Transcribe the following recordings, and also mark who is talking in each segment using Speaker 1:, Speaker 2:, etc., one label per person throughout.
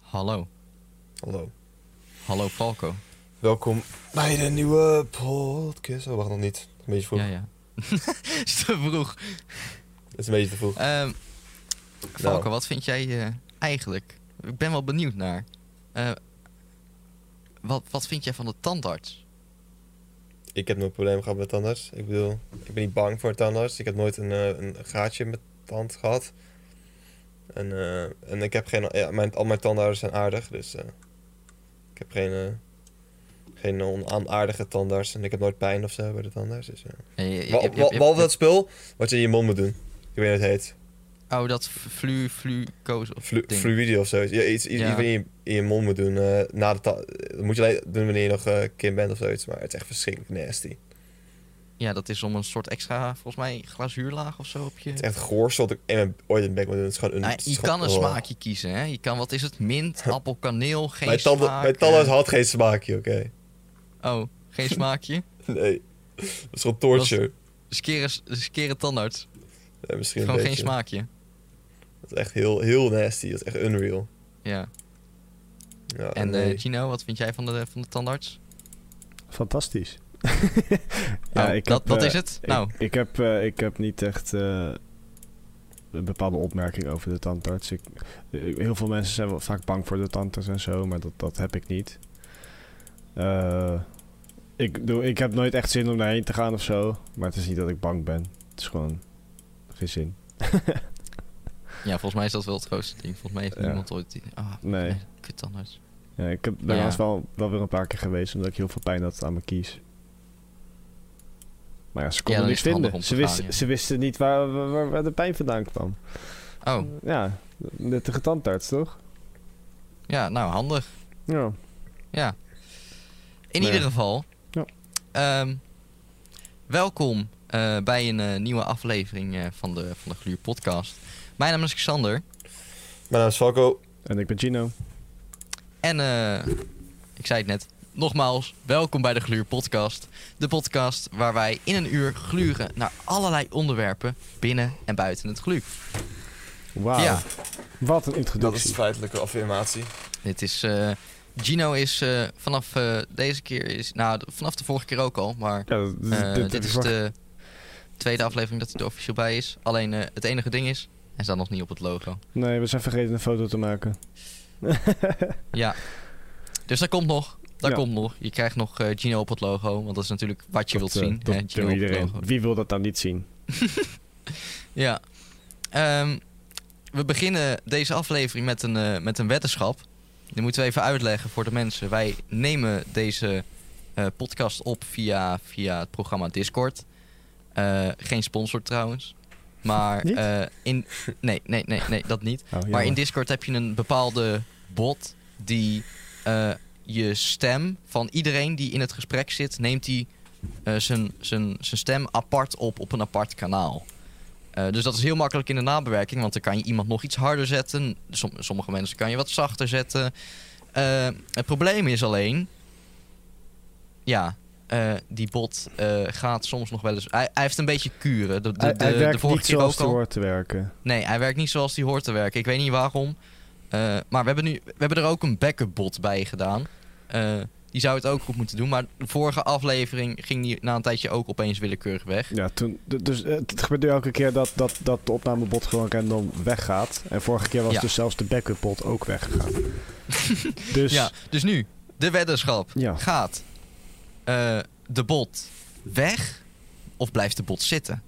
Speaker 1: Hallo.
Speaker 2: Hallo.
Speaker 1: Hallo Falco.
Speaker 2: Welkom bij de nieuwe podcast. Oh, wacht nog niet. Een beetje vroeg.
Speaker 1: Ja, ja. Is te vroeg.
Speaker 2: Het is een beetje te vroeg. Nou,
Speaker 1: Ehm, Falco, wat vind jij eh, eigenlijk? Ik ben wel benieuwd naar. Eh, wat, wat vind jij van de tandarts?
Speaker 2: Ik heb nooit problemen gehad met tandarts. Ik bedoel, ik ben niet bang voor tandarts. Ik heb nooit een, eh, een gaatje met tand gehad. En, eh, en ik heb geen... Ja, mijn, al mijn tandarts zijn aardig, dus... eh, ik heb geen... eh, geen onaardige tandarts. En ik heb nooit pijn of zo bij de tandarts. Dus, ja.
Speaker 1: Eh, je- je- je-
Speaker 2: Wel-
Speaker 1: je-
Speaker 2: wel-
Speaker 1: je-
Speaker 2: Wel dat spul wat je in je mond moet doen. Ik weet niet hoe het heet.
Speaker 1: Oh, dat flu, flu, koos of
Speaker 2: Flu
Speaker 1: ding.
Speaker 2: fluïde of zo. Ja, iets, iets,
Speaker 1: Ja.
Speaker 2: iets wat je in je mond moet doen. eh, na de ta- dat moet je alleen doen wanneer je nog eh, kind bent of zoiets. Maar het is echt verschrikkelijk nasty.
Speaker 1: Ja, dat is om een soort extra, volgens mij, glazuurlaag of zo op je...
Speaker 2: Het is echt goor wat ik in mijn, ooit in mijn bek moet doen. Het is gewoon een...
Speaker 1: Nou,
Speaker 2: het is
Speaker 1: je
Speaker 2: gewoon-
Speaker 1: kan een
Speaker 2: oh.
Speaker 1: smaakje kiezen, hè? Je kan, wat is het? Mint, appel, kaneel, geen
Speaker 2: Mijn tanden,
Speaker 1: smaak.
Speaker 2: mijn tanden
Speaker 1: eh,
Speaker 2: had geen smaakje, oké.
Speaker 1: Oh, geen smaakje?
Speaker 2: Nee. Dat is gewoon torture.
Speaker 1: Dus keren, dus keren tandarts.
Speaker 2: Ja, misschien
Speaker 1: Gewoon
Speaker 2: een
Speaker 1: geen
Speaker 2: beetje.
Speaker 1: smaakje.
Speaker 2: Dat is echt heel, heel nasty. Dat is echt unreal.
Speaker 1: Ja.
Speaker 2: Ja,
Speaker 1: En
Speaker 2: nee.
Speaker 1: eh, Gino, wat vind jij van de, van de tandarts?
Speaker 3: Fantastisch.
Speaker 1: Nou,
Speaker 3: ik
Speaker 1: dat,
Speaker 3: heb,
Speaker 1: dat
Speaker 3: eh,
Speaker 1: is het.
Speaker 3: ik-
Speaker 1: nou,
Speaker 3: Ik, heb, eh, ik heb niet echt eh, een bepaalde opmerking over de tandarts. Ik, eh, heel veel mensen zijn wel vaak bang voor de tandarts en zo, maar dat, dat heb ik niet. Eh, ik, doe, ik heb nooit echt zin om daarheen te gaan of zo, maar het is niet dat ik bang ben. Het is gewoon geen zin.
Speaker 1: ja, volgens mij is dat wel het grootste ding. Volgens mij heeft
Speaker 3: Ja.
Speaker 1: niemand ooit... die- Ah,
Speaker 3: Nee.
Speaker 1: kut tandarts.
Speaker 3: Ja, ik heb
Speaker 1: Ja.
Speaker 3: daarnaast wel, wel weer een paar keer geweest, omdat ik heel veel pijn had aan mijn kies. Maar ja, ze konden
Speaker 1: dan
Speaker 3: niks
Speaker 1: is het handig om
Speaker 3: vinden.
Speaker 1: te
Speaker 3: Ze wisten,
Speaker 1: gaan, ja.
Speaker 3: ze wisten niet waar, waar, waar de pijn vandaan kwam.
Speaker 1: Oh,
Speaker 3: Ja, nuttige tandarts, toch?
Speaker 1: ja, nou, handig.
Speaker 3: Ja.
Speaker 1: Ja. In
Speaker 3: Nee.
Speaker 1: ieder geval.
Speaker 3: Ja.
Speaker 1: ehm, welkom eh, bij een eh, nieuwe aflevering eh, van, de, van de Gluur podcast. Mijn naam is Xander.
Speaker 2: Mijn naam is Falco.
Speaker 3: En ik ben Gino.
Speaker 1: En eh, ik zei het net, nogmaals, welkom bij de Gluur Podcast. De podcast waar wij in een uur gluren naar allerlei onderwerpen binnen en buiten het gluur.
Speaker 3: Wauw.
Speaker 1: Ja.
Speaker 3: Wat
Speaker 2: Dat
Speaker 3: een
Speaker 2: is
Speaker 3: introductie.
Speaker 2: de feitelijke affirmatie.
Speaker 1: Dit is. eh, Gino is eh, vanaf eh, deze keer is. Nou, d- vanaf de vorige keer ook al, maar
Speaker 3: Ja, dat-
Speaker 1: eh,
Speaker 3: dat-
Speaker 1: dit,
Speaker 3: dat
Speaker 1: is
Speaker 3: wacht-
Speaker 1: de tweede aflevering dat hij er officieel bij is. Alleen eh, het enige ding is, hij staat nog niet op het logo.
Speaker 3: Nee, we zijn vergeten een foto te maken.
Speaker 1: Ja. Dus dat komt nog. Dat
Speaker 3: Ja.
Speaker 1: komt nog. Je krijgt nog eh, Gino op het logo, want dat is natuurlijk wat je
Speaker 3: dat,
Speaker 1: wilt
Speaker 3: eh,
Speaker 1: zien. hè,
Speaker 3: Dat
Speaker 1: Gino
Speaker 3: wil
Speaker 1: op het
Speaker 3: iedereen.
Speaker 1: logo.
Speaker 3: Wie wil dat nou niet zien?
Speaker 1: Ja. Ehm, we beginnen deze aflevering met een, eh, met een weddenschap. Die moeten we even uitleggen voor de mensen. Wij nemen deze eh, podcast op via, via het programma Discord. Eh, geen sponsor trouwens. Maar
Speaker 3: Niet?
Speaker 1: eh, in. Nee, nee, nee, nee, dat niet.
Speaker 3: Oh,
Speaker 1: Maar in
Speaker 3: jammer.
Speaker 1: Discord heb je een bepaalde bot die eh, je stem van iedereen die in het gesprek zit, neemt die eh, zijn zijn- zijn stem apart op op een apart kanaal. Eh, dus dat is heel makkelijk in de nabewerking, want dan kan je iemand nog iets harder zetten. Som- sommige mensen kan je wat zachter zetten. Eh, het probleem is alleen, ja, eh, die bot eh, gaat soms nog wel eens. Hij, hij heeft een beetje kuren. De, de,
Speaker 3: hij,
Speaker 1: de,
Speaker 3: hij
Speaker 1: de
Speaker 3: werkt
Speaker 1: vorige
Speaker 3: niet
Speaker 1: keer
Speaker 3: zoals
Speaker 1: ook
Speaker 3: te
Speaker 1: al.
Speaker 3: hoort te werken.
Speaker 1: Nee, hij werkt niet zoals hij hoort te werken. Ik weet niet waarom. Eh, maar we hebben, nu, we hebben er ook een backup bot bij gedaan. Eh, die zou het ook goed moeten doen. Maar de vorige aflevering ging die na een tijdje ook opeens willekeurig weg.
Speaker 3: Ja, toen, d- dus eh, het gebeurt nu elke keer dat, dat, dat de opnamebot gewoon random weggaat. En vorige keer was
Speaker 1: Ja.
Speaker 3: dus zelfs de backup bot ook weggegaan. dus
Speaker 1: Ja, dus nu, de weddenschap.
Speaker 3: Ja.
Speaker 1: Gaat eh, de bot weg of blijft de bot zitten?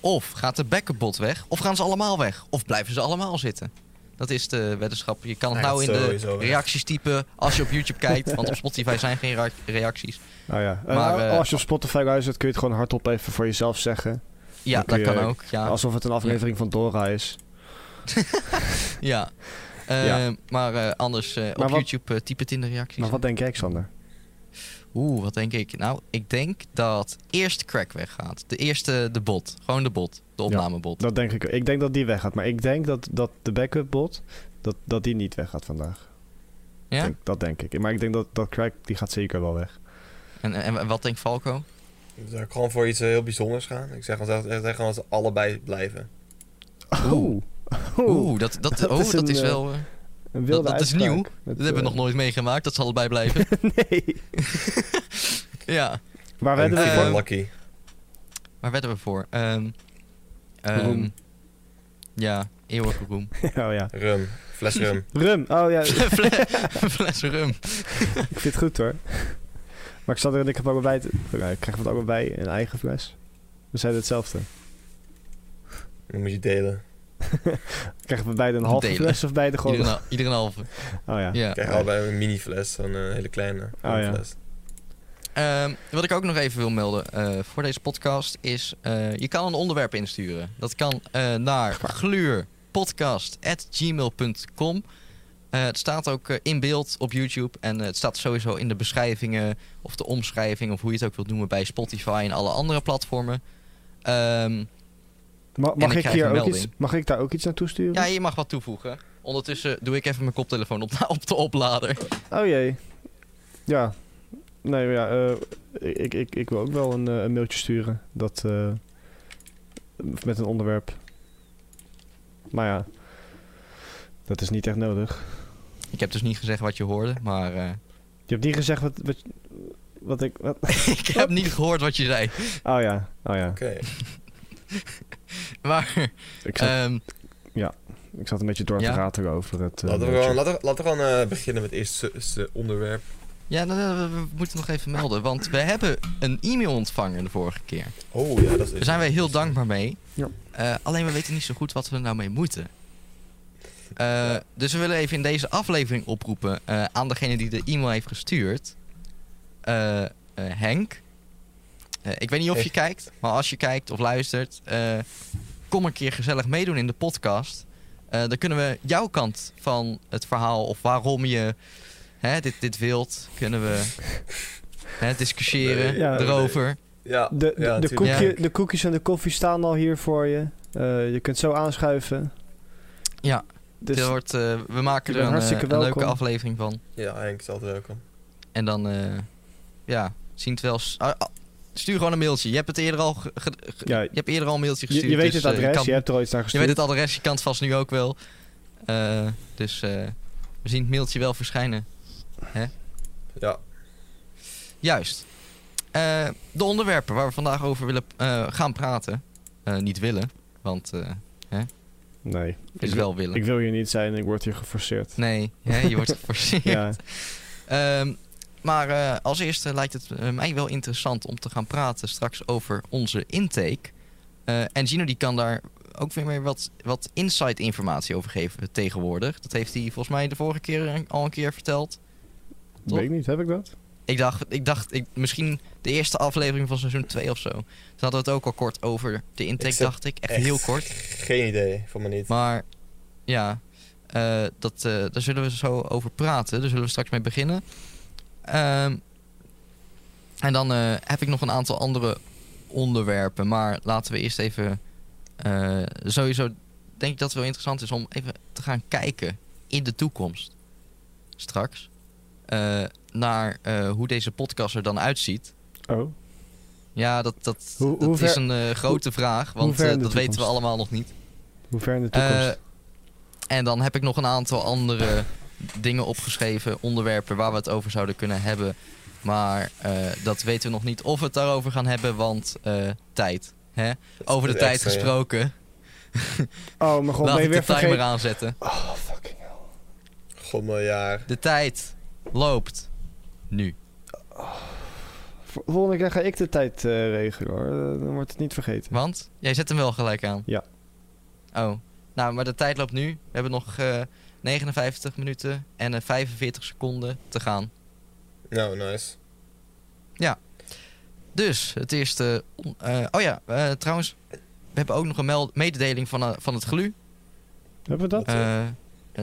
Speaker 1: Of gaat de backup bot weg of gaan ze allemaal weg? Of blijven ze allemaal zitten? Dat is de weddenschap. Je kan het
Speaker 2: Hij
Speaker 1: nou in
Speaker 2: gaat
Speaker 1: de
Speaker 2: sowieso weg.
Speaker 1: reacties typen als je op YouTube kijkt. Want op Spotify zijn geen ra- reacties.
Speaker 3: Nou ja. Eh,
Speaker 1: Maar, eh,
Speaker 3: als je op Spotify luistert, kun je het gewoon hardop even voor jezelf zeggen.
Speaker 1: Ja,
Speaker 3: Dan kun
Speaker 1: dat
Speaker 3: je-
Speaker 1: kan ook. Ja.
Speaker 3: Alsof het een aflevering van Dora is.
Speaker 1: ja. Eh,
Speaker 3: Ja.
Speaker 1: Maar eh, anders, eh, op
Speaker 3: Maar wat-
Speaker 1: YouTube eh, typ het in de reacties.
Speaker 3: Maar wat denk jij, Xander?
Speaker 1: Oeh, wat denk ik? Nou, ik denk dat eerst crack weggaat. De eerste, de bot. Gewoon de bot. De opnamebot.
Speaker 3: Dat denk ik. Ik denk dat die weggaat. Maar ik denk dat, dat de backup bot, dat, dat die niet weggaat vandaag.
Speaker 1: Ja?
Speaker 3: Denk- dat denk ik. Maar ik denk dat, dat Craig, die gaat zeker wel weg.
Speaker 1: En, en, en wat denkt Falco?
Speaker 2: Ik zou gewoon voor iets eh, heel bijzonders gaan. Ik zeg gewoon ik zeg gewoon dat ze allebei blijven.
Speaker 3: Oeh.
Speaker 1: Oeh, dat, dat,
Speaker 3: Dat
Speaker 1: oh,
Speaker 3: is
Speaker 1: dat
Speaker 3: een,
Speaker 1: is
Speaker 3: eh,
Speaker 1: wel... eh,
Speaker 3: Een wilde
Speaker 1: dat is
Speaker 3: uitspraak
Speaker 1: nieuw.
Speaker 3: met,
Speaker 1: Dat hebben we
Speaker 3: eh,
Speaker 1: nog nooit meegemaakt. Dat zal erbij blijven.
Speaker 3: nee.
Speaker 1: ja.
Speaker 3: Maar we hebben
Speaker 1: Eh,
Speaker 3: het
Speaker 1: voor-
Speaker 2: Lucky.
Speaker 1: Waar werden we voor? Ehm, ehm,
Speaker 3: Roem.
Speaker 1: ja, eeuwige roem.
Speaker 3: Oh ja.
Speaker 2: Rum. Fles rum.
Speaker 3: Rum. Oh ja, ik
Speaker 1: Fle- Fles rum.
Speaker 3: vind het goed hoor. Maar ik zat er en ik heb ook wel bij. Te... Ja, ik krijg het ook wel bij een eigen fles. We zeiden hetzelfde.
Speaker 2: Dan moet je delen.
Speaker 3: Krijgen we beide een halve
Speaker 1: Delen.
Speaker 3: fles of beide gewoon?
Speaker 1: Iedereen, al- iedereen halve.
Speaker 3: Oh ja.
Speaker 1: Ja.
Speaker 2: Ik krijg allebei een mini fles, zo'n eh, hele kleine
Speaker 3: Oh, ja.
Speaker 2: fles.
Speaker 1: Ehm, wat ik ook nog even wil melden eh, voor deze podcast is... eh, je kan een onderwerp insturen. Dat kan eh, naar gluurpodcast.gmail.com. Eh, het staat ook eh, in beeld op YouTube. En eh, het staat sowieso in de beschrijvingen of de omschrijving... of hoe je het ook wilt noemen bij Spotify en alle andere platformen. Ehm,
Speaker 3: Ma-
Speaker 1: En
Speaker 3: mag,
Speaker 1: ik
Speaker 3: ik
Speaker 1: krijg
Speaker 3: hier
Speaker 1: een
Speaker 3: ook iets,
Speaker 1: melding.
Speaker 3: mag ik daar ook iets naartoe sturen?
Speaker 1: ja, je mag wat toevoegen. Ondertussen doe ik even mijn koptelefoon op, op de oplader.
Speaker 3: Oh jee. Ja. Nee, maar ja, eh, ik, ik, ik wil ook wel een, eh, een mailtje sturen. Dat, eh, met een onderwerp. Maar ja, dat is niet echt nodig.
Speaker 1: Ik heb dus niet gezegd wat je hoorde, maar... eh,
Speaker 3: Je hebt niet gezegd wat, wat, wat ik... Wat?
Speaker 1: ik heb niet gehoord wat je zei.
Speaker 3: Oh ja, oh ja.
Speaker 2: Oké.
Speaker 1: Maar...
Speaker 3: Ik zat,
Speaker 1: ehm,
Speaker 3: ik zat een beetje door te
Speaker 1: ja.
Speaker 3: ratelen over het eh,
Speaker 2: Laten we
Speaker 3: mailtje.
Speaker 2: gewoon, laten we, laten we gewoon eh, beginnen met het eerste eerste onderwerp.
Speaker 1: Ja, nou, nou, we, we moeten nog even melden. Want we hebben een e-mail ontvangen de vorige keer.
Speaker 2: Oh ja, dat is...
Speaker 1: Daar zijn wij heel dankbaar mee.
Speaker 3: Ja.
Speaker 1: Eh, alleen we weten niet zo goed wat we er nou mee moeten. Eh, Dus we willen even in deze aflevering oproepen eh, aan degene die de e-mail heeft gestuurd. Eh, eh, Henk. Eh, ik weet niet of je
Speaker 2: Hey.
Speaker 1: kijkt, maar als je kijkt of luistert, eh, kom een keer gezellig meedoen in de podcast. Eh, dan kunnen we jouw kant van het verhaal of waarom je hè, dit, dit wilt, kunnen we hè, discussiëren
Speaker 2: Nee,
Speaker 3: ja.
Speaker 1: erover.
Speaker 2: Ja,
Speaker 3: De, de,
Speaker 2: ja,
Speaker 3: de,
Speaker 2: natuurlijk.
Speaker 3: koekje, de koekjes en de koffie staan al hier voor je. Eh, je kunt zo aanschuiven.
Speaker 1: Ja.
Speaker 3: Dus
Speaker 1: Dit wordt, eh, we maken
Speaker 3: je
Speaker 1: er
Speaker 3: bent
Speaker 1: een, eh,
Speaker 3: hartstikke
Speaker 1: een leuke
Speaker 3: welkom.
Speaker 1: aflevering van.
Speaker 2: Ja, Henk is altijd welkom.
Speaker 1: En dan, eh, ja, zien het wel. s- ah, ah, stuur gewoon een mailtje. Je hebt het eerder al, ge- ge- ge-
Speaker 3: Ja.
Speaker 1: je hebt eerder al een mailtje
Speaker 3: je,
Speaker 1: gestuurd.
Speaker 3: je weet
Speaker 1: dus,
Speaker 3: het
Speaker 1: eh,
Speaker 3: adres,
Speaker 1: je, kan-
Speaker 3: je hebt er al iets naar
Speaker 1: je
Speaker 3: gestuurd.
Speaker 1: weet het adres, je kan het vast nu ook wel. Eh, dus eh, we zien het mailtje wel verschijnen.
Speaker 2: Ja,
Speaker 1: Juist. Eh, de onderwerpen waar we vandaag over willen eh, gaan praten. Eh, niet willen, want eh,
Speaker 3: Nee.
Speaker 1: is
Speaker 3: Ik-
Speaker 1: wel willen.
Speaker 3: Ik wil hier niet zijn en ik word hier geforceerd.
Speaker 1: Nee, hè, je wordt geforceerd.
Speaker 3: Ja,
Speaker 1: Ehm, maar eh, als eerste lijkt het eh, mij wel interessant om te gaan praten straks over onze intake. Eh, en Gino die kan daar ook weer meer wat, wat insight informatie over geven tegenwoordig. Dat heeft hij volgens mij de vorige keer een- al een keer verteld. Toch?
Speaker 3: weet ik niet. Heb ik dat?
Speaker 1: Ik dacht, ik dacht ik, misschien de eerste aflevering van seizoen 2 of zo. Toen hadden we het ook al kort over de intake,
Speaker 2: Ik zat
Speaker 1: dacht ik. Echt,
Speaker 2: echt
Speaker 1: heel kort.
Speaker 2: geen idee, voor me niet.
Speaker 1: Maar ja, eh, dat, eh, daar zullen we zo over praten. Daar zullen we straks mee beginnen. Ehm, en dan eh, heb ik nog een aantal andere onderwerpen. Maar laten we eerst even... eh, sowieso denk ik dat het wel interessant is om even te gaan kijken in de toekomst. Straks. eh, naar eh, hoe deze podcast er dan uitziet.
Speaker 3: Oh.
Speaker 1: Ja, dat, dat,
Speaker 3: Hoe-
Speaker 1: dat
Speaker 3: hoe ver-
Speaker 1: is een eh, grote vraag. Want
Speaker 3: ver
Speaker 1: eh,
Speaker 3: in de
Speaker 1: dat weten we
Speaker 3: toekomst?
Speaker 1: allemaal nog niet.
Speaker 3: Hoe ver in de
Speaker 1: Eh,
Speaker 3: toekomst?
Speaker 1: En dan heb ik nog een aantal andere dingen opgeschreven, onderwerpen waar we het over zouden kunnen hebben. Maar eh, dat weten we nog niet of we het daarover gaan hebben, want eh, tijd. Hè? Over de
Speaker 2: Dat is
Speaker 1: tijd
Speaker 2: extra, ja.
Speaker 1: gesproken.
Speaker 3: oh, mijn god,
Speaker 1: Laat ik
Speaker 3: ben je
Speaker 1: de
Speaker 3: weer
Speaker 1: timer
Speaker 3: vergeten?
Speaker 1: aanzetten.
Speaker 3: Oh, fucking hell.
Speaker 2: God, miljard.
Speaker 1: De tijd loopt nu.
Speaker 3: Vol- Volgende keer ga ik de tijd eh, regelen hoor. Eh, Dan wordt het niet vergeten.
Speaker 1: Want jij zet hem wel gelijk aan.
Speaker 3: Ja.
Speaker 1: Oh, nou, maar de tijd loopt nu. We hebben nog eh, 59 minuten en eh, 45 seconden te gaan.
Speaker 2: Nou, nice.
Speaker 1: Dus, het eerste... on- eh, oh ja, eh, trouwens, we hebben ook nog een meld- mededeling van, eh, van het GLU.
Speaker 3: Hebben we dat?
Speaker 1: Eh, eh,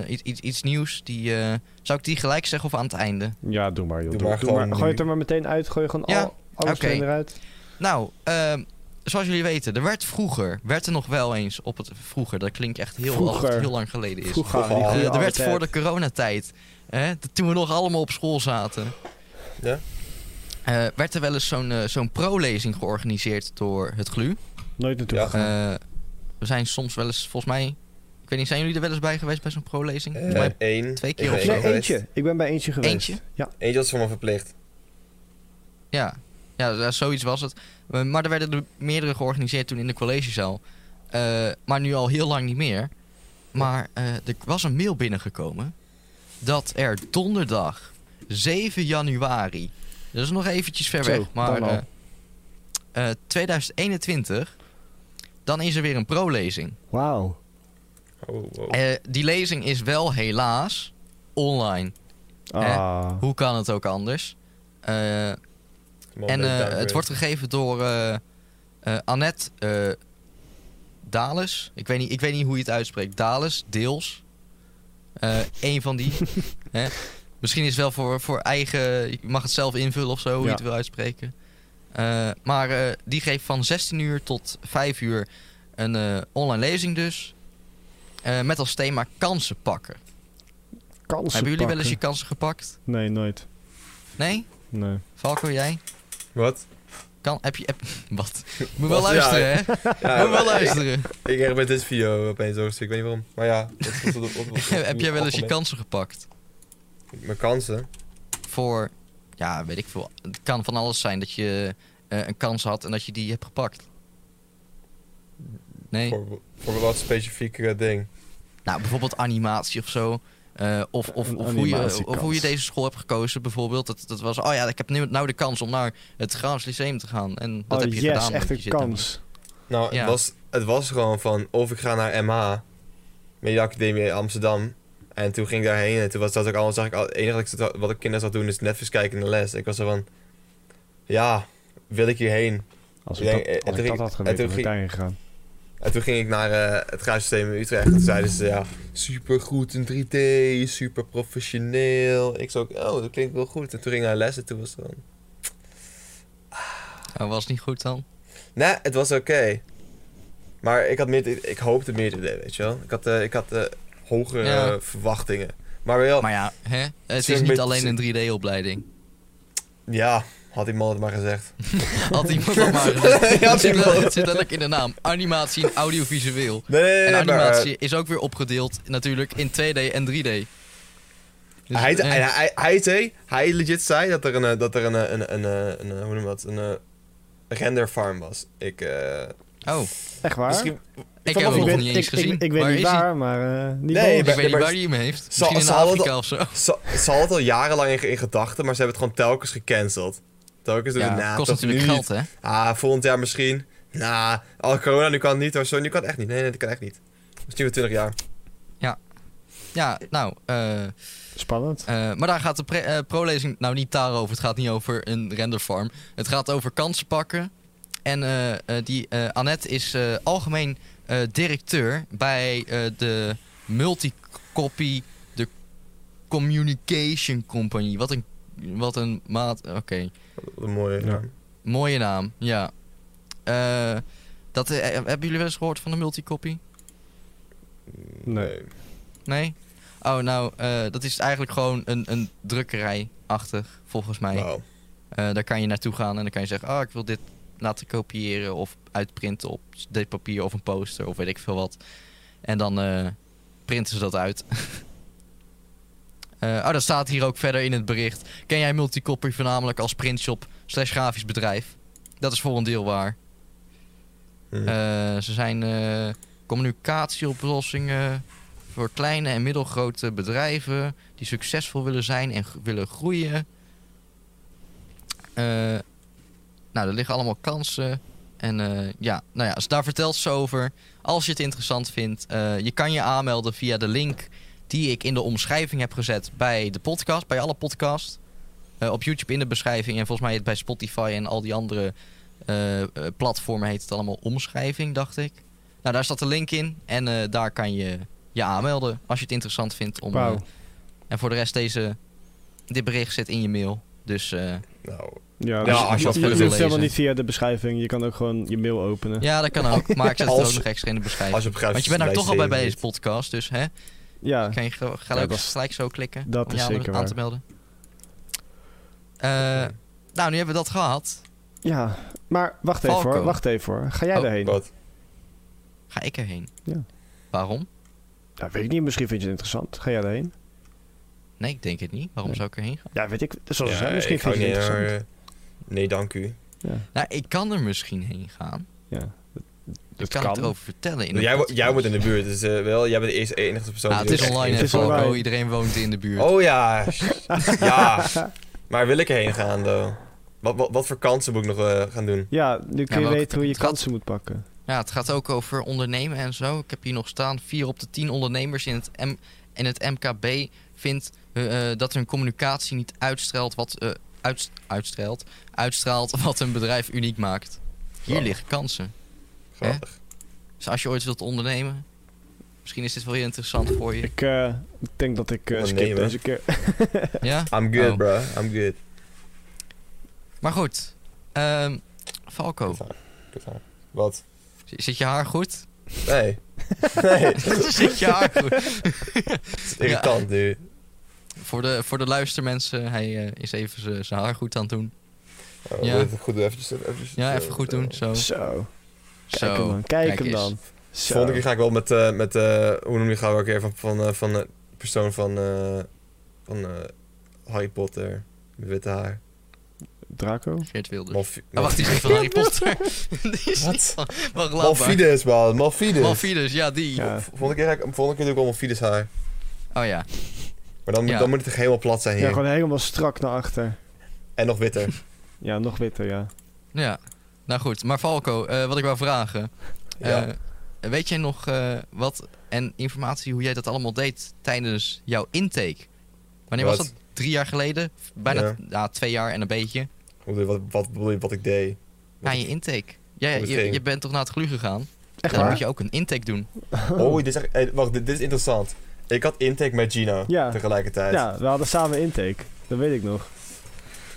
Speaker 1: iets, iets, iets nieuws. Die, eh, zou ik die gelijk zeggen of aan het einde?
Speaker 3: ja, doe maar joh.
Speaker 2: doe
Speaker 3: Doe,
Speaker 2: maar
Speaker 3: doe
Speaker 2: gewoon
Speaker 3: maar.
Speaker 2: nu.
Speaker 3: Gooi het er maar meteen uit. Gooi gewoon
Speaker 1: Ja,
Speaker 3: al, alles
Speaker 1: oké.
Speaker 3: erin eruit.
Speaker 1: Nou, ehm, zoals jullie weten, er werd vroeger... werd er nog wel eens op het... Vroeger, dat klinkt echt heel, alsof het
Speaker 3: Vroeger.
Speaker 1: heel lang geleden is.
Speaker 3: Vroeger.
Speaker 2: Vroeger.
Speaker 3: die
Speaker 1: Eh,
Speaker 3: goede
Speaker 1: er
Speaker 3: oude
Speaker 1: werd
Speaker 3: tijd.
Speaker 1: voor de coronatijd, hè, t- toen we nog allemaal op school zaten...
Speaker 2: Ja?
Speaker 1: eh, werd er wel eens zo'n eh, zo'n pro-lezing georganiseerd door het GLU.
Speaker 3: Nooit naartoe
Speaker 2: Ja.
Speaker 3: gegaan.
Speaker 1: Eh, we zijn soms wel eens, volgens mij, ik weet niet, zijn jullie er wel eens bij geweest bij zo'n pro-lezing?
Speaker 3: Eh.
Speaker 1: Volgens mij
Speaker 2: Eén.
Speaker 1: twee
Speaker 2: Ik
Speaker 1: keer
Speaker 2: ben
Speaker 1: of
Speaker 2: Eh,
Speaker 1: zo.
Speaker 2: één
Speaker 3: Nee,
Speaker 2: geweest.
Speaker 3: eentje. Ik ben bij eentje geweest.
Speaker 1: Eentje?
Speaker 3: Ja.
Speaker 2: Eentje was voor me verplicht.
Speaker 1: Ja, ja ja, zoiets was het. Eh, Maar er werden er meerdere georganiseerd toen in de collegezaal. Eh, maar nu al heel lang niet meer. Maar eh, er was een mail binnengekomen dat er donderdag 7 januari, dat is nog eventjes ver
Speaker 3: Zo,
Speaker 1: weg, maar
Speaker 3: dan al.
Speaker 1: eh, eh, 2021, dan is er weer een pro-lezing.
Speaker 3: Wauw.
Speaker 2: Oh, wow.
Speaker 1: Eh, die lezing is wel helaas online.
Speaker 3: Ah.
Speaker 1: Hoe kan het ook anders? Eh,
Speaker 2: Come on,
Speaker 1: En
Speaker 2: make
Speaker 1: eh,
Speaker 2: downgrade.
Speaker 1: het wordt gegeven door eh, eh, Annette eh, Dales. Ik weet, niet, ik weet niet hoe je het uitspreekt. Dales, Deels. Eén van die. Hè? Misschien is het wel voor, voor eigen... Je mag het zelf invullen of zo, hoe je
Speaker 3: Ja.
Speaker 1: het wil uitspreken. Eh, maar eh, die geeft van 16 uur tot 5 uur een eh, online lezing dus. Eh, met als thema kansen pakken.
Speaker 3: Kansen
Speaker 1: Hebben jullie wel eens je
Speaker 3: pakken.
Speaker 1: kansen gepakt?
Speaker 3: Nee, nooit.
Speaker 1: Nee?
Speaker 3: Nee.
Speaker 1: Valko, jij?
Speaker 2: Wat?
Speaker 1: Kan, heb je... heb- wat? Moet wel
Speaker 2: Wat? Ja,
Speaker 1: luisteren, hè?
Speaker 2: Ja,
Speaker 1: Moet wel
Speaker 2: maar-
Speaker 1: luisteren.
Speaker 2: Ik heb met dit video opeens zo ik weet niet waarom. Maar ja, dat is op- op- op-
Speaker 1: Heb jij wel eens je
Speaker 2: algemeen.
Speaker 1: kansen gepakt?
Speaker 2: Mijn kansen?
Speaker 1: Voor, ja, weet ik veel. Het kan van alles zijn dat je eh, een kans had en dat je die hebt gepakt. Nee?
Speaker 2: Voor, voor wat specifieke ding.
Speaker 1: Nou, bijvoorbeeld animatie of zo. Eh, of of,
Speaker 3: Een
Speaker 1: of, hoe je,
Speaker 3: animatiekans.
Speaker 1: of hoe je deze school hebt gekozen, bijvoorbeeld. Dat, dat was, oh ja, ik heb nu, nou de kans om naar het Graafs Lyceum te gaan. En dat
Speaker 3: oh,
Speaker 1: heb je
Speaker 3: yes,
Speaker 1: gedaan.
Speaker 3: echt
Speaker 1: want
Speaker 3: een
Speaker 1: je zit daar-
Speaker 3: kans.
Speaker 2: Nou,
Speaker 1: Ja.
Speaker 2: het, was, het was gewoon van of ik ga naar MH, Media Academie Amsterdam. En toen ging ik daarheen en toen was dat ook allemaal, zag ik al, het enige wat ik, zat- wat ik kinderen zat doen is Netflix kijken in de les. Ik was zo van, ja, wil ik hierheen?
Speaker 3: Als
Speaker 2: Ik
Speaker 3: ik,
Speaker 2: denk, eh,
Speaker 3: dat, als
Speaker 2: toen
Speaker 3: ik dat
Speaker 2: ging-
Speaker 3: had
Speaker 2: en
Speaker 3: geweten,
Speaker 2: toen
Speaker 3: was ik daarheen gegaan.
Speaker 2: En toen ging ik naar eh, het Graafsysteem in Utrecht. En toen zeiden ze, ja, supergoed in 3D, super professioneel. Ik zo, oh, dat klinkt wel goed. En toen ging ik naar les en toen was het van,
Speaker 1: Nou, was niet goed dan.
Speaker 2: nee, het was oké. Maar ik had meer, ik hoopte meer te doen, weet je wel. Ik had, eh, ik had eh, hogere
Speaker 1: Ja.
Speaker 2: verwachtingen. Maar wel,
Speaker 1: Maar ja, hè? het
Speaker 2: Zullen
Speaker 1: is
Speaker 2: we
Speaker 1: niet
Speaker 2: Oh. met-
Speaker 1: alleen een 3D-opleiding.
Speaker 2: ja, had die man het maar gezegd.
Speaker 1: Had iemand dat maar gezegd.
Speaker 2: Ja,
Speaker 1: het, zit
Speaker 2: iemand.
Speaker 1: wel- het zit letterlijk in de naam. Animatie en audiovisueel.
Speaker 2: Nee, nee, nee,
Speaker 1: En
Speaker 2: nee, maar, eh,
Speaker 1: animatie is ook weer opgedeeld natuurlijk in 2D en 3D. Dus,
Speaker 2: hij,
Speaker 1: eh,
Speaker 2: hij, hij, hij, zei- hij legit zei dat er een, eh, dat er een, eh, een, een, eh, een, eh, hoe noem je dat, een eh, renderfarm was. Ik, eh,
Speaker 1: oh,
Speaker 3: Echt waar?
Speaker 2: misschien...
Speaker 1: ik
Speaker 2: vond
Speaker 1: heb
Speaker 2: het
Speaker 1: hem
Speaker 2: wel
Speaker 1: nog
Speaker 3: weet-
Speaker 1: niet eens
Speaker 3: ik-
Speaker 1: gezien.
Speaker 3: Ik, ik weet
Speaker 1: Waar
Speaker 3: niet
Speaker 1: is hij?
Speaker 3: waar, maar eh niet
Speaker 2: Nee,
Speaker 3: boven.
Speaker 2: ik
Speaker 1: Ik
Speaker 2: ben-
Speaker 1: weet niet
Speaker 2: maar-
Speaker 1: waar hij hem heeft. Misschien in
Speaker 2: ze hadden
Speaker 1: Afrika of zo.
Speaker 2: Ze, ze hadden het al jarenlang in, in gedachten, maar ze hebben het gewoon telkens gecanceld. Telkens doen
Speaker 1: Ja,
Speaker 2: we na.
Speaker 1: kost
Speaker 2: toch
Speaker 1: natuurlijk
Speaker 2: nu
Speaker 1: geld, hè?
Speaker 2: niet. Ah, volgend jaar misschien. Nou, al corona, nu kan het niet hoor. Zo, nu kan het echt niet. Nee, nee, dat kan echt niet. Misschien weer 20 jaar.
Speaker 1: Ja, nou, eh, eh,
Speaker 3: Spannend.
Speaker 1: maar daar gaat de pre- eh, prolezing nou niet daarover. Het gaat niet over een renderfarm. Het gaat over kansen pakken. En eh, eh, die eh, Annette is eh, algemeen eh, directeur bij eh, de Multicopy, de Communication Company. Wat een, wat een maat. Oké.
Speaker 2: Wat een mooie
Speaker 3: Ja.
Speaker 2: naam.
Speaker 1: Mooie naam, ja. Eh, dat, eh, hebben jullie wel eens gehoord van de multicopy?
Speaker 3: Nee.
Speaker 1: Nee? Oh, nou, eh, dat is eigenlijk gewoon een, een drukkerij-achtig, volgens mij.
Speaker 2: Wauw.
Speaker 1: Eh, daar kan je naartoe gaan en dan kan je zeggen... ah, ik wil dit laten kopiëren of uitprinten op dit papier of een poster of weet ik veel wat. En dan eh, printen ze dat uit. Eh, oh, dat staat hier ook verder in het bericht. Ken jij Multicopy voornamelijk als printshop slash grafisch bedrijf? Dat is voor een deel waar.
Speaker 2: Hm.
Speaker 1: Eh, ze zijn eh, communicatieoplossingen voor kleine en middelgrote bedrijven die succesvol willen zijn en g- willen groeien. Eh, nou, er liggen allemaal kansen. En eh, ja, nou ja, dus daar vertelt ze over. Als je het interessant vindt, eh, je kan je aanmelden via de link die ik in de omschrijving heb gezet bij de podcast, bij alle podcasts. Eh, op YouTube in de beschrijving en volgens mij bij Spotify en al die andere eh, eh, platformen heet het allemaal omschrijving, dacht ik. Nou, daar staat de link in. En eh, daar kan je je aanmelden als je het interessant vindt. Om,
Speaker 3: Wauw.
Speaker 1: eh, en voor de rest, deze, dit bericht zit in je mail. Dus eh,
Speaker 2: Nou,
Speaker 3: Ja, dus
Speaker 2: Ja, als je dat
Speaker 3: je,
Speaker 2: verder
Speaker 3: je
Speaker 2: wil
Speaker 3: hoeft helemaal
Speaker 1: lezen.
Speaker 3: niet via de beschrijving. Je kan ook gewoon je mail openen.
Speaker 1: ja, dat kan ook. Maar ik zet het
Speaker 2: Als-
Speaker 1: ook nog extra in de beschrijving.
Speaker 2: als je begrijpt...
Speaker 1: Want je bent daar toch al bij bij deze
Speaker 2: pot.
Speaker 1: podcast. Dus hè,
Speaker 3: Ja,
Speaker 1: kan je gel- gelijk,
Speaker 3: Ja, dat is-
Speaker 1: gelijk zo klikken
Speaker 3: dat
Speaker 1: om
Speaker 3: is
Speaker 1: je aan,
Speaker 3: zeker
Speaker 1: aan
Speaker 3: waar.
Speaker 1: te melden. Eh, nou, nu hebben we dat gehad.
Speaker 3: ja. Maar wacht even
Speaker 1: Falco.
Speaker 2: Oh.
Speaker 3: hoor, wacht even hoor. Ga jij
Speaker 1: Oh.
Speaker 3: daarheen?
Speaker 2: Wat?
Speaker 1: Ga ik erheen.
Speaker 3: Ja.
Speaker 1: Waarom?
Speaker 3: Ja, weet ik niet, misschien vind je het interessant. Ga jij daarheen?
Speaker 1: Nee, ik denk het niet. Waarom
Speaker 3: Nee.
Speaker 1: zou ik erheen gaan?
Speaker 3: Ja, weet ik. Zoals
Speaker 2: Ja,
Speaker 3: ze zijn, misschien
Speaker 2: ik ga
Speaker 3: vind je het
Speaker 2: niet
Speaker 3: interessant.
Speaker 2: naar, eh, Nee, dank u.
Speaker 3: Ja,
Speaker 1: Nou, ik kan er misschien heen gaan.
Speaker 3: ja. Dat,
Speaker 1: Ik
Speaker 3: dat
Speaker 1: kan, het erover vertellen. In een
Speaker 2: Nou, Jij, wo-
Speaker 1: podcast.
Speaker 2: jij wordt in de buurt, dus eh, wel, jij bent de eerste enige persoon
Speaker 1: Nou, het
Speaker 2: die
Speaker 1: is
Speaker 2: ook echt-
Speaker 1: online,
Speaker 3: Het
Speaker 1: hè,
Speaker 3: is online.
Speaker 1: Falco. Iedereen woont in de buurt.
Speaker 2: Oh ja. ja. Maar wil ik erheen gaan, though? Wat, wat, wat voor kansen moet ik nog eh, gaan doen?
Speaker 3: Ja, nu kun je
Speaker 1: welke
Speaker 3: weten hoe je
Speaker 1: kant?
Speaker 3: kansen moet pakken.
Speaker 1: Ja, het gaat ook over ondernemen en zo. Ik heb hier nog staan: 4 op de 10 ondernemers in het, M in het MKB vindt eh, eh, dat hun communicatie niet uitstraalt wat, eh uits- uitstraalt, uitstraalt wat hun bedrijf uniek maakt. Hier
Speaker 2: Wow.
Speaker 1: liggen kansen.
Speaker 2: Grappig.
Speaker 1: Dus als je ooit wilt ondernemen, misschien is dit wel heel interessant voor je.
Speaker 3: Ik eh, ik denk dat ik eh, skip
Speaker 2: Ondernemen.
Speaker 3: deze keer.
Speaker 1: Ja?
Speaker 2: I'm good,
Speaker 1: Oh.
Speaker 2: bro. I'm good.
Speaker 1: Maar goed, Ehm Falco,
Speaker 2: Doe
Speaker 1: Oh.
Speaker 2: maar. Wat?
Speaker 1: z- zit je haar goed?
Speaker 2: Nee. nee.
Speaker 1: zit je haar goed?
Speaker 2: Het is irritant nu.
Speaker 1: Voor de, voor de luistermensen, hij eh, is even zijn haar goed aan het doen.
Speaker 2: Oh,
Speaker 1: Ja.
Speaker 2: wil je het Goed doen, eventjes, eventjes,
Speaker 1: Ja,
Speaker 2: eh,
Speaker 1: even goed doen, zo.
Speaker 3: Zo. Kijk
Speaker 1: Oh. Zo,
Speaker 3: hem dan. Kijk,
Speaker 1: kijk
Speaker 3: hem
Speaker 1: eens.
Speaker 3: dan.
Speaker 2: De
Speaker 3: Zo.
Speaker 2: volgende keer ga ik wel met, eh, met eh, hoe noem je gauw ook weer van, van, eh, van de persoon van, eh, van eh, Harry Potter. Met witte haar.
Speaker 3: Draco?
Speaker 1: Geert Wilders.
Speaker 2: Malfi-
Speaker 1: Ah, wacht, die is niet van Harry Potter. die is
Speaker 2: Wat?
Speaker 1: niet van... Wacht, laat maar.
Speaker 2: Malfides, man. Malfides.
Speaker 1: Malfides, ja, die.
Speaker 3: Ja.
Speaker 2: Volgende keer, ga ik, volgende keer doe ik wel Malfides haar.
Speaker 1: Oh ja.
Speaker 2: Maar dan, moet-
Speaker 1: Ja.
Speaker 2: dan moet het echt helemaal plat zijn hier.
Speaker 3: Ja, gewoon helemaal strak naar achter.
Speaker 2: En nog witter.
Speaker 3: Ja, nog witter, ja.
Speaker 1: ja. Nou goed, maar Falco, eh, wat ik wou vragen.
Speaker 2: Ja.
Speaker 1: eh, weet jij nog eh, wat en informatie hoe jij dat allemaal deed tijdens jouw intake? Wanneer was
Speaker 2: Wat?
Speaker 1: dat? Drie jaar geleden? Bijna
Speaker 2: Ja.
Speaker 1: ja, twee jaar en een beetje.
Speaker 2: Hoe bedoel je- wat, wat bedoel je wat ik deed?
Speaker 1: Na je intake. Jij,
Speaker 2: Hoe het
Speaker 1: je,
Speaker 2: ging.
Speaker 1: je bent toch naar het glu gegaan?
Speaker 3: Echt
Speaker 1: en dan moet
Speaker 3: waar?
Speaker 1: je ook een intake doen.
Speaker 2: Oh, dit is echt, eh, wacht, dit, dit is interessant. Ik had intake met Gino
Speaker 3: Ja.
Speaker 2: tegelijkertijd.
Speaker 3: Ja, we hadden samen intake. Dat weet ik nog.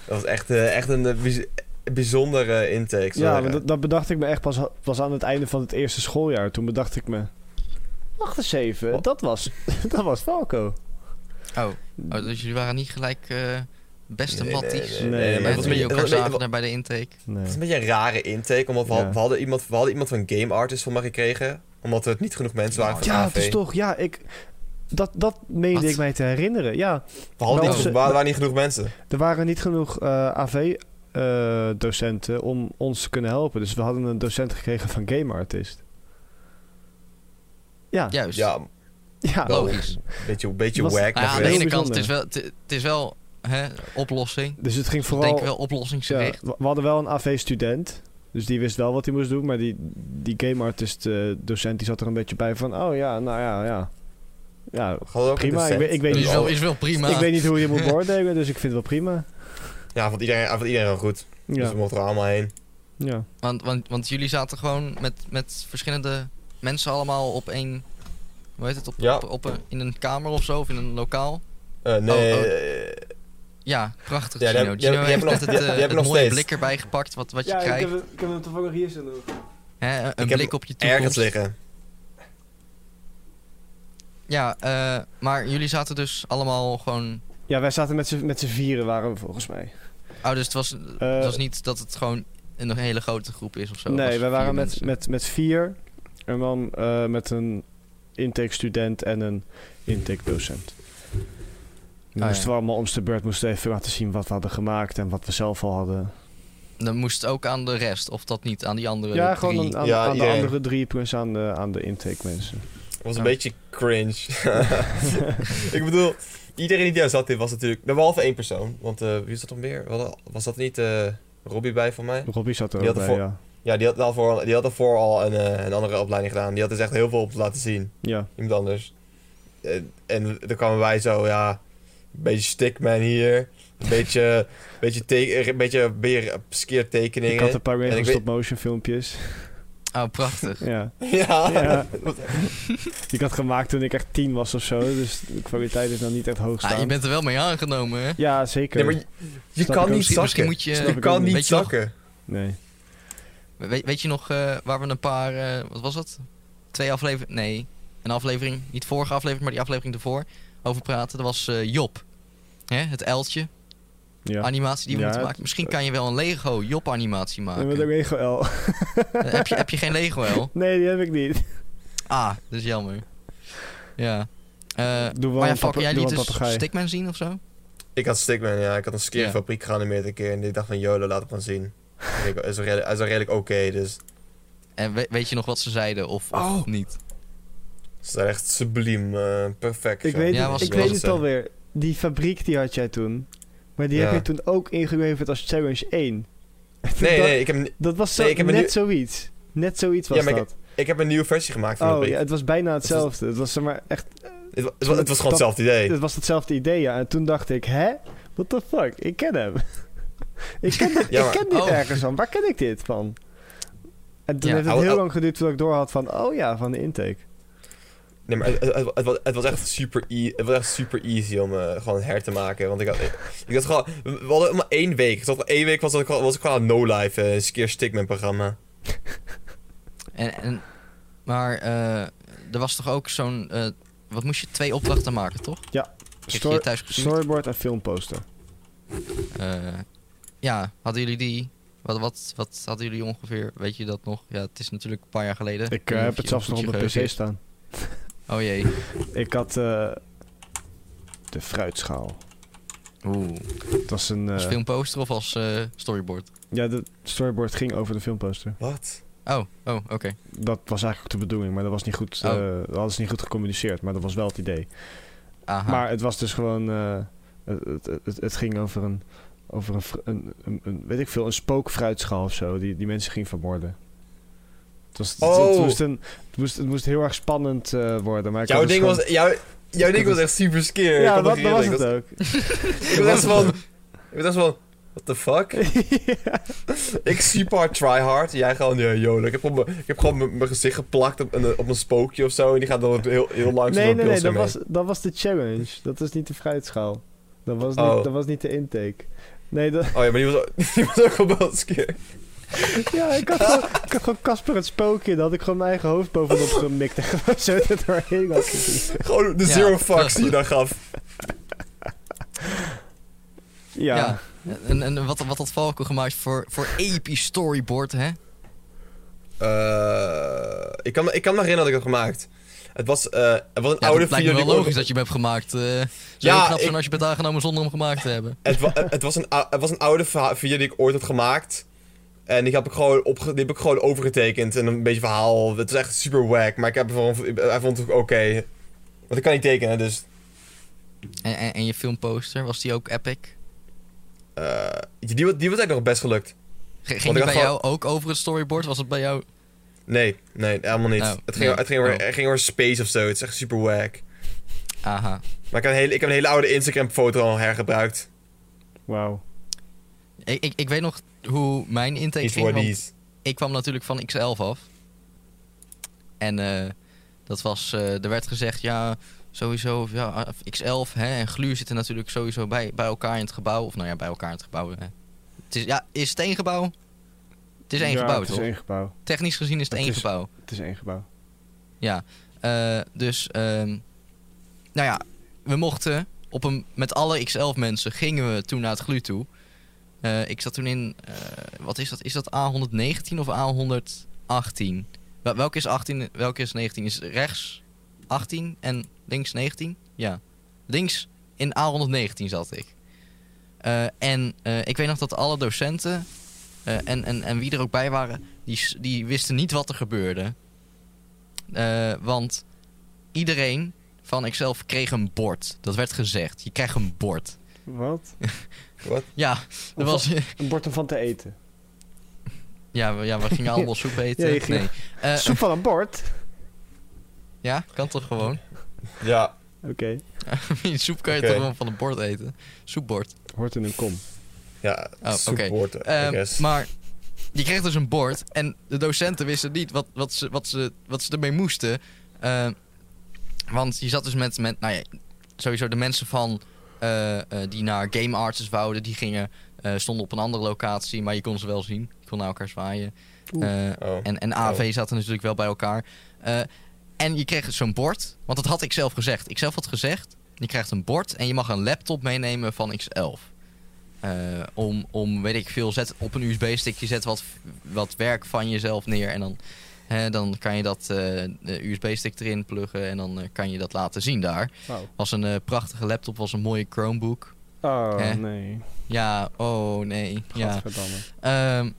Speaker 2: Dat was echt, eh, echt een eh, bijz- bijzondere intake. zou ik
Speaker 3: Ja, maar
Speaker 2: zeggen.
Speaker 3: dat, dat bedacht ik me echt pas, pas aan het einde van het eerste schooljaar. Toen bedacht ik me... Wacht eens even,
Speaker 2: Wat?
Speaker 3: dat was, dat was Falco.
Speaker 1: Oh, oh dus jullie waren niet gelijk eh, beste
Speaker 2: Nee, nee,
Speaker 1: matties.
Speaker 2: nee,
Speaker 3: nee, nee,
Speaker 1: en
Speaker 3: maar
Speaker 1: toen
Speaker 3: het was
Speaker 1: jullie
Speaker 2: een beetje-
Speaker 1: elkaar
Speaker 2: het was-
Speaker 1: zagen daar bij de intake.
Speaker 3: Nee.
Speaker 2: Het is een beetje een rare intake, omdat we, had-
Speaker 3: Ja.
Speaker 2: we hadden iemand, we hadden iemand van Game Artist van mij gekregen. Omdat er niet genoeg mensen waren van
Speaker 3: Ja,
Speaker 2: AV.
Speaker 3: het is toch, ja, ik... Dat, dat meende
Speaker 1: Wat?
Speaker 3: ik mij te herinneren. Ja,
Speaker 2: We hadden niet,
Speaker 3: Wel,
Speaker 2: genoeg-
Speaker 3: ze-
Speaker 2: er waren niet genoeg mensen.
Speaker 3: er waren niet genoeg eh, AV-docenten eh, om ons te kunnen helpen. Dus we hadden een docent gekregen van Game Artist. Ja, ja.
Speaker 1: Juist.
Speaker 2: Ja, wel
Speaker 1: Logisch.
Speaker 2: een beetje, een beetje
Speaker 3: Was-
Speaker 1: Nou
Speaker 2: wack. maar
Speaker 1: Dus- ja, aan de
Speaker 2: wel.
Speaker 3: heel
Speaker 1: ene kant,
Speaker 3: bijzonder.
Speaker 1: het is wel, het, het is wel hè, oplossing.
Speaker 3: Dus het ging
Speaker 1: Ik
Speaker 3: vooral...
Speaker 1: denk wel
Speaker 3: Ja,
Speaker 1: oplossingsgericht.
Speaker 3: we we hadden wel een AV-student. Dus die wist wel wat hij moest doen. Maar die, die game artist eh, docent die zat er een beetje bij van... Oh ja, nou ja, ja. Ja,
Speaker 2: Hadden we ook een
Speaker 3: Prima, ik
Speaker 2: docent.
Speaker 3: weet- ik weet
Speaker 1: Dus
Speaker 2: Dat
Speaker 1: Is,
Speaker 3: niet
Speaker 1: wel, is wel prima.
Speaker 3: ik weet niet hoe je moet beoordelen. Dus ik vind het wel prima.
Speaker 2: Ja, vond iedereen, vond iedereen wel goed. Dus
Speaker 3: Ja,
Speaker 2: we mochten er allemaal heen.
Speaker 3: ja.
Speaker 1: Want, want, want jullie zaten gewoon met, met verschillende mensen allemaal op één... Hoe heet het? Op,
Speaker 2: Ja.
Speaker 1: op, op een, in een kamer of zo? Of in een lokaal?
Speaker 2: Eh, nee,
Speaker 1: Oh, oh.
Speaker 2: eh,
Speaker 1: Ja, prachtig
Speaker 2: Ja, die
Speaker 1: Gino.
Speaker 2: heb- die heb-
Speaker 1: Gino
Speaker 2: die
Speaker 1: heeft
Speaker 2: heb ik nog-
Speaker 1: net het,
Speaker 2: die
Speaker 1: eh,
Speaker 2: heb
Speaker 1: het
Speaker 2: ik nog
Speaker 1: mooie
Speaker 2: steeds.
Speaker 1: blik erbij gepakt wat, wat je krijgt.
Speaker 3: ik heb hem toevallig hier zo nog.
Speaker 1: Hè, een
Speaker 2: heb
Speaker 1: blik op je toekomst.
Speaker 2: ergens liggen.
Speaker 1: Ja, eh, maar jullie zaten dus allemaal gewoon...
Speaker 3: Ja, wij zaten met z'n met z'n vieren waren we volgens mij.
Speaker 1: Oh, dus het was,
Speaker 3: Eh,
Speaker 1: het was niet dat het gewoon een hele grote groep is of zo. Het was
Speaker 3: nee, wij
Speaker 1: vier
Speaker 3: waren met,
Speaker 1: mensen.
Speaker 3: met, met vier. En dan eh, met een intake-student en een intake-docent. Dan
Speaker 1: Ah,
Speaker 3: moesten
Speaker 1: ja.
Speaker 3: we allemaal om de beurt moesten even laten zien wat we hadden gemaakt en wat we zelf al hadden.
Speaker 1: Dan moest het ook aan de rest, of dat niet, aan die andere
Speaker 3: ja,
Speaker 1: drie.
Speaker 3: gewoon aan, aan,
Speaker 2: Ja,
Speaker 3: aan de
Speaker 2: iedereen.
Speaker 3: andere drie plus aan de, aan de intake mensen.
Speaker 2: Het was
Speaker 1: Oh.
Speaker 2: een beetje cringe. ik bedoel, iedereen die daar zat in was natuurlijk... nou, Behalve één persoon. Want eh, wie is dat nog meer? We hadden- Was dat niet eh Robbie bij van mij?
Speaker 3: Robbie zat er
Speaker 2: Die
Speaker 3: ook
Speaker 2: had
Speaker 3: bij,
Speaker 2: de
Speaker 3: ja.
Speaker 2: Ja, die had daarvoor, die had daarvoor al een, eh, een andere opleiding gedaan. Die had dus echt heel veel op te laten zien.
Speaker 3: Ja,
Speaker 2: Iemand anders. En, en dan kwamen wij zo, ja... Een beetje stickman hier. Een beetje... een beetje, teken, een beetje weer obscure
Speaker 3: ik had
Speaker 2: tekeningen.
Speaker 3: een paar
Speaker 2: en ik
Speaker 3: regels
Speaker 2: weet-
Speaker 3: stop-motion filmpjes.
Speaker 1: Oh, prachtig.
Speaker 3: ja.
Speaker 2: Ja.
Speaker 3: Ja. Die ik had gemaakt toen ik echt tien was of zo. Dus de kwaliteit is nou niet echt hoog
Speaker 1: Ah, je bent er wel mee aangenomen, hè?
Speaker 3: Ja, zeker.
Speaker 2: Nee, maar je, je
Speaker 3: Snap ik
Speaker 2: kan
Speaker 3: ook.
Speaker 2: niet
Speaker 1: Misschien, misschien
Speaker 2: zakken.
Speaker 1: moet je...
Speaker 2: Je kan niet
Speaker 1: Weet je nog-
Speaker 2: zakken.
Speaker 3: nee.
Speaker 1: Weet, weet je nog eh, waar we een paar... eh, wat was het? Twee afleveringen... Nee, een aflevering. Niet vorige aflevering, maar die aflevering ervoor. Over praten. Dat was eh, Job. Hè? Het uiltje.
Speaker 3: Ja.
Speaker 2: Ah,
Speaker 1: Animatie die we
Speaker 3: Ja,
Speaker 1: moeten
Speaker 3: het-
Speaker 1: maken. Misschien kan je wel een Lego Job animatie
Speaker 3: En met een
Speaker 1: maken. Eh,
Speaker 3: regel L.
Speaker 1: heb, je, heb je geen Lego wel?
Speaker 3: Nee, die heb ik niet.
Speaker 1: Ah, dat is jammer. Ja. Eh,
Speaker 3: Doe wel
Speaker 1: maar ja,
Speaker 3: een
Speaker 1: fuck,
Speaker 3: papa-
Speaker 1: jij
Speaker 3: doe
Speaker 1: liet
Speaker 3: wel een
Speaker 1: dus
Speaker 3: papegaai.
Speaker 1: Stickman zien of zo?
Speaker 2: Ik had Stickman, ja. Ik had een
Speaker 1: Ja.
Speaker 2: skeerfabriek geanimeerd een keer. En ik dacht van, YOLO, laat hem gaan zien. En ik- Hij is wel redelijk, hij is wel redelijk oké, dus...
Speaker 1: En we- weet je nog wat ze zeiden of, of
Speaker 3: Oh.
Speaker 1: niet?
Speaker 2: Ze zijn echt subliem, eh, perfect.
Speaker 3: Ik
Speaker 2: zo.
Speaker 3: weet,
Speaker 1: Ja,
Speaker 3: het-
Speaker 1: was
Speaker 3: ik
Speaker 1: wel
Speaker 3: weet
Speaker 1: zo.
Speaker 3: het alweer. Die fabriek die had jij toen. Maar die heb
Speaker 2: Ja.
Speaker 3: je toen ook ingeleverd als Challenge 1.
Speaker 2: Nee,
Speaker 3: dat,
Speaker 2: nee, ik heb, een-
Speaker 3: Dat was zo,
Speaker 2: nee, ik heb een
Speaker 3: net
Speaker 2: nieuw-
Speaker 3: zoiets. Net zoiets was
Speaker 2: Ja, maar ik-
Speaker 3: dat.
Speaker 2: ik heb een nieuwe versie gemaakt van de
Speaker 3: Oh,
Speaker 2: fabriek.
Speaker 3: ja, het was bijna hetzelfde. Het was, zeg maar echt,
Speaker 2: Het, wa- het wa- het was gewoon
Speaker 3: Dat-
Speaker 2: hetzelfde idee.
Speaker 3: het was hetzelfde idee, ja. En toen dacht ik, hè? What the fuck? Ik ken hem. ik ken, dit-
Speaker 2: Ja,
Speaker 3: ik
Speaker 2: maar-
Speaker 3: ken dit
Speaker 1: Oh.
Speaker 3: ergens van. Waar ken ik dit van? En toen
Speaker 1: Ja.
Speaker 3: heeft het
Speaker 2: Au-
Speaker 3: heel
Speaker 2: au-
Speaker 3: lang geduurd voordat ik doorhad van... Oh ja, van de intake.
Speaker 2: Nee, maar het, het, het wa- het was, het was echt super e het was echt super easy om eh, gewoon her te maken. Want ik had, ik, ik had gewoon, we we hadden maar één week. Ik zat één week was, ik, was ik gewoon aan no-life, eh, een keer Stickman programma.
Speaker 1: En, en, maar eh, er was toch ook zo'n... eh, wat moest je? Twee opdrachten maken, toch? Heb je
Speaker 3: Story-
Speaker 1: die thuis gezien?
Speaker 3: storyboard en filmposter.
Speaker 1: Eh, ja, hadden jullie die... Wat, wat, wat hadden jullie ongeveer? Weet je dat nog? Ja, het is natuurlijk een paar jaar geleden.
Speaker 3: Ik eh, heb het zelfs nog op mijn pc
Speaker 1: PC.
Speaker 3: staan.
Speaker 1: Oh jee.
Speaker 3: Ik had eh, de fruitschaal.
Speaker 1: Oeh.
Speaker 3: Het was een... eh,
Speaker 1: Als filmposter of als eh, storyboard?
Speaker 3: ja, de storyboard ging over de filmposter.
Speaker 2: Wat?
Speaker 1: Oh, oh, oké.
Speaker 3: Dat was eigenlijk ook de bedoeling, maar dat was niet goed...
Speaker 1: Oh.
Speaker 3: eh dat hadden ze niet goed gecommuniceerd, maar dat was wel het idee.
Speaker 1: Aha.
Speaker 3: Maar het was dus gewoon... eh, het, het, het, het ging over een... Over een, fr- een, een, een- weet ik veel, een spookfruitschaal of zo, die, die mensen ging vermoorden. Het, was, het- het,
Speaker 2: Oh.
Speaker 3: moest een, het, moest, het moest heel erg spannend eh, worden. Maar ik
Speaker 2: Jouw
Speaker 3: had dus
Speaker 2: ding,
Speaker 3: gewoon-
Speaker 2: was, jouw, jouw
Speaker 3: had
Speaker 2: ding was
Speaker 3: dus-
Speaker 2: echt super scare.
Speaker 3: Ja,
Speaker 2: ik
Speaker 3: dat, dat was
Speaker 2: ik
Speaker 3: het
Speaker 2: was,
Speaker 3: ook.
Speaker 2: ik was echt van, ik was echt van, what the fuck?
Speaker 3: Ja.
Speaker 2: Ik super hard tryhard. En jij gewoon, ja, joh, ik heb gewoon mijn- ik heb gewoon mijn mijn gezicht geplakt op een, op een spookje of zo. En die gaat dan heel, heel langzaam
Speaker 3: Nee,
Speaker 2: door
Speaker 3: nee, nee,
Speaker 2: Pilsen
Speaker 3: dat
Speaker 2: mee.
Speaker 3: was, dat was de challenge. Dat was niet de fruitschaal. Dat was,
Speaker 2: Oh.
Speaker 3: niet, dat was niet de intake. Nee, dat,
Speaker 2: Oh ja, maar die was, ook- die was ook al wel scare.
Speaker 3: ja, ik had gewoon- ik had gewoon Casper het spookje. Daar had ik gewoon mijn eigen hoofd bovenop gemikt. En gewoon zo er doorheen had gezien.
Speaker 2: Gewoon de
Speaker 1: Ja.
Speaker 2: zero fucks die je dan gaf.
Speaker 3: Ja,
Speaker 1: Ja. En, en wat, wat had Falco gemaakt voor, voor episch storyboard, hè?
Speaker 2: Eh, ik, kan, me- ik kan me herinneren dat ik dat gemaakt. Het was, eh, het was een
Speaker 1: Ja,
Speaker 2: oude
Speaker 1: dat lijkt me wel
Speaker 2: video die ik
Speaker 1: logisch
Speaker 2: ooit-
Speaker 1: dat je hem hebt gemaakt. eh zou
Speaker 2: Ja,
Speaker 1: heel knap zijn
Speaker 2: ik-
Speaker 1: als je bent aangenomen zonder hem gemaakt te hebben.
Speaker 2: het, wa- het, was een, ou- het was een oude verha- video die ik ooit had gemaakt. En die heb ik gewoon, opge die heb ik gewoon overgetekend. En een beetje verhaal. Het was echt super wack. Maar ik heb ervan, hij vond het ook oké. Want ik kan niet tekenen, dus
Speaker 1: En, en, en je filmposter, was die ook epic?
Speaker 2: Eh, die, die was eigenlijk nog best gelukt.
Speaker 1: Ge-
Speaker 2: ik
Speaker 1: Ging die
Speaker 2: Oh, had
Speaker 1: bij
Speaker 2: gewoon-
Speaker 1: jou ook over het storyboard? Was het bij jou?
Speaker 2: Nee, nee, helemaal niet.
Speaker 1: Oh,
Speaker 2: het, ging,
Speaker 1: nee.
Speaker 2: het, ging over,
Speaker 1: Oh.
Speaker 2: het ging over space of zo. Het is echt super wack.
Speaker 1: Aha.
Speaker 2: Maar ik heb een hele, ik heb een hele oude Instagram-foto al hergebruikt.
Speaker 3: wauw.
Speaker 1: Ik, ik, ik weet nog hoe mijn intake
Speaker 2: Iets
Speaker 1: ging.
Speaker 2: voor
Speaker 1: want
Speaker 2: die.
Speaker 1: ik kwam natuurlijk van X11 af. En eh, dat was, eh, er werd gezegd, ja, sowieso, ja, X11 hè, en Gluur zitten natuurlijk sowieso bij, bij elkaar in het gebouw. Of nou ja, bij elkaar in het gebouw. Hè. Het is, ja, is het één gebouw? Het is één
Speaker 3: Ja,
Speaker 1: gebouw,
Speaker 3: Het
Speaker 1: toch?
Speaker 3: is één gebouw.
Speaker 1: Technisch gezien is het,
Speaker 3: Het
Speaker 1: één
Speaker 3: is-
Speaker 1: gebouw.
Speaker 3: Het is één gebouw.
Speaker 1: Ja. Eh, dus, ehm, nou ja, we mochten op een, met alle X11 mensen gingen we toen naar het GLU toe. Eh, ik zat toen in, eh, wat is dat? Is dat A119 of A118? Wel- welke is 18, welke is 19? Is rechts 18 en links 19? Ja. Links in A119 zat ik. Eh, en eh, ik weet nog dat alle docenten eh, en, en, en wie er ook bij waren, die, s- die wisten niet wat er gebeurde. Eh, want iedereen van ikzelf kreeg een bord. Dat werd gezegd. Je krijgt een bord.
Speaker 3: Wat?
Speaker 1: Ja, er
Speaker 3: Of
Speaker 1: was, Eh,
Speaker 3: Een bord om van te eten.
Speaker 1: ja, we, ja, we gingen allemaal soep eten.
Speaker 3: Ja, je ging-
Speaker 1: Nee. Eh,
Speaker 3: Soep van een bord?
Speaker 1: ja, kan toch gewoon?
Speaker 2: Ja,
Speaker 3: Oké.
Speaker 1: soep kan je
Speaker 2: Oké.
Speaker 1: toch gewoon van een bord eten? Soepbord.
Speaker 3: Hoort in een kom.
Speaker 2: ja.
Speaker 1: Oh, oké.
Speaker 2: soepwoord, I
Speaker 1: Ehm,
Speaker 2: guess.
Speaker 1: maar je kreeg dus een bord en de docenten wisten niet wat, wat, ze, wat, ze, wat ze ermee moesten. Eh, want je zat dus met, met nou ja, sowieso de mensen van eh, eh, die naar game artists wouden, die gingen, eh, stonden op een andere locatie, maar je kon ze wel zien. Je kon naar elkaar zwaaien.
Speaker 3: Oeh.
Speaker 1: Eh,
Speaker 2: Oh.
Speaker 1: en, en AV zaten natuurlijk wel bij elkaar. Eh, en je kreeg zo'n bord, want dat had ik zelf gezegd. Ik zelf had gezegd, je krijgt een bord en je mag een laptop meenemen van X11. Eh, om, om, weet ik veel, zet op een USB-stickje, zet wat, wat werk van jezelf neer en dan Hè, dan kan je dat eh, de USB-stick erin pluggen en dan eh, kan je dat laten zien daar.
Speaker 3: Oh,
Speaker 1: Was een eh, prachtige laptop, was een mooie Chromebook. Hè?
Speaker 3: Oh, nee.
Speaker 1: Ja, oh nee. Ja.
Speaker 3: Gadverdamme.
Speaker 1: Ehm,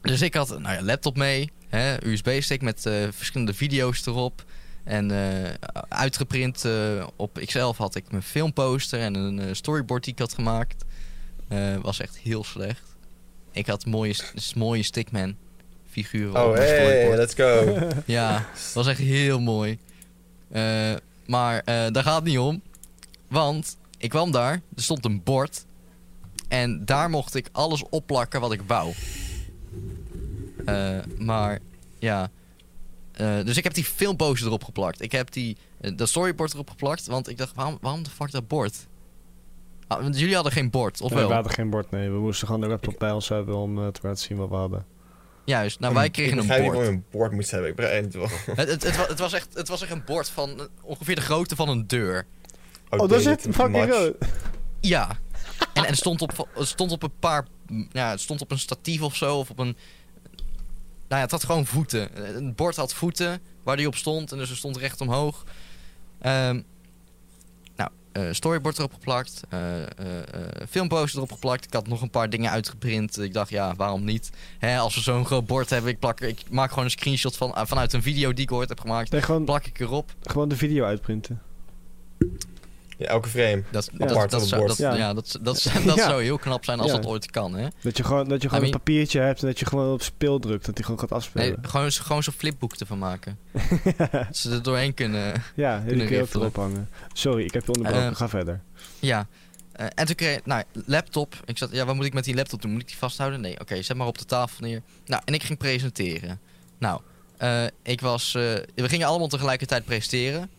Speaker 1: dus ik had nou ja, laptop mee, hè, USB-stick met eh, verschillende video's erop. En eh, uitgeprint eh, op ikzelf had ik mijn filmposter en een eh, storyboard die ik had gemaakt. Eh, was echt heel slecht. Ik had mooie, s- mooie Stickman figuren op
Speaker 2: Oh,
Speaker 1: mijn
Speaker 2: hey,
Speaker 1: storyboard.
Speaker 2: let's go.
Speaker 1: Ja, was echt heel mooi. Eh, maar eh, daar gaat het niet om. Want ik kwam daar, er stond een bord. En daar mocht ik alles opplakken wat ik wou. Eh, maar ja. Eh, dus ik heb die filmposter erop geplakt. Ik heb die, eh, dat storyboard erop geplakt. Want ik dacht, waarom, waarom de fuck dat bord? Ah, want jullie hadden geen bord, of
Speaker 3: Nee,
Speaker 1: wel?
Speaker 3: we hadden geen bord, nee. We moesten gewoon de laptop bij ons hebben om eh, te laten zien wat we
Speaker 2: Oh,
Speaker 3: hadden.
Speaker 1: Juist, nou wij kregen
Speaker 2: ik
Speaker 1: een
Speaker 2: begrijp niet
Speaker 1: bord.
Speaker 2: waarom je een bord moest hebben. Ik begrijp het wel.
Speaker 1: Het, het, het, wa- het was echt, het was echt een bord van eh, ongeveer de grootte van een deur.
Speaker 3: Oh, dat is het?
Speaker 2: Outdated,
Speaker 3: Fucking
Speaker 2: much.
Speaker 3: rood.
Speaker 1: Ja. En, en het stond op, het stond op een paar. Ja, het stond op een statief of zo. Of op een. Nou ja, het had gewoon voeten. Een bord had voeten waar die op stond. En dus er stond recht omhoog. Ehm, nou, eh, storyboard erop geplakt. eh, eh, eh, filmposter erop geplakt. Ik had nog een paar dingen uitgeprint. Ik dacht, ja, waarom niet? Hè, als we zo'n groot bord hebben, ik, plak, ik maak gewoon een screenshot van, eh, vanuit een video die ik ooit heb gemaakt.
Speaker 3: Nee, gewoon,
Speaker 1: Plak ik erop.
Speaker 3: gewoon de video uitprinten.
Speaker 2: Ja, elke frame.
Speaker 1: Dat,
Speaker 3: Ja.
Speaker 1: dat,
Speaker 2: Apart
Speaker 1: dat,
Speaker 2: op
Speaker 1: zou, dat,
Speaker 2: bord.
Speaker 1: ja.
Speaker 3: Ja.
Speaker 1: dat, dat, dat
Speaker 3: Ja.
Speaker 1: zou heel knap zijn als
Speaker 3: Ja.
Speaker 1: dat ooit kan, hè?
Speaker 3: Dat je gewoon, dat je gewoon
Speaker 1: I
Speaker 3: een
Speaker 1: mean-
Speaker 3: papiertje hebt en dat je gewoon op speel drukt. Dat hij gewoon gaat
Speaker 1: Nee,
Speaker 3: afspelen.
Speaker 1: gewoon, zo- gewoon zo'n flipboek ervan maken. Dat ze er doorheen kunnen.
Speaker 3: ja,
Speaker 1: Toen
Speaker 3: die kun je ook
Speaker 1: rift erop.
Speaker 3: erop hangen. Sorry, ik heb je onderbroken.
Speaker 1: Eh,
Speaker 3: Ga verder.
Speaker 1: Ja. Eh, en toen kreeg nou, laptop. Ik zat, ja, wat moet ik met die laptop doen? Moet ik die vasthouden? Nee, oké, zet maar op de tafel neer. Nou, en ik ging presenteren. Nou, eh, ik was, eh, we gingen allemaal tegelijkertijd presenteren.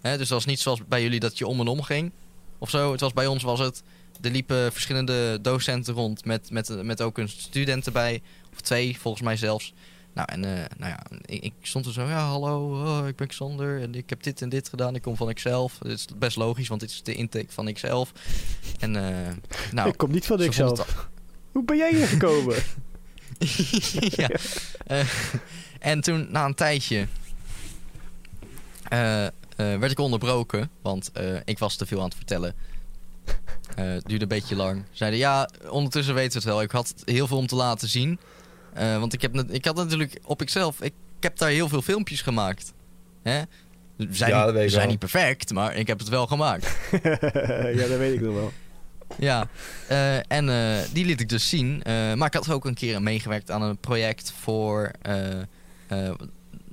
Speaker 1: Hè, dus dat was niet zoals bij jullie dat je om en om ging. Of zo. Het was bij ons was het. Er liepen verschillende docenten rond met, met, met ook een student erbij. Of twee, volgens mij zelfs. Nou, en eh, nou ja, ik, ik stond er zo, ja, hallo, oh, ik ben Xander en ik heb dit en dit gedaan. Ik kom van ikzelf. Dit is best logisch, want dit is de intake van ikzelf. En eh, nou,
Speaker 3: ik kom niet van
Speaker 1: ze
Speaker 3: ik
Speaker 1: vonden het
Speaker 3: zelf. Hoe ben jij hier gekomen?
Speaker 1: ja. Eh, en toen, na een tijdje, eh, eh, werd ik onderbroken, want eh, ik was te veel aan het vertellen. Eh, het duurde een beetje lang. Zeiden, ja, ondertussen weten we het wel. Ik had heel veel om te laten zien. Eh, want ik, heb net, ik had natuurlijk op ikzelf, ik, ik heb daar heel veel filmpjes gemaakt. Hè? Ze Zijn,
Speaker 2: Ja,
Speaker 1: niet-
Speaker 2: dat weet
Speaker 1: ze
Speaker 2: ik
Speaker 1: zijn
Speaker 2: wel.
Speaker 1: niet perfect, maar ik heb het wel gemaakt.
Speaker 3: ja, dat weet ik nog wel.
Speaker 1: Ja, eh, en eh, die liet ik dus zien. Eh, maar ik had ook een keer meegewerkt aan een project voor. eh, eh,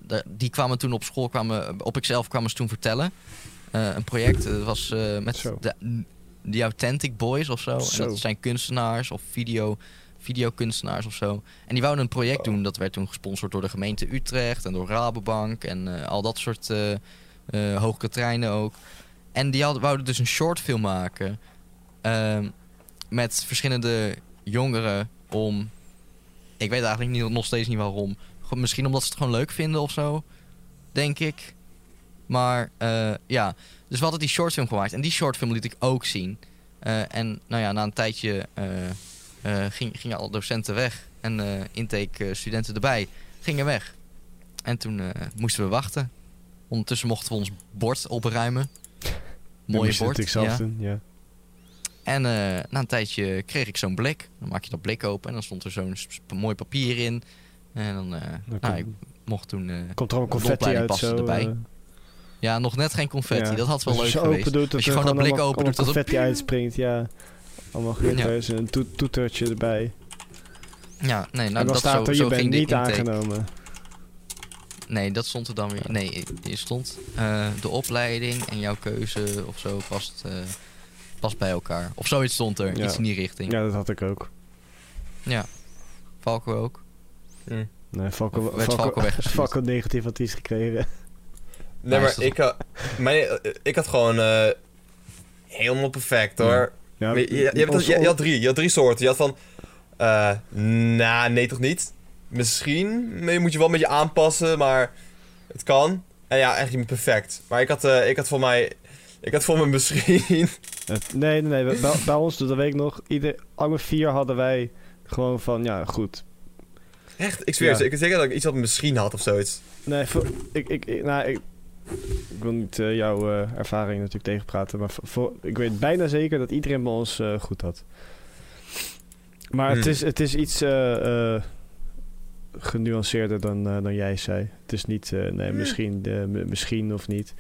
Speaker 1: da- die kwamen toen op school, kwamen, op ikzelf kwamen ze toen vertellen. Eh, een project, eh, dat was eh, met
Speaker 3: Zo.
Speaker 1: de, die Authentic Boys of zo.
Speaker 3: Zo.
Speaker 1: En dat zijn kunstenaars of video, videokunstenaars of zo. En die wouden een project
Speaker 2: Oh.
Speaker 1: doen. Dat werd toen gesponsord door de gemeente Utrecht en door Rabobank en eh, al dat soort eh eh, hoogkaterijnen ook. En die hadden, wouden dus een shortfilm maken ehm, met verschillende jongeren om... Ik weet eigenlijk niet, nog steeds niet waarom. Gewoon- Misschien omdat ze het gewoon leuk vinden of zo, denk ik. Maar eh, ja, dus we hadden die shortfilm gemaakt. En die shortfilm liet ik ook zien. Eh, en nou ja, na een tijdje eh, eh, ging, gingen alle docenten weg. En eh, intake eh, studenten erbij gingen weg. En toen eh, moesten we wachten. Ondertussen mochten we ons bord opruimen.
Speaker 3: Dat
Speaker 1: Mooie
Speaker 3: moest je
Speaker 1: bord.
Speaker 3: natuurlijk zelf
Speaker 1: ja.
Speaker 3: doen, ja.
Speaker 1: En eh, na een tijdje kreeg ik zo'n blik. Dan maak je dat blik open en dan stond er zo'n s- mooi papier in. En dan, eh,
Speaker 3: Dan
Speaker 1: nou, ik
Speaker 3: komt-
Speaker 1: mocht toen... eh,
Speaker 3: komt er allemaal
Speaker 1: de
Speaker 3: confetti
Speaker 1: opleiding
Speaker 3: uit
Speaker 1: paste
Speaker 3: zo.
Speaker 1: erbij.
Speaker 3: eh,
Speaker 1: ja, nog net geen confetti.
Speaker 3: ja.
Speaker 1: Dat had wel
Speaker 3: Dus
Speaker 1: leuk
Speaker 3: als je
Speaker 1: geweest.
Speaker 3: Open doet, dat
Speaker 1: Als je
Speaker 3: er
Speaker 1: gewoon dat blik
Speaker 3: allemaal-
Speaker 1: open doet, dat
Speaker 3: allemaal
Speaker 1: het-
Speaker 3: confetti uitspringt, ja. Allemaal glitters en een toet- toetertje erbij.
Speaker 1: Ja, nee,
Speaker 3: en
Speaker 1: nou,
Speaker 3: dan
Speaker 1: dat
Speaker 3: staat
Speaker 1: zo,
Speaker 3: er,
Speaker 1: zo
Speaker 3: je bent
Speaker 1: ging de
Speaker 3: niet
Speaker 1: intake.
Speaker 3: aangenomen.
Speaker 1: Nee, dat stond er dan weer. Nee, je stond eh, de opleiding en jouw keuze of zo past, eh, past bij elkaar. Of zoiets stond er,
Speaker 3: Ja.
Speaker 1: iets in die richting. Ja.
Speaker 3: Ja, dat had ik ook.
Speaker 1: Valko ook.
Speaker 2: Hm.
Speaker 3: Nee, Falco,
Speaker 1: Of werd Falco weggestuurd?
Speaker 3: Falco negatief advies gekregen.
Speaker 2: Nee,
Speaker 1: Nice,
Speaker 2: maar
Speaker 1: dat-
Speaker 2: ik, had- mijn, ik had gewoon eh, helemaal perfect
Speaker 1: Hm.
Speaker 3: Ja.
Speaker 2: hoor.
Speaker 3: Ja,
Speaker 2: Maar je, je, hebt-
Speaker 3: ons-
Speaker 2: je- je had drie, je had drie soorten. Je had van, eh nah, nee toch niet. Misschien, maar je moet je wel een beetje aanpassen, maar het kan. En ja, eigenlijk niet perfect. Maar ik had, eh, ik had voor mij, ik had voor me misschien.
Speaker 3: Het- nee, nee, nee. dus, Bij, bij ons, dat weet ik nog, ieder, alle vier hadden wij gewoon van, ja, goed.
Speaker 2: Echt, ik zweer
Speaker 3: Ja.
Speaker 2: het, ik zeker dat ik iets had misschien had of zoiets.
Speaker 3: Nee, voor- ik, ik, ik, nou, ik, ik wil niet eh, jouw eh, ervaring natuurlijk tegenpraten. Maar voor- voor- ik weet bijna zeker dat iedereen bij ons eh, goed had. Maar het,
Speaker 2: Hmm.
Speaker 3: is, het is iets eh, eh, genuanceerder dan, eh, dan jij zei. Het is niet, eh, nee,
Speaker 2: Hmm.
Speaker 3: misschien, eh, m- misschien of niet.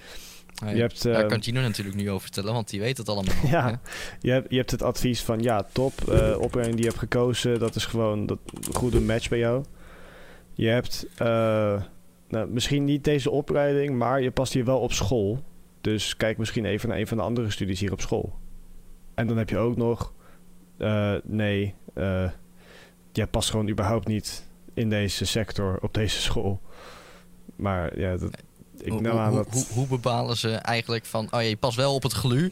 Speaker 1: Nee.
Speaker 3: Je hebt,
Speaker 1: Daar
Speaker 3: eh,
Speaker 1: kan Gino natuurlijk nu over vertellen, want die weet het allemaal.
Speaker 3: Ja.
Speaker 1: hè?
Speaker 3: Je hebt, je hebt het advies van ja, top. eh opleiding die je hebt gekozen, dat is gewoon dat, een goede match bij jou. Je hebt eh, nou, misschien niet deze opleiding, maar je past hier wel op school. Dus kijk misschien even naar een van de andere studies hier op school. En dan heb je ook nog, eh, nee, eh, jij past gewoon überhaupt niet in deze sector op deze school. Maar ja, dat, ik
Speaker 1: Hoe-
Speaker 3: neem aan
Speaker 1: hoe,
Speaker 3: dat...
Speaker 1: hoe, hoe bepalen ze eigenlijk van, oh ja, je past wel op het gelu,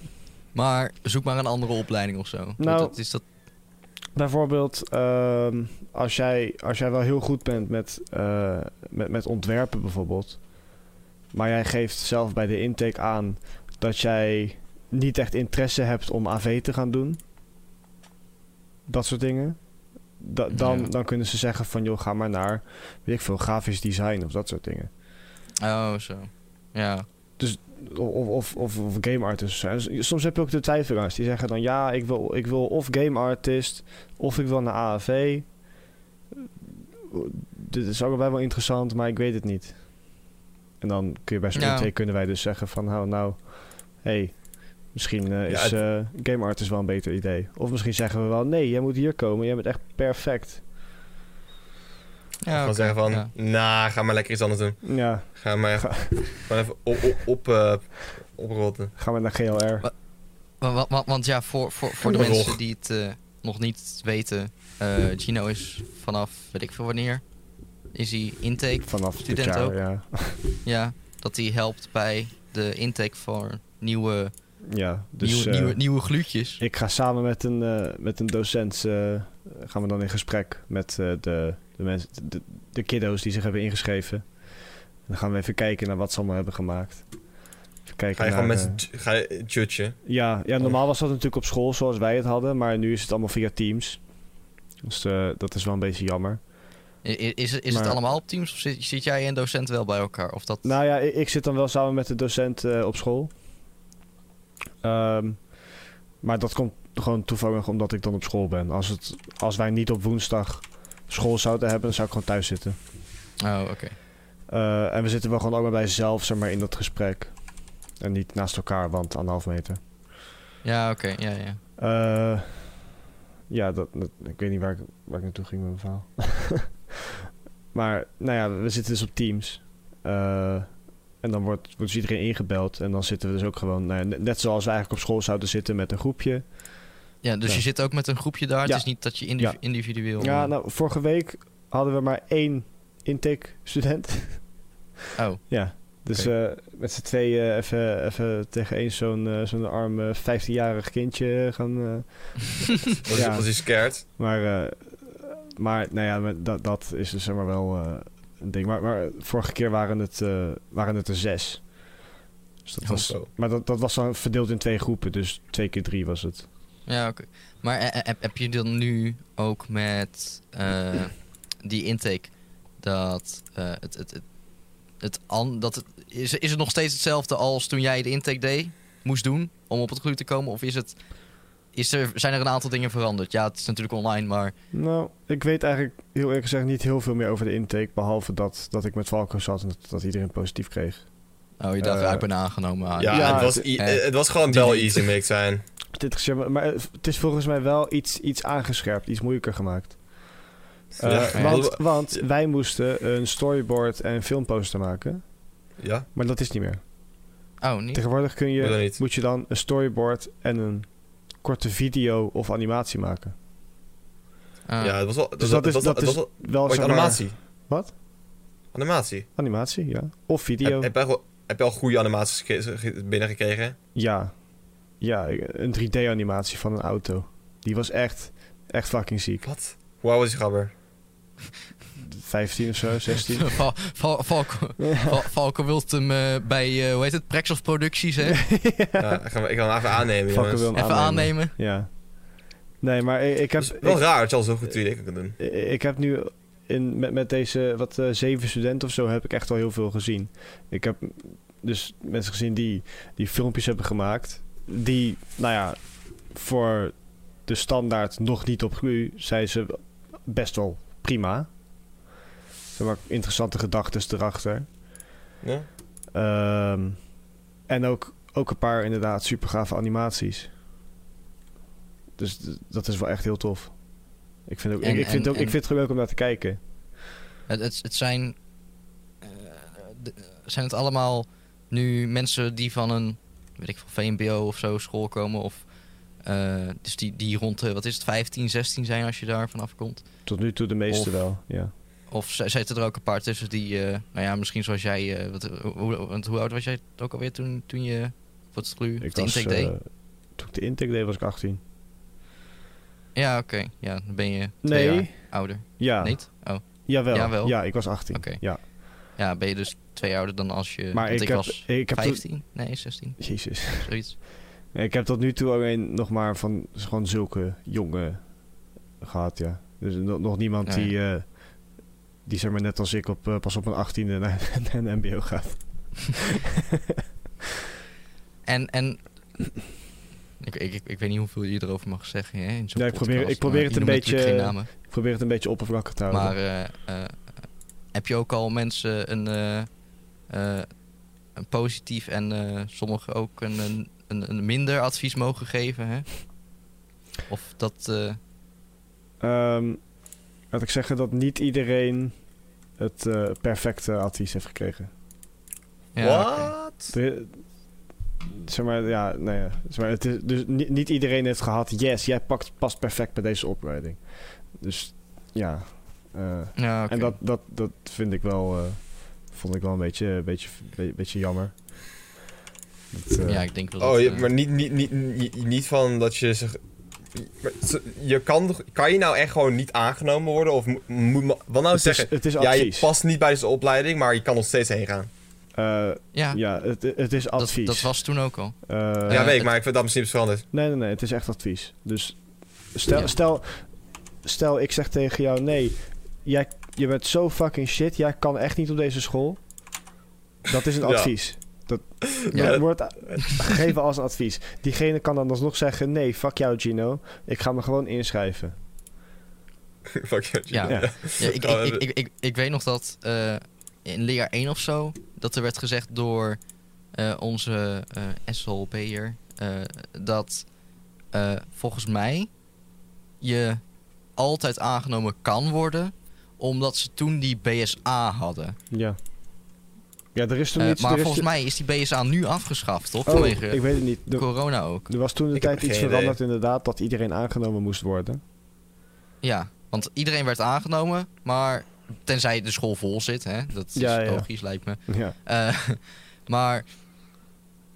Speaker 1: maar zoek maar een andere opleiding of zo.
Speaker 3: Nou,
Speaker 1: dat is dat,
Speaker 3: Bijvoorbeeld, ehm, als, jij, als jij wel heel goed bent met, eh, met, met ontwerpen bijvoorbeeld. Maar jij geeft zelf bij de intake aan dat jij niet echt interesse hebt om AV te gaan doen. Dat soort dingen. Da- dan,
Speaker 1: Ja.
Speaker 3: dan kunnen ze zeggen van joh, ga maar naar weet ik veel, grafisch design of dat soort dingen.
Speaker 1: oh zo. Ja,
Speaker 3: Of, of, of, of game artist. En s- Soms heb je ook de twijfelaars die zeggen dan ja, ik wil, ik wil of game artist of ik wil naar AAV. Dit is allebei wel interessant, maar ik weet het niet. En dan kun je bij zo'n
Speaker 1: Ja.
Speaker 3: intake kunnen wij dus zeggen van nou, nou hey, misschien eh, is
Speaker 2: het-
Speaker 3: eh, game artist wel een beter idee. Of misschien zeggen we wel nee, jij moet hier komen, jij bent echt perfect.
Speaker 1: ja
Speaker 2: Gewoon
Speaker 1: oké,
Speaker 2: zeggen van,
Speaker 1: ja.
Speaker 2: nou, ga maar lekker iets anders doen.
Speaker 3: Ja,
Speaker 2: Ga maar
Speaker 3: Ga-
Speaker 2: gewoon even op, op, op, eh, oprotten.
Speaker 3: gaan we naar GLR.
Speaker 1: Wat- Wa- wa- wa- want ja, voor, voor, voor de
Speaker 2: Oorlog.
Speaker 1: mensen die het eh, nog niet weten, eh, Gino is vanaf, weet ik veel wanneer, is hij intake.
Speaker 3: Vanaf dit
Speaker 1: student
Speaker 3: jaar,
Speaker 1: ook.
Speaker 3: ja.
Speaker 1: Ja, dat hij helpt bij de intake voor nieuwe,
Speaker 3: ja dus,
Speaker 1: nieuwe,
Speaker 3: eh,
Speaker 1: nieuwe, nieuwe gluutjes.
Speaker 3: Ik ga samen met een, eh, met een docent eh, gaan we dan in gesprek met eh, de, de, mensen, de, de kiddo's die zich hebben ingeschreven. En dan gaan we even kijken naar wat ze allemaal hebben gemaakt. Even kijken
Speaker 2: Ga je gewoon
Speaker 3: naar,
Speaker 2: mensen
Speaker 3: eh,
Speaker 2: ju- ga je judgen.
Speaker 3: ja,
Speaker 2: Oh.
Speaker 3: ja, normaal was dat natuurlijk op school zoals wij het hadden, maar nu is het allemaal via Teams. Dus eh, dat is wel een beetje jammer.
Speaker 1: I- i- Is, het- is
Speaker 3: Maar-
Speaker 1: het allemaal op teams of zit, zit jij en docent wel bij elkaar? Of dat...
Speaker 3: Nou ja, ik, ik zit dan wel samen met de docent eh, op school. Ehm, maar dat komt gewoon toevallig omdat ik dan op school ben. Als, het, als wij niet op woensdag school zouden hebben, dan zou ik gewoon thuis zitten.
Speaker 1: Oh, oké.
Speaker 3: Eh, en we zitten wel gewoon allebei zelf zeg maar, in dat gesprek. En niet naast elkaar, want anderhalf meter.
Speaker 1: Ja, oké. Ja, ja.
Speaker 3: Eh, ja, dat, dat- ik weet niet waar ik, waar ik naartoe ging met mijn verhaal. maar, nou ja, we zitten dus op Teams. Eh, en dan wordt, wordt dus iedereen ingebeld. En dan zitten we dus ook gewoon, nou ja, ne- net zoals we eigenlijk op school zouden zitten met een groepje.
Speaker 1: ja dus
Speaker 3: Ja.
Speaker 1: je zit ook met een groepje daar.
Speaker 3: Ja.
Speaker 1: Het is niet dat je indiv-
Speaker 3: Ja.
Speaker 1: individueel...
Speaker 3: Ja, nou, vorige week hadden we maar één intake-student.
Speaker 1: Oh,
Speaker 3: ja, dus eh, met z'n tweeën even, even tegen één zo'n eh, zo'n arm eh, 15-jarig kindje gaan... eh,
Speaker 2: Was,
Speaker 3: Ja.
Speaker 2: was hij scared?
Speaker 3: Maar, eh, maar nou ja, maar dat, dat is dus zeg maar wel eh, een ding. Maar, maar vorige keer waren het, eh, waren het er zes. Dus dat
Speaker 2: Oh,
Speaker 3: was,
Speaker 2: zo.
Speaker 3: maar dat, dat was dan verdeeld in twee groepen, dus twee keer drie was het.
Speaker 1: ja, oké. Maar eh, eh, heb, heb je dan nu ook met eh, die intake dat eh, het... het, het het an- dat het, is, is het nog steeds hetzelfde als toen jij de intake deed moest doen om op het glu te komen? Of is het, is er, zijn er een aantal dingen veranderd? Ja, het is natuurlijk online, maar
Speaker 3: Nou, ik weet eigenlijk heel eerlijk gezegd niet heel veel meer over de intake. Behalve dat, dat ik met Valko zat en dat, dat iedereen positief kreeg.
Speaker 1: oh, je dacht,
Speaker 3: Eh,
Speaker 1: ja, ik ben aangenomen. Ah,
Speaker 2: ja,
Speaker 3: ja,
Speaker 2: het, was,
Speaker 3: het-
Speaker 2: i-
Speaker 1: eh,
Speaker 2: het was gewoon
Speaker 1: die
Speaker 2: wel
Speaker 1: niet.
Speaker 2: easy make zijn.
Speaker 3: Dit gezegd, maar- maar het is volgens mij wel iets, iets aangescherpt, iets moeilijker gemaakt. Eh,
Speaker 2: Ja,
Speaker 1: ja.
Speaker 3: want, want wij moesten een storyboard en filmposter maken.
Speaker 2: Ja,
Speaker 3: Maar dat is niet meer.
Speaker 1: Oh, niet?
Speaker 3: Tegenwoordig kun
Speaker 2: Hoezo
Speaker 3: je,
Speaker 2: niet?
Speaker 3: moet je dan een storyboard en een korte video of animatie maken.
Speaker 1: Ah.
Speaker 2: ja het was wel...
Speaker 3: Dus
Speaker 2: het
Speaker 3: dat is,
Speaker 2: was wel-
Speaker 3: dat
Speaker 2: het
Speaker 3: is
Speaker 2: was wel-
Speaker 3: wel
Speaker 2: ooit
Speaker 3: zeg maar-
Speaker 2: animatie.
Speaker 3: Wat? eh,
Speaker 2: Animatie.
Speaker 3: Animatie, ja. Of video.
Speaker 2: Heb, heb, je al- heb je al goede animaties ge- ge- binnengekregen?
Speaker 3: Ja. Ja, een 3D-animatie van een auto. Die was echt, echt fucking ziek.
Speaker 2: Wat? Hoe oud was die gabber?
Speaker 3: 15 of zo, 16.
Speaker 1: Val- Val- Valko, Val- Valko wilt hem eh, bij, eh, hoe heet het, Prexels Producties, hè? Even
Speaker 2: Ja, ik, ga, ik ga hem even aannemen,
Speaker 3: Valko
Speaker 2: jongens.
Speaker 3: wil hem
Speaker 1: aannemen.
Speaker 3: Ja. Nee, maar ik, ik heb...
Speaker 2: Het is wel
Speaker 3: ik-
Speaker 2: raar dat je al zo goed 3D kan doen.
Speaker 3: Eh, Ik heb nu. in, met, met deze wat eh, zeven studenten of zo heb ik echt al heel veel gezien. Ik heb dus mensen gezien die, die filmpjes hebben gemaakt. Die, nou ja, voor de standaard nog niet op glu zijn ze best wel prima. Zeg maar interessante gedachten erachter.
Speaker 2: Ja?
Speaker 3: Ehm, en ook, ook een paar inderdaad super gave animaties. Dus d- dat is wel echt heel tof. Ik vind, ook,
Speaker 1: En-
Speaker 3: ik, ik vind
Speaker 1: en-
Speaker 3: ook, ik
Speaker 1: en-
Speaker 3: vind het gewoon leuk om naar te kijken.
Speaker 1: Het, het, het zijn. eh, de- zijn het allemaal nu mensen die van een. weet ik veel, VMBO of zo school komen? Of. eh, dus die, die rond de. wat is het, 15, 16 zijn als je daar vanaf komt?
Speaker 3: Tot nu toe de meeste
Speaker 1: Of-
Speaker 3: wel. Ja.
Speaker 1: Of z- zitten er ook een paar tussen die. eh, nou ja, misschien zoals jij. eh, wat, hoe, want hoe oud was jij ook alweer toen, toen je. wat is het nu?
Speaker 3: Ik
Speaker 1: de
Speaker 3: was,
Speaker 1: intake deed?
Speaker 3: eh, toen ik de intake deed was ik 18.
Speaker 1: Ja, oké. Ja, dan ben je. Twee
Speaker 3: Nee.
Speaker 1: jaar ouder.
Speaker 3: Ja.
Speaker 1: Niet? Oh.
Speaker 3: Jawel.
Speaker 1: Jawel.
Speaker 3: Ja, ik was 18.
Speaker 1: Oké.
Speaker 3: Ja.
Speaker 1: Ja, ben je dus twee jaar ouder dan als je.
Speaker 3: Maar
Speaker 1: want
Speaker 3: ik,
Speaker 1: ik,
Speaker 3: heb,
Speaker 1: was
Speaker 3: ik heb tot-
Speaker 1: 15. Nee, 16.
Speaker 3: Jezus.
Speaker 1: Zoiets.
Speaker 3: Ik heb tot nu toe alleen nog maar van dus gewoon zulke jongen gehad, ja. Dus no- nog niemand
Speaker 1: Nee.
Speaker 3: die, eh, die zeg maar net als ik op, eh, pas op mijn achttiende naar, naar een mbo gaat.
Speaker 1: En, en ik, ik, ik, ik weet niet hoeveel je erover mag zeggen. Hè, in zo'n
Speaker 3: Ja, ik probeer-
Speaker 1: podcast,
Speaker 3: ik probeer
Speaker 1: maar
Speaker 3: het
Speaker 1: je
Speaker 3: een
Speaker 1: noemt natuurlijk
Speaker 3: beetje-
Speaker 1: Geen namen.
Speaker 3: Ik probeer het een beetje oppervlakkig te houden.
Speaker 1: Maar eh, eh, eh, heb je ook al mensen een, eh, eh, een positief en eh, sommigen ook een, een, een, een minder advies mogen geven? Hè? Of dat. eh,
Speaker 3: Ehm, laat ik zeggen dat niet iedereen het eh, perfecte advies heeft gekregen.
Speaker 1: ja, oké.
Speaker 2: What?
Speaker 3: Er- zeg maar, ja, nou ja. Zeg maar, het is, dus ni- niet iedereen heeft gehad, yes, jij pakt, past perfect bij deze opleiding. Dus ja, eh,
Speaker 1: Ja, oké.
Speaker 3: En dat, dat, dat vind ik wel, eh, vond ik wel een beetje, een beetje, be- beetje jammer. Dat, eh,
Speaker 1: ja, ik denk wel.
Speaker 2: Oh,
Speaker 1: dat,
Speaker 2: je,
Speaker 1: eh,
Speaker 2: maar niet, niet, niet, niet, niet van dat je ze... maar ze- Je kan, toch- kan je nou echt gewoon niet aangenomen worden? Of moet- moet... ma- Wat nou
Speaker 3: het,
Speaker 2: zeggen?
Speaker 3: is, het is
Speaker 2: Ja, je
Speaker 3: advies.
Speaker 2: past niet bij deze opleiding, maar je kan nog steeds heen gaan.
Speaker 3: Eh,
Speaker 1: ja,
Speaker 3: ja, het, het is
Speaker 1: dat,
Speaker 3: advies.
Speaker 1: dat was toen ook al.
Speaker 3: Eh,
Speaker 2: ja, weet ik,
Speaker 1: het-
Speaker 2: maar ik vind dat misschien iets veranderd.
Speaker 3: Nee, nee, nee, het is echt advies. Dus stel,
Speaker 1: Ja.
Speaker 3: stel, stel ik zeg tegen jou, nee, jij, je bent zo fucking shit, jij kan echt niet op deze school. Dat is een
Speaker 2: Ja.
Speaker 3: advies. Dat,
Speaker 1: Ja.
Speaker 3: dat wordt a- gegeven als advies. Diegene kan dan alsnog zeggen, nee, fuck jou Gino, ik ga me gewoon inschrijven.
Speaker 2: Fuck you.
Speaker 1: Ja.
Speaker 3: Ja.
Speaker 1: Ja, ik, ik,
Speaker 2: Oh, eh,
Speaker 1: ik, ik, ik, ik weet nog dat eh, in leer 1 of zo, dat er werd gezegd door eh, onze eh SLP'er, eh, dat eh, volgens mij je altijd aangenomen kan worden, omdat ze toen die BSA hadden.
Speaker 3: Ja. Ja, er is toen
Speaker 1: Eh,
Speaker 3: iets...
Speaker 1: maar
Speaker 3: er is
Speaker 1: volgens
Speaker 3: toen-
Speaker 1: mij is die BSA nu afgeschaft, toch?
Speaker 3: Oh,
Speaker 1: Vanwege
Speaker 3: ik weet het niet. Er,
Speaker 1: corona ook.
Speaker 3: er was toen de
Speaker 2: Ik heb
Speaker 3: tijd iets
Speaker 2: geen
Speaker 3: veranderd inderdaad... dat iedereen aangenomen moest worden.
Speaker 1: Ja, want iedereen werd aangenomen, maar tenzij de school vol zit, hè? Dat is
Speaker 3: Ja, ja.
Speaker 1: logisch, lijkt me.
Speaker 3: Ja.
Speaker 1: Eh, maar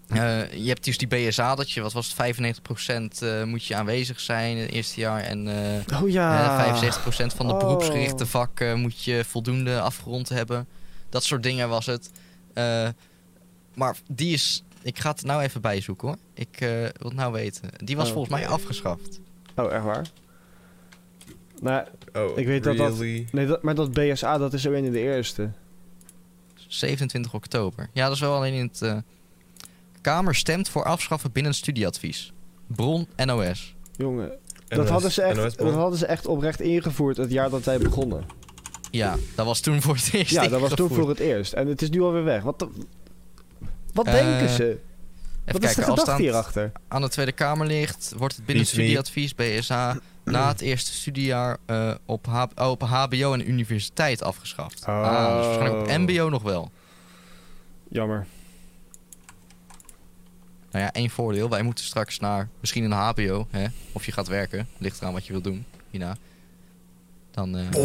Speaker 1: eh, je hebt dus die BSA, dat je, wat was het, 95% eh, moet je aanwezig zijn in het eerste jaar. En eh,
Speaker 3: Oh ja.
Speaker 1: eh, 65% van de
Speaker 3: Oh.
Speaker 1: beroepsgerichte vakken moet je voldoende afgerond hebben. Dat soort dingen was het. Eh, maar die is, ik ga het nou even bijzoeken hoor. Ik eh, wil het nou weten. Die was
Speaker 3: Oh.
Speaker 1: volgens mij afgeschaft.
Speaker 3: Oh, echt waar? Nou,
Speaker 2: Oh,
Speaker 3: Ik weet dat dat-
Speaker 2: really?
Speaker 3: nee, dat, maar dat BSA, dat is alleen in de eerste.
Speaker 1: 27 oktober. Ja, dat is wel alleen in het... eh, Kamer stemt voor afschaffen binnen het studieadvies. Bron NOS.
Speaker 3: Jongen, dat
Speaker 2: NOS
Speaker 3: hadden, ze echt,
Speaker 2: NOS-bron.
Speaker 3: dat hadden ze echt oprecht ingevoerd het jaar dat wij begonnen.
Speaker 1: Ja, dat was toen voor het eerst.
Speaker 3: Ja, dat was toen
Speaker 1: ingevoerd.
Speaker 3: voor het eerst. En het is nu alweer weg. Wat, de- wat
Speaker 1: Eh,
Speaker 3: denken ze?
Speaker 1: Even
Speaker 3: wat is
Speaker 1: kijken, als
Speaker 3: de gedachte
Speaker 1: het aan,
Speaker 3: hierachter?
Speaker 1: aan de Tweede Kamer ligt, wordt het binnen
Speaker 2: Niet
Speaker 1: het studieadvies BSA na het eerste studiejaar eh, op, H- oh, op HBO en universiteit afgeschaft.
Speaker 3: Oh.
Speaker 1: Ah, dus waarschijnlijk op MBO nog wel.
Speaker 3: Jammer.
Speaker 1: Nou ja, één voordeel. Wij moeten straks naar misschien een HBO, hè? of je gaat werken. Ligt eraan wat je wilt doen hierna. Dan. eh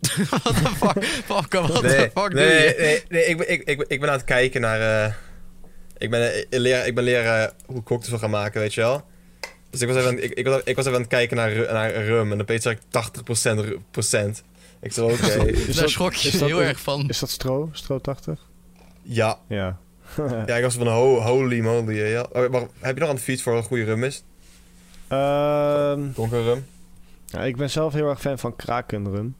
Speaker 2: Oh,
Speaker 1: what the fuck? Falco, what the
Speaker 2: nee,
Speaker 1: fuck doe
Speaker 2: nee,
Speaker 1: je?
Speaker 2: nee, nee, ik, ben- ik, ik, ik ben aan het kijken naar... eh, ik ben eh, leren, ik ben leren hoe cocktails we gaan maken, weet je wel? Dus ik was even, aan- ik, ik, was- ik was even aan het kijken naar, ru- naar rum en dan opeens zag ik 80% ru- procent. Ik zei, oké,
Speaker 3: Is
Speaker 1: Daar
Speaker 3: dat-
Speaker 1: schrok je
Speaker 3: is dat
Speaker 1: heel
Speaker 3: een-
Speaker 1: erg van.
Speaker 3: Is dat stro? Stro 80?
Speaker 2: ja.
Speaker 3: Ja.
Speaker 2: Ja, ik was van, ho, holy moly, ja. Oh, wacht, heb je nog een fiets voor een goede rum is?
Speaker 3: Ehm
Speaker 2: Donker rum?
Speaker 3: Ja, ik ben zelf heel erg fan van Krakenrum.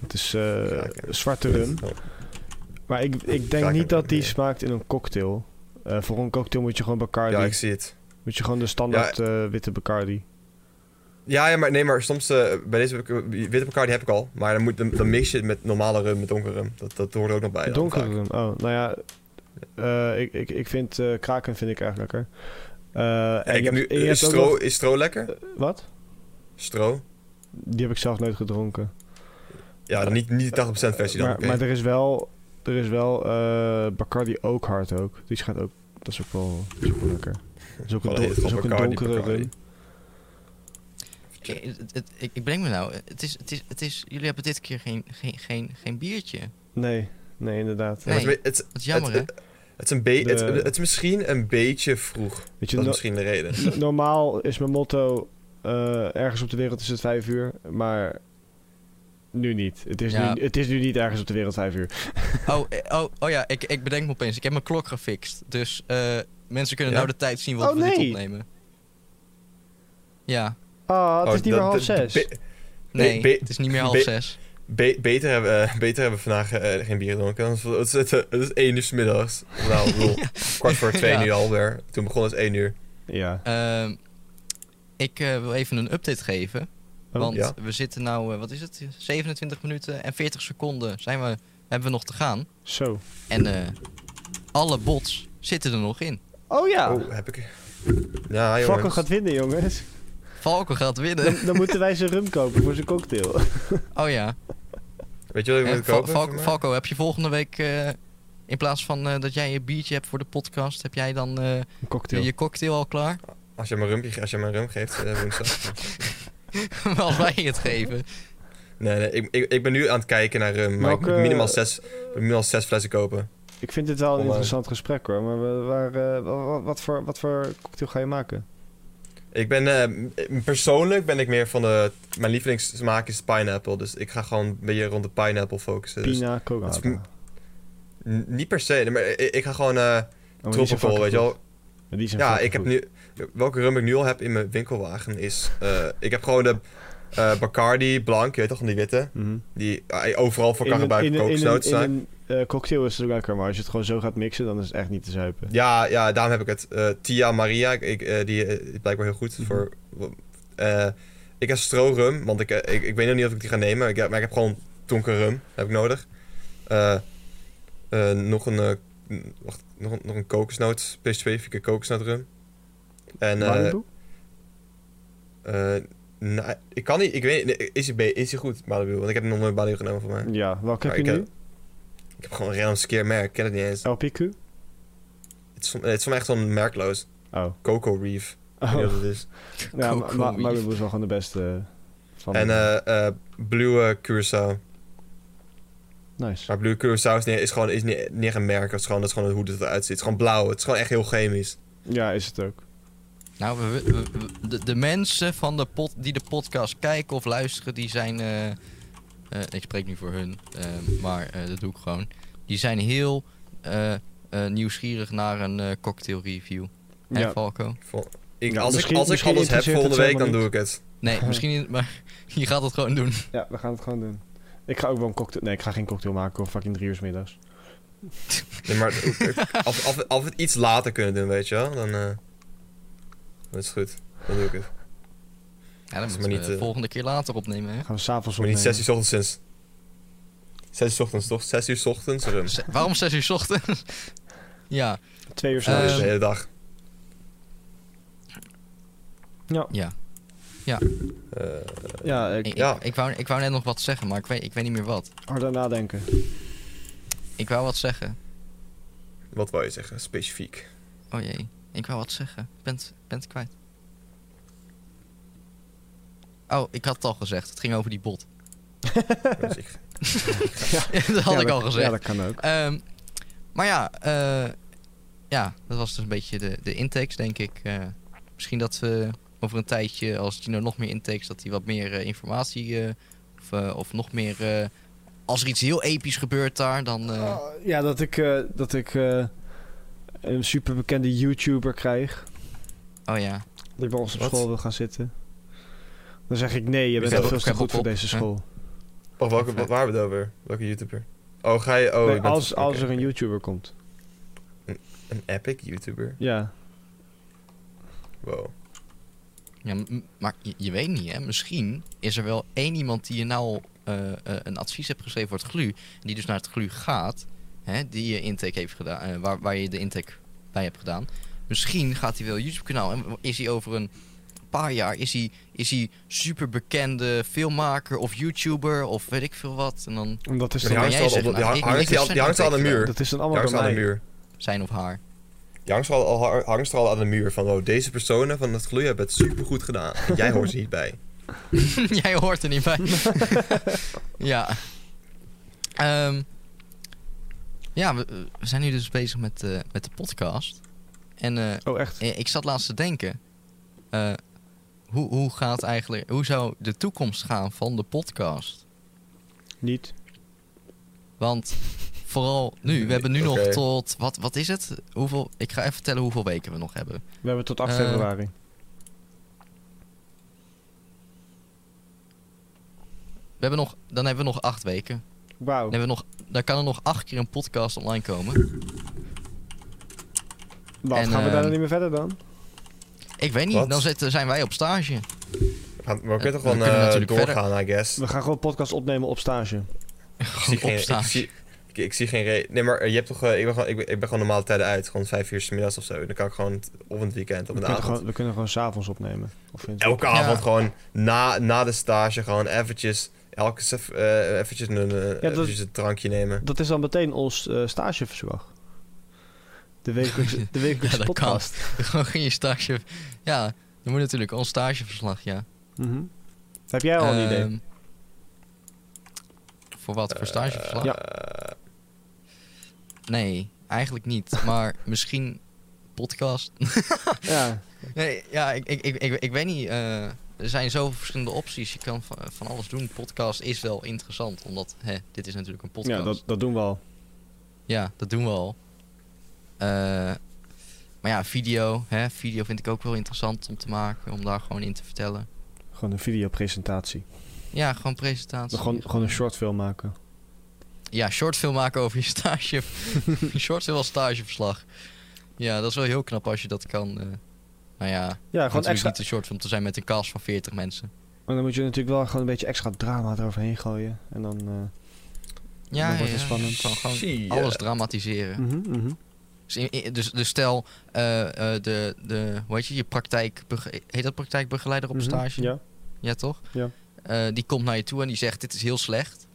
Speaker 3: Het is eh,
Speaker 2: Ja, ik-
Speaker 3: zwarte rum.
Speaker 2: Oh,
Speaker 3: Maar ik, ik denk
Speaker 2: Vaak
Speaker 3: niet dat die
Speaker 2: meer.
Speaker 3: smaakt in een cocktail. Eh, voor een cocktail moet je gewoon Bacardi.
Speaker 2: Ja, ik zie het.
Speaker 3: Moet je gewoon de standaard eh, witte Bacardi.
Speaker 2: Ja, ja, maar nee, maar soms eh, bij deze witte elkaar die heb ik al. Maar dan, moet, dan, dan mix je het met normale rum, met donkere rum. Dat, dat hoort er ook nog bij. dan
Speaker 3: Donkere
Speaker 2: Ah, vaak.
Speaker 3: rum. Oh, nou ja. eh, ik, ik, ik vind eh, kraken vind ik erg lekker. Eh,
Speaker 2: En ik
Speaker 3: je
Speaker 2: heb nu,
Speaker 3: hebt- en je
Speaker 2: is,
Speaker 3: hebt ook
Speaker 2: stro,
Speaker 3: nog-
Speaker 2: is stro lekker?
Speaker 3: Wat?
Speaker 2: Stro?
Speaker 3: Die heb ik zelf nooit gedronken.
Speaker 2: Ja, dan niet, niet de 80% versie dan.
Speaker 3: maar,
Speaker 2: oké.
Speaker 3: maar er is wel, er is wel eh, Bacardi ook hard ook. Die schijnt ook, dat is ook wel, dat is ook wel lekker. Dat is ook een,
Speaker 2: Gewoon
Speaker 3: do-
Speaker 2: heel
Speaker 3: dat is
Speaker 2: veel
Speaker 3: ook een
Speaker 2: Bacardi,
Speaker 3: donkere
Speaker 2: Bacardi.
Speaker 3: rum.
Speaker 1: Ik, het- het- ik, ik bedenk me nou, het is, het is, het is, jullie hebben dit keer geen, geen, geen, geen biertje.
Speaker 3: Nee, nee inderdaad.
Speaker 2: Ja, maar
Speaker 1: Nee.
Speaker 2: het, is- het,
Speaker 1: Dat is jammer,
Speaker 2: het,
Speaker 1: hè?
Speaker 2: het is een be-
Speaker 3: De-
Speaker 2: het, het is misschien een beetje vroeg.
Speaker 3: Weet je,
Speaker 2: Dat is
Speaker 3: no-
Speaker 2: misschien de reden.
Speaker 3: No- Normaal is mijn motto: eh, ergens op de wereld is het vijf uur, maar nu niet. Het is,
Speaker 1: Ja.
Speaker 3: nu, het is nu niet ergens op de wereld vijf uur.
Speaker 1: Oh, eh, oh, oh ja, ik, ik bedenk me opeens. Ik heb mijn klok gefixt. Dus eh, mensen kunnen
Speaker 2: Ja?
Speaker 1: nou de tijd zien wat
Speaker 3: Oh,
Speaker 1: we dit
Speaker 3: nee.
Speaker 1: opnemen. Ja,
Speaker 3: Ah, het
Speaker 2: Oh,
Speaker 3: is niet
Speaker 2: dat-
Speaker 3: meer half
Speaker 2: dat-
Speaker 3: zes.
Speaker 2: be-
Speaker 1: nee,
Speaker 2: be-
Speaker 1: het is niet meer half
Speaker 2: be-
Speaker 1: zes.
Speaker 2: be- beter, hebben, eh, beter hebben we vandaag eh, geen bier gedronken. want Het is, het is- het is één uur 's middags. Nou, ik bedoel, kwart voor twee
Speaker 1: Ja.
Speaker 2: nu alweer. Toen begon het één uur.
Speaker 3: Ja.
Speaker 1: Ehm, ik eh, wil even een update geven.
Speaker 3: Oh,
Speaker 1: want
Speaker 2: ja.
Speaker 1: we zitten nou, eh, wat is het? 27 minuten en 40 seconden zijn we, hebben we nog te gaan.
Speaker 3: Zo.
Speaker 1: En eh, alle bots zitten er nog in.
Speaker 3: Oh ja.
Speaker 2: Oh, heb ik... Ja, jongens.
Speaker 3: Falco gaat winnen, jongens.
Speaker 1: Valken gaat winnen.
Speaker 3: Dan, dan moeten wij zijn rum kopen voor zijn cocktail.
Speaker 1: Oh ja.
Speaker 2: Weet je wat ik
Speaker 1: Eh,
Speaker 2: moet
Speaker 1: Val-
Speaker 2: kopen?
Speaker 1: Val-
Speaker 2: voor mij?
Speaker 1: Valko, heb je volgende week... eh, in plaats van eh, dat jij je biertje hebt voor de podcast... heb jij dan eh,
Speaker 3: Een cocktail.
Speaker 1: je cocktail al klaar?
Speaker 2: Als je mijn rumpje, ge- als je mijn rum geeft eh, woensdag.
Speaker 1: Maar als wij het geven.
Speaker 2: nee, nee ik, ik, ik ben nu aan het kijken naar rum, maar ik
Speaker 3: Welke-
Speaker 2: moet minimaal zes, minimaal zes flessen kopen.
Speaker 3: Ik vind dit wel een
Speaker 2: Online.
Speaker 3: interessant gesprek hoor, maar we- waar, eh, wa- wa- wat, voor, wat voor cocktail ga je maken?
Speaker 2: Ik ben, eh, persoonlijk ben ik meer van de, mijn lievelingssmaak is pineapple, dus ik ga gewoon een beetje rond de pineapple focussen. Dus
Speaker 3: Pina Oh,
Speaker 2: het
Speaker 3: colada.
Speaker 2: is m- n- niet per se, nee, maar ik, ik ga gewoon eh
Speaker 3: Oh, maar die zijn
Speaker 2: tropical,
Speaker 3: fucking
Speaker 2: weet je
Speaker 3: goed.
Speaker 2: wel.
Speaker 3: Maar Die zijn
Speaker 2: Ja,
Speaker 3: fucking
Speaker 2: ik heb
Speaker 3: goed.
Speaker 2: nu, welke rum ik nu al heb in mijn winkelwagen is, eh, ik heb gewoon de eh, Bacardi Blanc, je weet toch, van die witte,
Speaker 3: Mhm.
Speaker 2: die eh, overal voor
Speaker 3: In
Speaker 2: kan
Speaker 3: een-
Speaker 2: gebruiken,
Speaker 3: in een- in een-
Speaker 2: kokosnoot
Speaker 3: in
Speaker 2: zijn.
Speaker 3: een, eh, cocktail is het ook lekker, maar als je het gewoon zo gaat mixen, dan is het echt niet te zuipen.
Speaker 2: Ja, ja, daarom heb ik het. Eh, Tia Maria, ik- ik, eh, die eh, is blijkbaar heel goed
Speaker 3: Mhm.
Speaker 2: voor. eh, ik heb strorum, want ik, eh, ik, ik weet nog niet of ik die ga nemen. Ik heb, maar ik heb gewoon donker rum, heb ik nodig. Eh, eh, nog een, eh, n- wacht, nog, een- nog een kokosnoot, specifieke kokosnootrum. En eh,
Speaker 3: Malibu?
Speaker 2: eh, nou, ik kan niet, ik weet niet, is hij be- is hij goed, Malibu? Want ik heb nog nooit Malibu genomen van mij.
Speaker 3: ja, welke
Speaker 2: maar
Speaker 3: heb je
Speaker 2: ik
Speaker 3: nu?
Speaker 2: Ik heb gewoon een random skeer merk, ik ken het niet eens.
Speaker 3: LPQ?
Speaker 2: Het is, van- het is voor mij echt zo'n merkloos.
Speaker 3: Oh.
Speaker 2: Coco Reef, ik weet
Speaker 3: oh.
Speaker 2: niet wat het is.
Speaker 3: Ja, maar
Speaker 1: Cool,
Speaker 3: ma
Speaker 1: cool.
Speaker 3: Malibu is wel gewoon de beste van
Speaker 2: En
Speaker 3: de-
Speaker 2: eh eh Blue Curacao.
Speaker 3: Nice.
Speaker 2: Maar Blue Curacao is, niet, is gewoon is niet, niet echt een merk. Het is gewoon, dat is gewoon hoe het eruit ziet. Het is gewoon blauw. Het is gewoon echt heel chemisch.
Speaker 3: Ja, is het ook.
Speaker 1: Nou, we, we- we- de, de mensen van de pod, die de podcast kijken of luisteren, die zijn... eh, eh, ik spreek nu voor hun, eh, maar eh, dat doe ik gewoon. Die zijn heel eh, eh, nieuwsgierig naar een eh, cocktail review. Hè,
Speaker 3: Ja.
Speaker 1: Valko?
Speaker 2: Vol- Ik,
Speaker 3: Ja,
Speaker 2: als ik,
Speaker 3: misschien-
Speaker 2: als ik
Speaker 3: misschien
Speaker 2: alles heb
Speaker 3: interesseert
Speaker 2: volgende
Speaker 3: het
Speaker 2: week, dan doe
Speaker 3: helemaal
Speaker 2: ik het.
Speaker 1: Nee, misschien niet, maar je gaat het gewoon doen.
Speaker 3: Ja, we gaan het gewoon doen. Ik ga ook wel een cocktail... Nee, ik ga geen cocktail maken of fucking drie uur 's middags.
Speaker 2: Nee, maar als, als, we- als we het iets later kunnen doen, weet je wel, dan, eh, dan is het goed. Dan doe ik het.
Speaker 1: Ja, dan
Speaker 2: is
Speaker 1: moeten
Speaker 2: maar
Speaker 1: we
Speaker 2: niet,
Speaker 1: de
Speaker 2: eh,
Speaker 1: volgende keer later opnemen, hè?
Speaker 3: Gaan we s'avonds
Speaker 2: Maar
Speaker 3: opnemen.
Speaker 2: niet 6 uur 's ochtends sinds. 6 uur 's ochtends, toch? 6 uur 's ochtends ehm, rum.
Speaker 1: Z- waarom zes uur 's ochtends? ja,
Speaker 3: Twee uur
Speaker 1: Eh,
Speaker 2: Dat is
Speaker 3: s'nachts.
Speaker 2: de hele dag.
Speaker 3: ja.
Speaker 1: ja.
Speaker 2: Eh,
Speaker 3: ja, ik...
Speaker 1: Ik,
Speaker 2: Ja.
Speaker 1: Ik, ik, wou, ik wou net nog wat zeggen, maar ik weet, ik weet niet meer wat.
Speaker 3: Hard aan nadenken.
Speaker 1: Ik wou wat zeggen.
Speaker 2: wat wou je zeggen? Specifiek.
Speaker 1: Oh jee, ik wou wat zeggen. Ik ben, het- ik ben het kwijt. Oh, ik had het al gezegd. Het ging over die bot.
Speaker 2: Dus ik-
Speaker 1: dat had
Speaker 3: Ja,
Speaker 1: ik al gezegd.
Speaker 3: Ja, dat kan ook.
Speaker 1: Ehm, maar ja, eh, ja, dat was dus een beetje de, de intakes, denk ik. Eh, misschien dat we over een tijdje, als Gino nog meer intakes, dat hij wat meer eh, informatie eh, of, eh, of nog meer. eh, als er iets heel episch gebeurt daar, dan. eh,
Speaker 3: Oh, ja, dat ik, eh, dat ik eh, een superbekende YouTuber krijg.
Speaker 1: oh ja.
Speaker 3: Die bij ons op
Speaker 2: Wat?
Speaker 3: school wil gaan zitten. Dan zeg ik nee, je
Speaker 2: Is
Speaker 3: bent
Speaker 2: dat
Speaker 3: veel
Speaker 1: ook
Speaker 3: te goed
Speaker 1: Pebble
Speaker 3: voor
Speaker 1: Pop?
Speaker 3: deze
Speaker 1: Ja.
Speaker 3: school.
Speaker 2: Wacht, welke, wa- waar hebben we het over? Welke YouTuber? Oh, ga je... Oh,
Speaker 3: Nee,
Speaker 2: je bent-
Speaker 3: als, als
Speaker 2: oké,
Speaker 3: er een
Speaker 2: oké.
Speaker 3: YouTuber komt.
Speaker 2: Een epic YouTuber?
Speaker 3: Ja.
Speaker 2: Wow.
Speaker 1: Ja, m- m- maar je, je weet niet, hè? Misschien is er wel één iemand die je nou eh, eh, een advies hebt geschreven voor het GLU. En die dus naar het GLU gaat. Hè, die je intake heeft gedaan. eh, waar, waar je de intake bij hebt gedaan. Misschien gaat hij wel een YouTube-kanaal. En is hij over een paar jaar. Is hij, is hij superbekende filmmaker of YouTuber of weet ik veel wat. En dan
Speaker 3: Dus Dat is,
Speaker 2: Maar die
Speaker 1: kan
Speaker 3: dan,
Speaker 1: jij
Speaker 2: hangt al
Speaker 1: zeggen,
Speaker 2: op- die
Speaker 1: nou,
Speaker 2: hangt-
Speaker 1: ik-
Speaker 2: hangt-
Speaker 1: ik
Speaker 2: die
Speaker 1: heb
Speaker 2: hangt- die hangt al aan de
Speaker 1: zijn
Speaker 2: muur.
Speaker 3: dat is dan
Speaker 2: Die
Speaker 3: allemaal
Speaker 2: hangt
Speaker 3: bij
Speaker 2: al aan de
Speaker 3: mij.
Speaker 2: muur.
Speaker 1: zijn of haar.
Speaker 2: Die hangt al, al, hangt er al aan de muur van... Oh, deze personen van het gloeien hebben het supergoed gedaan. En jij hoort er niet bij.
Speaker 1: Jij hoort er niet bij. ja. Ehm, ja, we, we zijn nu dus bezig met, eh, met de podcast. En eh,
Speaker 3: Oh, echt?
Speaker 1: eh, ik zat laatst te denken. eh, hoe, hoe gaat eigenlijk. Hoe zou de toekomst gaan van de podcast?
Speaker 3: Niet?
Speaker 1: Want vooral nu, we hebben nu nog
Speaker 2: Oké.
Speaker 1: tot. Wat, wat is het? Hoeveel, ik ga even vertellen hoeveel weken we nog hebben.
Speaker 3: We hebben tot 8
Speaker 1: Eh,
Speaker 3: februari.
Speaker 1: We hebben nog, dan hebben we nog acht weken.
Speaker 3: Wauw.
Speaker 1: Dan, hebben we nog, dan kan er nog acht keer een podcast online komen.
Speaker 3: Wat,
Speaker 1: en,
Speaker 3: gaan we daar
Speaker 1: ehm,
Speaker 3: dan niet meer verder dan?
Speaker 1: Ik weet niet,
Speaker 2: Wat?
Speaker 1: dan zitten, zijn wij op stage.
Speaker 2: We gaan- Maar we kunnen toch
Speaker 1: we
Speaker 2: gewoon
Speaker 1: kunnen
Speaker 2: eh,
Speaker 1: natuurlijk verder.
Speaker 2: doorgaan, I guess.
Speaker 3: We gaan gewoon podcast opnemen op stage.
Speaker 2: Ik zie geen, ik
Speaker 1: opstaan.
Speaker 2: zie, ik, ik zie geen reden. Nee, maar eh, je hebt toch. eh, ik, ben gewoon, ik, ben, ik ben gewoon normale tijden uit. Gewoon vijf uur 's middags of zo. Dan kan ik gewoon t- op een weekend, op
Speaker 3: We
Speaker 2: een
Speaker 3: kunnen
Speaker 2: avond.
Speaker 3: gewoon, we kunnen gewoon s'avonds opnemen. Of in het-
Speaker 2: Elke
Speaker 1: Ja.
Speaker 2: avond gewoon na, na de stage gewoon eventjes. Elke sef- eh, eventjes, een, eh,
Speaker 3: dat-
Speaker 2: eventjes een drankje nemen.
Speaker 3: Dat is dan meteen ons eh, stageverslag. De wekelijkse, de wekelijkse
Speaker 1: Ja, dat kan.
Speaker 3: podcast.
Speaker 1: Gewoon geen je stage. Ja, dan moet natuurlijk ons stageverslag, ja.
Speaker 3: Mhm. Heb jij al een idee?
Speaker 1: Ehm, Voor wat? Voor stageverslag?
Speaker 3: ja.
Speaker 2: Eh,
Speaker 1: Nee, eigenlijk niet. Maar misschien podcast.
Speaker 3: Ja.
Speaker 1: Nee, ja, ik, ik, ik, ik, ik weet niet. eh, er zijn zoveel verschillende opties. Je kan van, van alles doen. Podcast is wel interessant, omdat hè, dit is natuurlijk een podcast.
Speaker 3: ja, dat, dat doen we al.
Speaker 1: Ja, dat doen we al. Eh, maar ja, video. Hè, video vind ik ook wel interessant om te maken. Om daar gewoon in te vertellen.
Speaker 3: Gewoon een videopresentatie.
Speaker 1: Ja, gewoon presentatie.
Speaker 3: Gewoon, gewoon een shortfilm maken.
Speaker 1: Ja, shortfilm maken over je stage. shortfilm als stageverslag. Ja, dat is wel heel knap als je dat kan. eh nou ja,
Speaker 3: Ja,
Speaker 1: gewoon
Speaker 3: gewoon
Speaker 1: natuurlijk
Speaker 3: extra.
Speaker 1: niet een shortfilm te zijn met een cast van 40 mensen.
Speaker 3: Maar dan moet je natuurlijk wel gewoon een beetje extra drama eroverheen gooien. En dan... eh,
Speaker 1: Ja,
Speaker 3: Dan wordt
Speaker 1: ja,
Speaker 3: het
Speaker 1: ja,
Speaker 3: spannend.
Speaker 1: Gewoon, gewoon
Speaker 2: zie, eh,
Speaker 1: alles dramatiseren.
Speaker 3: mhm, mhm.
Speaker 1: Dus, in- in- dus, dus stel, eh, eh, de, de, hoe heet je, je praktijk, heet dat praktijkbegeleider op
Speaker 3: Mhm,
Speaker 1: stage?
Speaker 3: Ja.
Speaker 1: Ja, toch?
Speaker 3: Ja.
Speaker 1: Eh, die komt naar je toe en die zegt: Dit is heel slecht.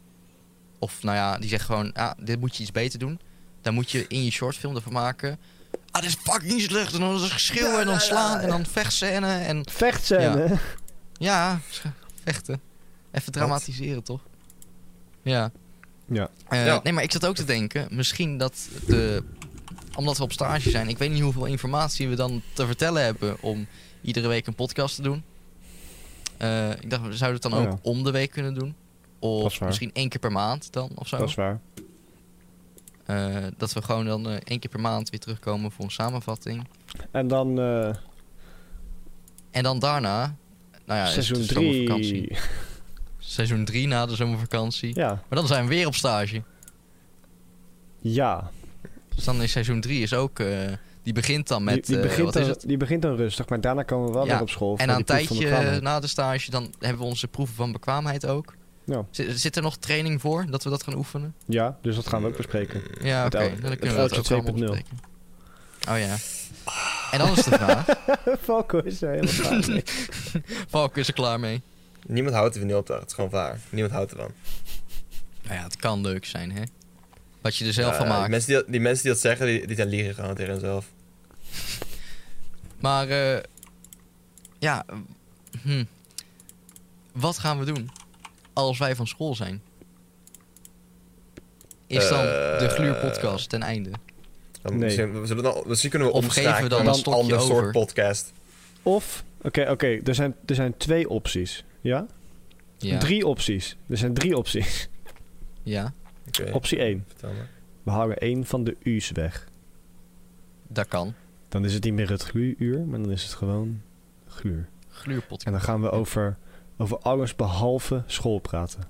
Speaker 1: Of nou ja, die zegt gewoon: ah, Dit moet je iets beter doen. Dan moet je in je shortfilm ervan maken. Ah, dit is fucking slecht. En dan is er geschreeuw en dan slaan en dan vechtscène. En
Speaker 3: Vechtscène.
Speaker 1: ja, sch- vechten. Even dramatiseren, toch? Ja.
Speaker 3: Ja.
Speaker 1: Eh,
Speaker 2: Ja.
Speaker 1: Nee, maar ik zat ook te denken: misschien dat de. Omdat we op stage zijn, ik weet niet hoeveel informatie we dan te vertellen hebben om iedere week een podcast te doen. Eh, ik dacht, we zouden het dan
Speaker 3: Oh
Speaker 1: ook
Speaker 3: ja.
Speaker 1: om de week kunnen doen.
Speaker 3: Dat is
Speaker 1: Of
Speaker 3: waar.
Speaker 1: misschien één keer per maand dan of zo.
Speaker 3: Dat is waar.
Speaker 1: Eh, dat we gewoon dan eh, één keer per maand weer terugkomen voor een samenvatting.
Speaker 3: En dan eh,
Speaker 1: En dan daarna, nou ja,
Speaker 3: seizoen
Speaker 1: is het de zomervakantie.
Speaker 3: 3.
Speaker 1: Seizoen 3 na de zomervakantie.
Speaker 3: Ja.
Speaker 1: Maar dan zijn we weer op stage.
Speaker 3: Ja.
Speaker 1: Dus dan is seizoen 3 is ook. eh, die begint dan met.
Speaker 3: die, die
Speaker 1: eh,
Speaker 3: begint
Speaker 1: wat
Speaker 3: dan,
Speaker 1: is het?
Speaker 3: die begint dan rustig, maar daarna komen we wel
Speaker 1: Ja,
Speaker 3: weer op school. voor
Speaker 1: En na
Speaker 3: die
Speaker 1: een
Speaker 3: proef van
Speaker 1: tijdje nou-
Speaker 3: bekwaamheid.
Speaker 1: na de stage, dan hebben we onze proeven van bekwaamheid ook.
Speaker 3: Ja.
Speaker 1: Zit, zit er nog training voor dat we dat gaan oefenen?
Speaker 3: Ja, dus dat gaan we ook bespreken.
Speaker 1: Ja,
Speaker 3: Het
Speaker 1: oké.
Speaker 3: oude-
Speaker 1: Dan
Speaker 3: het
Speaker 1: kunnen we dat ook
Speaker 3: oudje
Speaker 1: allemaal
Speaker 3: 2.0.
Speaker 1: bespreken. Oh ja. En dan is de vraag.
Speaker 3: Falco is er helemaal klaar mee.
Speaker 1: Valk is er klaar mee.
Speaker 2: niemand houdt er van die opdracht. Het is gewoon waar. Niemand houdt ervan.
Speaker 1: Nou ja, het kan leuk zijn, hè? Wat je er zelf
Speaker 2: Ja,
Speaker 1: van
Speaker 2: ja,
Speaker 1: maakt.
Speaker 2: Eh, die, mensen die, dat- die mensen die dat zeggen, die, die zijn liegen gewoon tegen hunzelf.
Speaker 1: Maar, eh, ja. hm. Wat gaan we doen als wij van school zijn? Is dan de
Speaker 2: Eh,
Speaker 1: gluurpodcast ten einde?
Speaker 2: Dan
Speaker 3: Nee.
Speaker 2: misschien, we zullen dan- misschien kunnen we
Speaker 1: Of geven we
Speaker 2: omschakelen
Speaker 1: dan
Speaker 2: naar
Speaker 1: een
Speaker 2: een
Speaker 1: stokje
Speaker 2: ander
Speaker 1: over?
Speaker 2: soort podcast.
Speaker 3: Of, oké, oké, er, zijn, er zijn twee opties. Ja?
Speaker 1: Ja.
Speaker 3: Drie opties. Er zijn drie opties.
Speaker 1: ja,
Speaker 2: Oké,
Speaker 3: Optie 1.
Speaker 2: vertel maar.
Speaker 3: We houden één van de U's weg.
Speaker 1: dat kan.
Speaker 3: Dan is het niet meer het gluuur, maar dan is het gewoon gluur. En
Speaker 1: Gluurpodcast.
Speaker 3: dan gaan we over, over alles behalve school praten.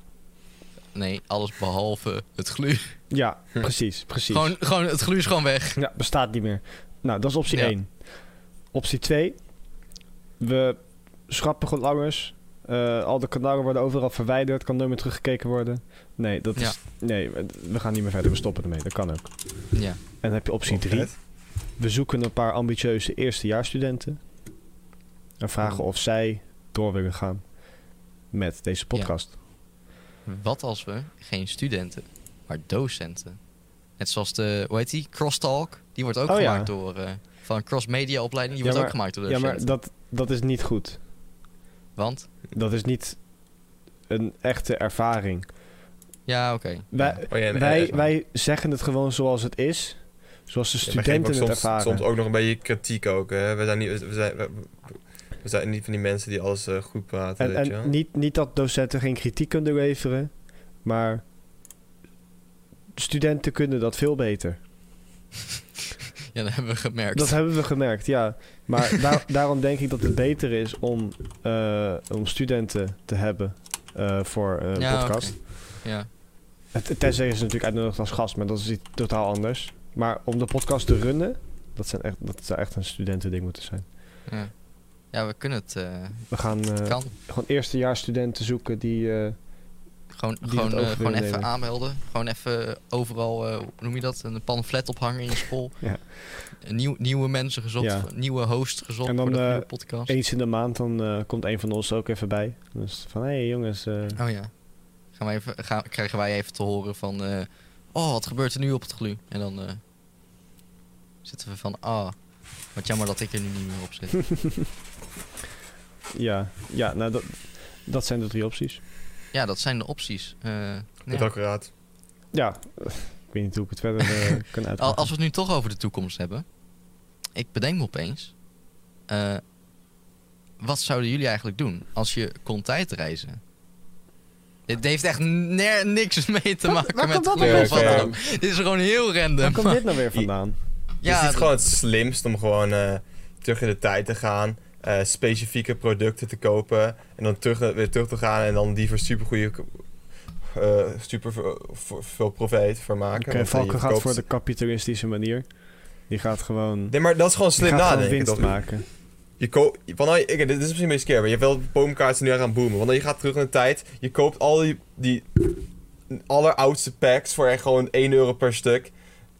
Speaker 1: Nee, alles behalve het glu.
Speaker 3: Ja, precies, precies.
Speaker 1: Hm. Gewoon, gewoon, het glu is gewoon weg.
Speaker 3: Ja, bestaat niet meer. Nou, dat is optie
Speaker 1: Ja.
Speaker 3: 1. Optie 2. We schrappen gelangers. Eh, al de kanalen worden overal verwijderd. Kan nooit meer teruggekeken worden. Nee, dat is... Nee, we gaan niet meer verder. We stoppen ermee. Dat kan ook.
Speaker 1: Ja.
Speaker 3: En dan heb je optie 3.
Speaker 2: Vet.
Speaker 3: We zoeken een paar ambitieuze eerstejaarsstudenten. En vragen
Speaker 2: Mm.
Speaker 3: of zij door willen gaan met deze podcast.
Speaker 1: Wat als we geen studenten, maar docenten. Net zoals de, hoe heet die? Crosstalk. Die wordt ook
Speaker 3: Oh, ja.
Speaker 1: gemaakt door, eh, van een cross-media opleiding. Die
Speaker 3: Ja,
Speaker 1: wordt
Speaker 3: maar-
Speaker 1: ook gemaakt door
Speaker 3: Ja,
Speaker 1: docenten.
Speaker 3: maar dat, dat is niet goed.
Speaker 1: Want?
Speaker 3: Dat is niet een echte ervaring.
Speaker 1: Ja, oké.
Speaker 3: Wij,
Speaker 1: Ja.
Speaker 2: Oh ja, en-
Speaker 3: wij,
Speaker 2: en-
Speaker 3: wij zeggen het gewoon zoals het is. Zoals de
Speaker 2: Ja, wij geven ook
Speaker 3: studenten
Speaker 2: soms,
Speaker 3: het ervaren.
Speaker 2: soms ook nog een beetje kritiek ook. Hè? We, zijn niet, we, zijn, we, we zijn niet van die mensen die alles eh, goed praten.
Speaker 3: en
Speaker 2: weet je wel.
Speaker 3: en niet, niet dat docenten geen kritiek kunnen leveren. Maar studenten kunnen dat veel beter.
Speaker 1: Ja, dat hebben we gemerkt.
Speaker 3: Dat hebben we gemerkt, ja. Maar daar- daarom denk ik dat het beter is om, eh, om studenten te hebben eh, voor eh, een
Speaker 1: Ja,
Speaker 3: podcast.
Speaker 1: Ja.
Speaker 3: Het- het- Tenzij je ze natuurlijk uitnodigt als gast, maar dat is iets totaal anders. Maar om de podcast te runnen, dat, zijn echt, dat zou echt een studentending moeten zijn.
Speaker 1: ja. Ja, we kunnen het. eh,
Speaker 3: We gaan eh,
Speaker 1: kan.
Speaker 3: gewoon eerstejaarsstudenten zoeken die... eh,
Speaker 1: Gewoon,
Speaker 3: die
Speaker 1: gewoon,
Speaker 3: dat
Speaker 1: eh,
Speaker 3: over
Speaker 1: gewoon
Speaker 3: willen
Speaker 1: even
Speaker 3: nemen.
Speaker 1: aanmelden. Gewoon even overal, eh, hoe noem je dat? Een pamflet ophangen in je school.
Speaker 3: Ja.
Speaker 1: Nieuw, nieuwe mensen gezocht.
Speaker 3: Ja.
Speaker 1: Nieuwe host gezocht
Speaker 3: En dan,
Speaker 1: voor de
Speaker 3: eh,
Speaker 1: nieuwe podcast.
Speaker 3: eens in de maand, dan eh, komt een van ons ook even bij. Dus van, hé hey, jongens, eh,
Speaker 1: Oh ja. Gaan wij even, gaan, krijgen wij even te horen van... eh, oh, wat gebeurt er nu op het glu? En dan eh, zitten we van... Ah, wat jammer dat ik er nu niet meer op zit.
Speaker 3: ja, ja nou, dat, dat zijn de drie opties.
Speaker 1: ja, dat zijn de opties. Eh,
Speaker 2: Met
Speaker 1: ja.
Speaker 2: welke raad?
Speaker 3: Ja, ik weet niet hoe ik het verder eh, kan
Speaker 1: Al-
Speaker 3: uitleggen.
Speaker 1: als we het nu toch over de toekomst hebben. Ik bedenk me opeens. eh, wat zouden jullie eigenlijk doen als je kon tijdreizen? Dit heeft echt ner- niks mee te
Speaker 3: Wat-
Speaker 1: maken
Speaker 3: waar
Speaker 1: met
Speaker 3: komt dat
Speaker 1: glu
Speaker 2: nou
Speaker 1: of wat
Speaker 2: weer
Speaker 1: dan ook.
Speaker 3: vandaan?
Speaker 1: Dit is gewoon heel
Speaker 3: Waar
Speaker 1: random.
Speaker 3: komt dit nou weer vandaan?
Speaker 2: is
Speaker 1: Ja,
Speaker 2: Dus het gewoon het slimst om gewoon eh, terug in de tijd te gaan, eh, specifieke producten te kopen en dan terug, weer terug te gaan en dan die voor super goede, super veel- voor- veel profijt voor maken.
Speaker 3: Oké,
Speaker 2: Want, eh, je
Speaker 3: Valken gaat
Speaker 2: verkoopt-
Speaker 3: voor de kapitalistische manier. Die gaat gewoon,
Speaker 2: Nee, maar dat is gewoon
Speaker 3: die
Speaker 2: slim
Speaker 3: gaat gewoon
Speaker 2: nadenken.
Speaker 3: winst
Speaker 2: toch?
Speaker 3: maken.
Speaker 2: Je koopt. Van, nou, ik, dit is misschien een beetje scary, maar je wilt boomkaarten nu aan gaan boomen. Want dan je gaat terug in de tijd. Je koopt al die, die alleroudste packs voor echt gewoon 1 euro per stuk.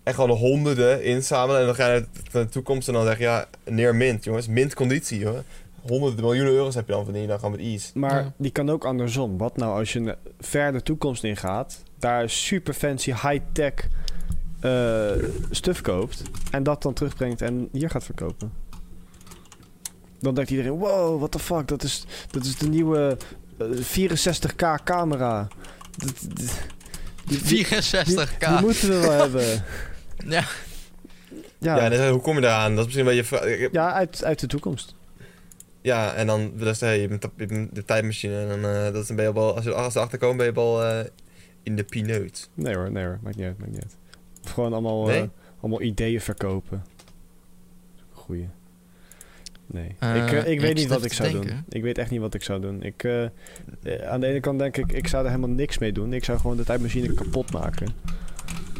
Speaker 2: En gewoon de honderden inzamelen. En dan ga je naar de- naar de toekomst en dan zeg je ja, neer mint, jongens. Mint conditie, hoor. Honderden miljoenen euro's heb je dan verdien je dan gewoon met ease.
Speaker 3: Maar
Speaker 1: Ja.
Speaker 3: die kan ook andersom. Wat nou als je een verder toekomst ingaat, daar super fancy high-tech eh stuff koopt en dat dan terugbrengt en hier gaat verkopen? Dan denkt iedereen, wow, what the fuck, dat is, dat is de nieuwe eh, 64k camera. Dat- dat- die, die-
Speaker 1: 64k.
Speaker 3: die moeten we wel hebben.
Speaker 1: Ja.
Speaker 2: Ja,
Speaker 3: Ja,
Speaker 2: en dan zeg je, hoe kom je daaraan? Dat is misschien wel je vraag. ik-
Speaker 3: ja uit, uit de toekomst.
Speaker 2: Ja, en dan dan zeg je, je bent op- je bent de tijdmachine. En dan, eh, dat is, dan ben je al, als je erachter komt, ben je al eh, in de pineut.
Speaker 3: Nee hoor, nee hoor, maakt niet uit, maakt niet uit. Of gewoon allemaal,
Speaker 2: Nee?
Speaker 3: eh, allemaal ideeën verkopen. Goeie. Nee,
Speaker 1: Eh,
Speaker 3: ik, eh,
Speaker 1: ja,
Speaker 3: ik weet
Speaker 1: ik
Speaker 3: niet
Speaker 1: zit
Speaker 3: wat
Speaker 1: even te
Speaker 3: ik zou doen.
Speaker 1: denken.
Speaker 3: Ik weet echt niet wat ik zou doen. Ik, eh, eh, aan de ene kant denk ik, ik zou er helemaal niks mee doen. Ik zou gewoon de tijdmachine kapot maken.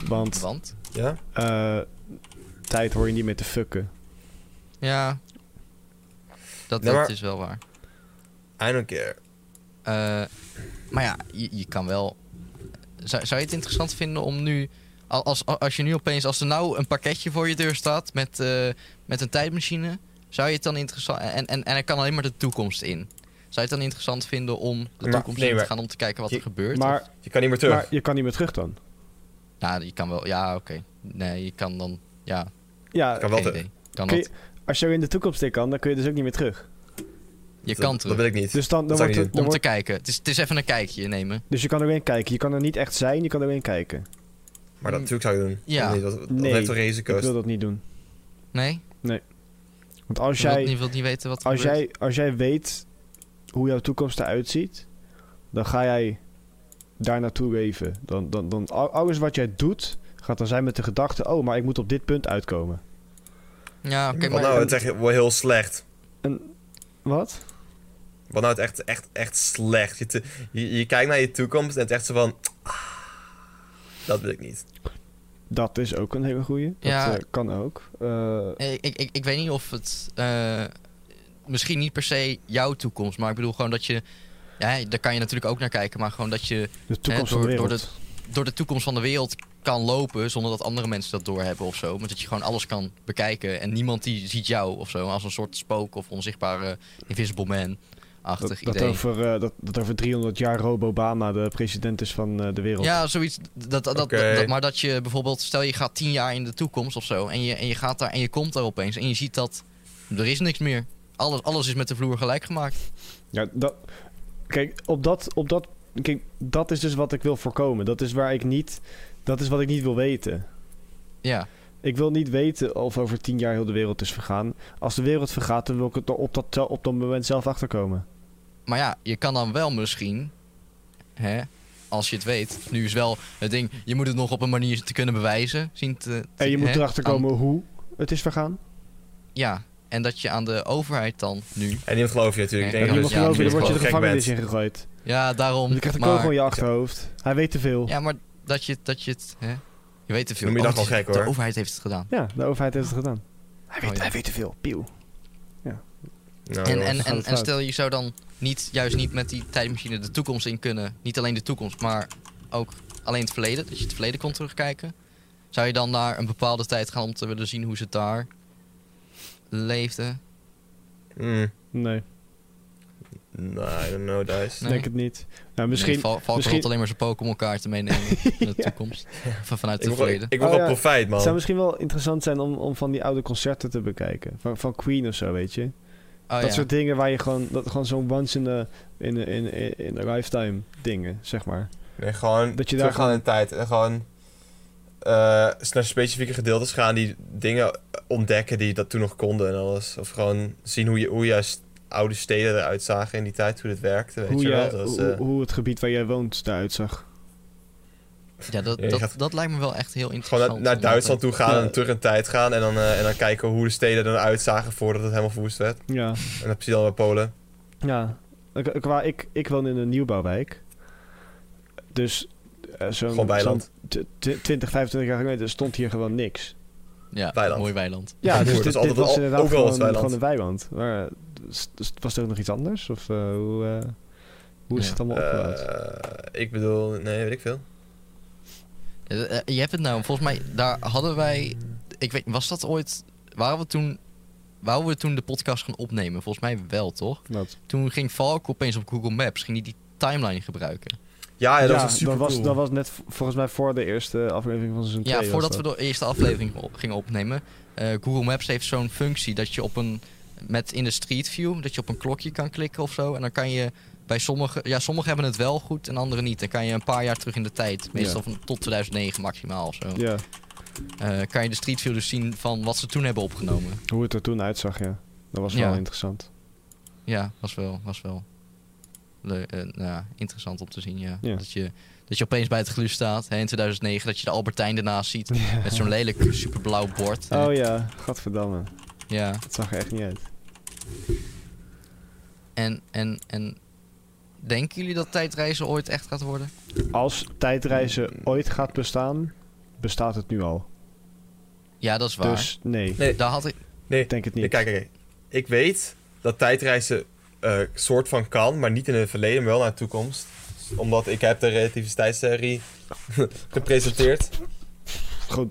Speaker 3: Want
Speaker 1: Want?
Speaker 2: Ja?
Speaker 3: eh, tijd hoor je niet meer te fucken.
Speaker 1: Ja. Dat,
Speaker 2: Nee,
Speaker 1: dat
Speaker 2: maar-
Speaker 1: is wel waar.
Speaker 2: I don't care.
Speaker 1: Eh, maar ja, je, je kan wel. Zou, zou je het interessant vinden om nu. al- Als, als, je nu opeens, als er nou een pakketje voor je deur staat met, eh, met een tijdmachine, zou je het dan interessant. En, en, en er kan alleen maar de toekomst in. Zou je het dan interessant vinden om de
Speaker 2: Maar-
Speaker 1: toekomst
Speaker 2: nee,
Speaker 1: in te
Speaker 2: maar-
Speaker 1: gaan om te kijken wat
Speaker 2: je-
Speaker 1: er gebeurt?
Speaker 3: Maar,
Speaker 1: Of-
Speaker 2: Je kan niet meer terug.
Speaker 3: maar je kan niet meer terug dan.
Speaker 1: nou, je kan wel. Ja, oké. Nee, je kan dan. Ja,
Speaker 3: Ja,
Speaker 2: Kan wel
Speaker 1: Ah, geen
Speaker 2: terug.
Speaker 1: idee. Kan
Speaker 3: kun
Speaker 1: dat.
Speaker 3: je- als je in de toekomst in kan, dan kun je dus ook niet meer terug.
Speaker 1: Je
Speaker 2: Dat-
Speaker 1: kan
Speaker 2: Dat
Speaker 1: terug.
Speaker 2: wil ik niet.
Speaker 3: Dus, dan, dan
Speaker 2: Dat zou ik
Speaker 3: wordt
Speaker 2: niet
Speaker 3: het, dan
Speaker 1: Om te
Speaker 3: wordt,
Speaker 1: kijken. Het is, het is even een kijkje nemen.
Speaker 3: dus je kan er weer in kijken. Je kan er niet echt zijn, je kan er weer in kijken.
Speaker 2: Maar dat natuurlijk zou ik doen.
Speaker 1: Ja.
Speaker 2: Nee, dat, dat
Speaker 3: Nee,
Speaker 2: heeft toch
Speaker 3: Ik
Speaker 2: risico's.
Speaker 3: wil dat niet doen.
Speaker 1: Nee?
Speaker 3: Want als
Speaker 1: Je wilt,
Speaker 3: jij,
Speaker 1: niet- wilt niet weten wat er
Speaker 3: als,
Speaker 1: gebeurt?
Speaker 3: jij, als jij weet hoe jouw toekomst eruit ziet, dan ga jij daar naartoe leven. Dan, dan, dan, al- alles wat jij doet, gaat dan zijn met de gedachte: oh, maar ik moet op dit punt uitkomen.
Speaker 1: Ja, oké,
Speaker 2: Wat
Speaker 1: maar.
Speaker 2: nou, het is echt wel heel slecht.
Speaker 3: Wat?
Speaker 2: Wat nou, het echt, echt, echt slecht. Je, te- je, je kijkt naar je toekomst en het is echt zo van... Ah, Dat wil ik niet.
Speaker 3: Dat is ook een hele goeie. Dat
Speaker 1: Ja.
Speaker 3: eh, kan ook. Eh,
Speaker 1: Eh, Ik, ik, ik weet niet of het. eh, misschien niet per se jouw toekomst, maar ik bedoel gewoon dat je. Ja, daar kan je natuurlijk ook naar kijken, maar gewoon dat je
Speaker 3: de toekomst
Speaker 1: Eh, door-
Speaker 3: van de
Speaker 1: door
Speaker 3: wereld.
Speaker 1: door de toekomst van de wereld kan lopen zonder dat andere mensen dat doorhebben of zo. Maar dat je gewoon alles kan bekijken en niemand die ziet jou of zo. Als een soort spook of onzichtbare Invisible
Speaker 3: Dat,
Speaker 1: Man-achtig
Speaker 3: dat
Speaker 1: idee.
Speaker 3: over, eh, dat, dat over 300 jaar Obama de president is van eh, de wereld.
Speaker 1: Ja, zoiets. Dat, dat, dat-
Speaker 2: Oké.
Speaker 1: dat- maar dat je bijvoorbeeld, stel je gaat tien jaar in de toekomst of zo. En je, en je gaat daar en je komt daar opeens. En je ziet dat er is niks meer. Alles, alles is met de vloer gelijk gemaakt.
Speaker 3: Ja, dat, kijk, op dat, op dat, kijk, dat is dus wat ik wil voorkomen. Dat is waar ik niet, dat is wat ik niet wil weten.
Speaker 1: Ja,
Speaker 3: Ik wil niet weten of over tien jaar heel de wereld is vergaan. Als de wereld vergaat, dan wil ik het er op dat, tel- op dat moment zelf achterkomen.
Speaker 1: maar ja, je kan dan wel misschien, hè, als je het weet. Nu is wel het ding, je moet het nog op een manier te kunnen bewijzen. Zien te,
Speaker 3: En je
Speaker 1: hè,
Speaker 3: moet erachter
Speaker 1: aan-
Speaker 3: komen hoe het is vergaan.
Speaker 1: Ja, en dat je aan de overheid dan nu.
Speaker 2: En niemand gelooft je natuurlijk.
Speaker 1: Nee,
Speaker 2: Ik
Speaker 3: En
Speaker 1: dat
Speaker 2: denk
Speaker 1: is-
Speaker 2: dat
Speaker 3: niemand
Speaker 1: ja,
Speaker 3: gelooft je, dan
Speaker 1: dat
Speaker 3: word je
Speaker 2: gewoon
Speaker 3: de
Speaker 2: gek
Speaker 3: gevangenis
Speaker 2: bent.
Speaker 3: ingegooid.
Speaker 1: Ja, daarom.
Speaker 3: Dan krijgt de
Speaker 1: maar,
Speaker 3: kogel in je achterhoofd. Hij weet te veel. Ja.
Speaker 1: Ja, maar dat je, dat je het. Hè, je weet te veel.
Speaker 2: Noem je dat
Speaker 1: het
Speaker 2: wel
Speaker 1: is-
Speaker 2: gek, hoor.
Speaker 1: De overheid heeft het gedaan.
Speaker 3: de overheid heeft het gedaan. Hij weet,
Speaker 1: Oh, ja.
Speaker 3: hij weet te veel. Pieuw.
Speaker 2: Nou,
Speaker 1: En,
Speaker 2: jongens.
Speaker 1: en,
Speaker 3: gaat
Speaker 1: en,
Speaker 3: het
Speaker 1: en
Speaker 3: fout.
Speaker 1: stel je zou dan niet, juist niet met die tijdmachine de toekomst in kunnen. Niet alleen de toekomst, maar ook alleen het verleden. Dat je het verleden kon terugkijken. Zou je dan naar een bepaalde tijd gaan om te willen zien hoe ze het daar leefden?
Speaker 2: Mm.
Speaker 3: Nee,
Speaker 2: Nou, I don't know, Dice.
Speaker 1: Nee.
Speaker 3: denk het niet. Nou,
Speaker 1: Nee,
Speaker 3: misschien...
Speaker 1: Val- Valk
Speaker 3: misschien-
Speaker 1: rolt alleen maar zijn Pokémon kaarten meenemen in de
Speaker 3: Ja.
Speaker 1: toekomst. Van, vanuit
Speaker 2: Ik
Speaker 1: het
Speaker 2: wil gewoon,
Speaker 1: verleden.
Speaker 2: ik wil
Speaker 3: Oh,
Speaker 2: gewoon
Speaker 3: ja.
Speaker 2: profijt, man.
Speaker 3: Het zou misschien wel interessant zijn om, om van die oude concerten te bekijken. Van, van Queen of zo, weet je.
Speaker 1: Oh,
Speaker 3: dat
Speaker 1: ja.
Speaker 3: soort dingen waar je gewoon... Dat gewoon zo'n once in a, in, a- in, in, in a lifetime dingen, zeg maar.
Speaker 2: Nee, gewoon
Speaker 3: Dat
Speaker 2: dat
Speaker 3: je
Speaker 2: je
Speaker 3: daar
Speaker 2: terug aan de tijd. En gewoon eh, s- naar specifieke gedeeltes gaan die dingen ontdekken die dat toen nog konden en alles. Of gewoon zien hoe, je, hoe juist oude steden eruit zagen in die tijd, hoe dit werkte, weet
Speaker 3: Hoe,
Speaker 2: je
Speaker 3: je,
Speaker 2: wel. Dat is,
Speaker 3: hoe,
Speaker 2: eh,
Speaker 3: hoe het gebied waar jij woont eruit zag.
Speaker 1: Ja, dat,
Speaker 2: Ja, je
Speaker 1: dat,
Speaker 2: gaat-
Speaker 1: dat lijkt me wel echt heel interessant.
Speaker 2: gewoon naar, naar
Speaker 1: om dat
Speaker 2: Duitsland toe gaan
Speaker 3: Ja.
Speaker 2: en terug in tijd gaan. En dan, eh, en dan kijken hoe de steden eruit zagen voordat het helemaal verwoest werd.
Speaker 3: Ja.
Speaker 2: En dat precies dan bij Polen.
Speaker 3: Ja, ik, ik, waar ik, ik woon in een nieuwbouwwijk. Dus eh, zo'n
Speaker 2: Gewoon weiland.
Speaker 3: zo'n tw- tw- 20, 25 jaar geleden stond hier gewoon niks.
Speaker 1: Ja,
Speaker 2: Weiland.
Speaker 1: mooi weiland.
Speaker 3: Ja,
Speaker 2: Ja,
Speaker 3: dus
Speaker 2: dat
Speaker 3: dit,
Speaker 2: is
Speaker 3: dit
Speaker 2: altijd
Speaker 3: was
Speaker 2: al-
Speaker 3: inderdaad
Speaker 2: ook wel
Speaker 3: gewoon,
Speaker 2: eens weiland.
Speaker 3: gewoon een weiland. Maar, eh, s- dus was het ook nog iets anders? Of eh, hoe, eh, hoe is
Speaker 1: Ja.
Speaker 3: het allemaal opgebouwd?
Speaker 2: Eh, ik bedoel, nee, weet ik veel.
Speaker 1: Eh, eh, Je hebt het nou, volgens mij, daar hadden wij. Ik weet, was dat ooit. Waren we toen. Wouden we toen de podcast gaan opnemen? Volgens mij wel, toch?
Speaker 3: Wat?
Speaker 1: Toen ging Valk opeens op Google Maps. Ging hij die timeline gebruiken?
Speaker 2: Ja, ja, dat
Speaker 3: Ja,
Speaker 2: was super
Speaker 3: dat, was, dat was net v- volgens mij voor de eerste aflevering van seizoen 2.
Speaker 1: Ja, voordat we de eerste aflevering op- gingen opnemen. eh, Google Maps heeft zo'n functie dat je op een. Met in de Street View, dat je op een klokje kan klikken of zo. En dan kan je bij sommige. Ja, sommigen hebben het wel goed en anderen niet. Dan kan je een paar jaar terug in de tijd. Meestal van tot 2009 maximaal of zo.
Speaker 3: Ja,
Speaker 1: Eh, kan je de Street View dus zien van wat ze toen hebben opgenomen.
Speaker 3: hoe het er toen uitzag, ja. Dat was
Speaker 1: Ja.
Speaker 3: wel interessant.
Speaker 1: Ja, was wel, was wel leu- eh, nou ja, interessant om te zien, ja.
Speaker 3: Ja.
Speaker 1: Dat, je, dat je opeens bij het glu staat, hè, in 2009, dat je de Albertijn ernaast ziet. Met zo'n lelijk superblauw bord. hè.
Speaker 3: Oh ja, gadverdamme.
Speaker 1: Ja,
Speaker 3: Het zag er echt niet uit.
Speaker 1: en, en, en denken jullie dat tijdreizen ooit echt gaat worden?
Speaker 3: Als tijdreizen
Speaker 2: Mm.
Speaker 3: ooit gaat bestaan, bestaat het nu al.
Speaker 1: Ja, dat is waar.
Speaker 3: Dus nee,
Speaker 2: Nee.
Speaker 1: Daar had ik...
Speaker 2: Nee,
Speaker 3: ik denk het niet.
Speaker 2: Ja, Kijk, kijk, ik weet dat tijdreizen eh soort van kan, maar niet in het verleden, maar wel naar de toekomst. Omdat ik heb de relativiteitstheorie gepresenteerd.
Speaker 3: Groot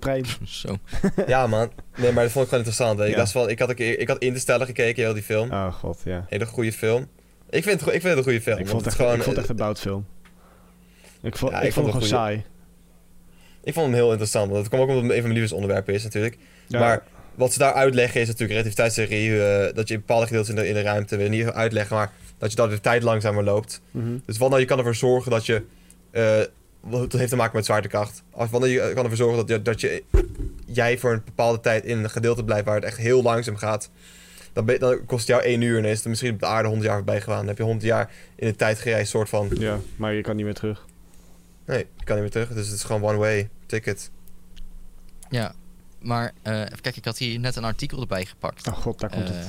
Speaker 3: brein.
Speaker 1: Zo.
Speaker 2: ja, man. Nee, maar dat vond ik gewoon interessant. weet je.
Speaker 3: Ja.
Speaker 2: Dat is wel, ik, had, een keer- ik had Interstellar gekeken, heel die film.
Speaker 3: Oh god, ja.
Speaker 2: Hele goede film. Ik vind het, go- ik vind het een goede film.
Speaker 3: ik,
Speaker 2: want het
Speaker 3: vond het
Speaker 2: is
Speaker 3: echt,
Speaker 2: gewoon,
Speaker 3: ik vond het echt
Speaker 2: eh,
Speaker 3: een boutfilm. Ik vond,
Speaker 2: Ja,
Speaker 3: ik
Speaker 2: ik
Speaker 3: vond
Speaker 2: vond
Speaker 3: het gewoon
Speaker 2: het
Speaker 3: saai.
Speaker 2: ik vond hem heel interessant. Want het kwam ook omdat het een van mijn liefdesonderwerpen is natuurlijk.
Speaker 3: Ja,
Speaker 2: Maar wat ze daar uitleggen is natuurlijk relativiteitstheorie. eh, dat je in bepaalde gedeeltes in de, in de ruimte, wil ik niet uitleggen, maar dat je dat de tijd langzamer loopt.
Speaker 3: mhm.
Speaker 2: Dus wanneer je kan ervoor zorgen dat je. eh, wat dat heeft te maken met zwaartekracht. Als wanneer je eh, kan ervoor zorgen dat, je- dat je, jij voor een bepaalde tijd in een gedeelte blijft waar het echt heel langzaam gaat. Dan, ben, je- dan kost het jou één uur en dan is het misschien op de aarde 100 jaar voorbij gegaan. Dan heb je 100 jaar in de tijd gereisd, soort van.
Speaker 3: ja, maar je kan niet meer terug.
Speaker 2: Nee, je kan niet meer terug. Dus het is gewoon one-way ticket.
Speaker 1: Ja, maar eh, even kijken, ik had hier net een artikel erbij gepakt.
Speaker 3: Oh god, daar komt
Speaker 1: Eh,
Speaker 3: het.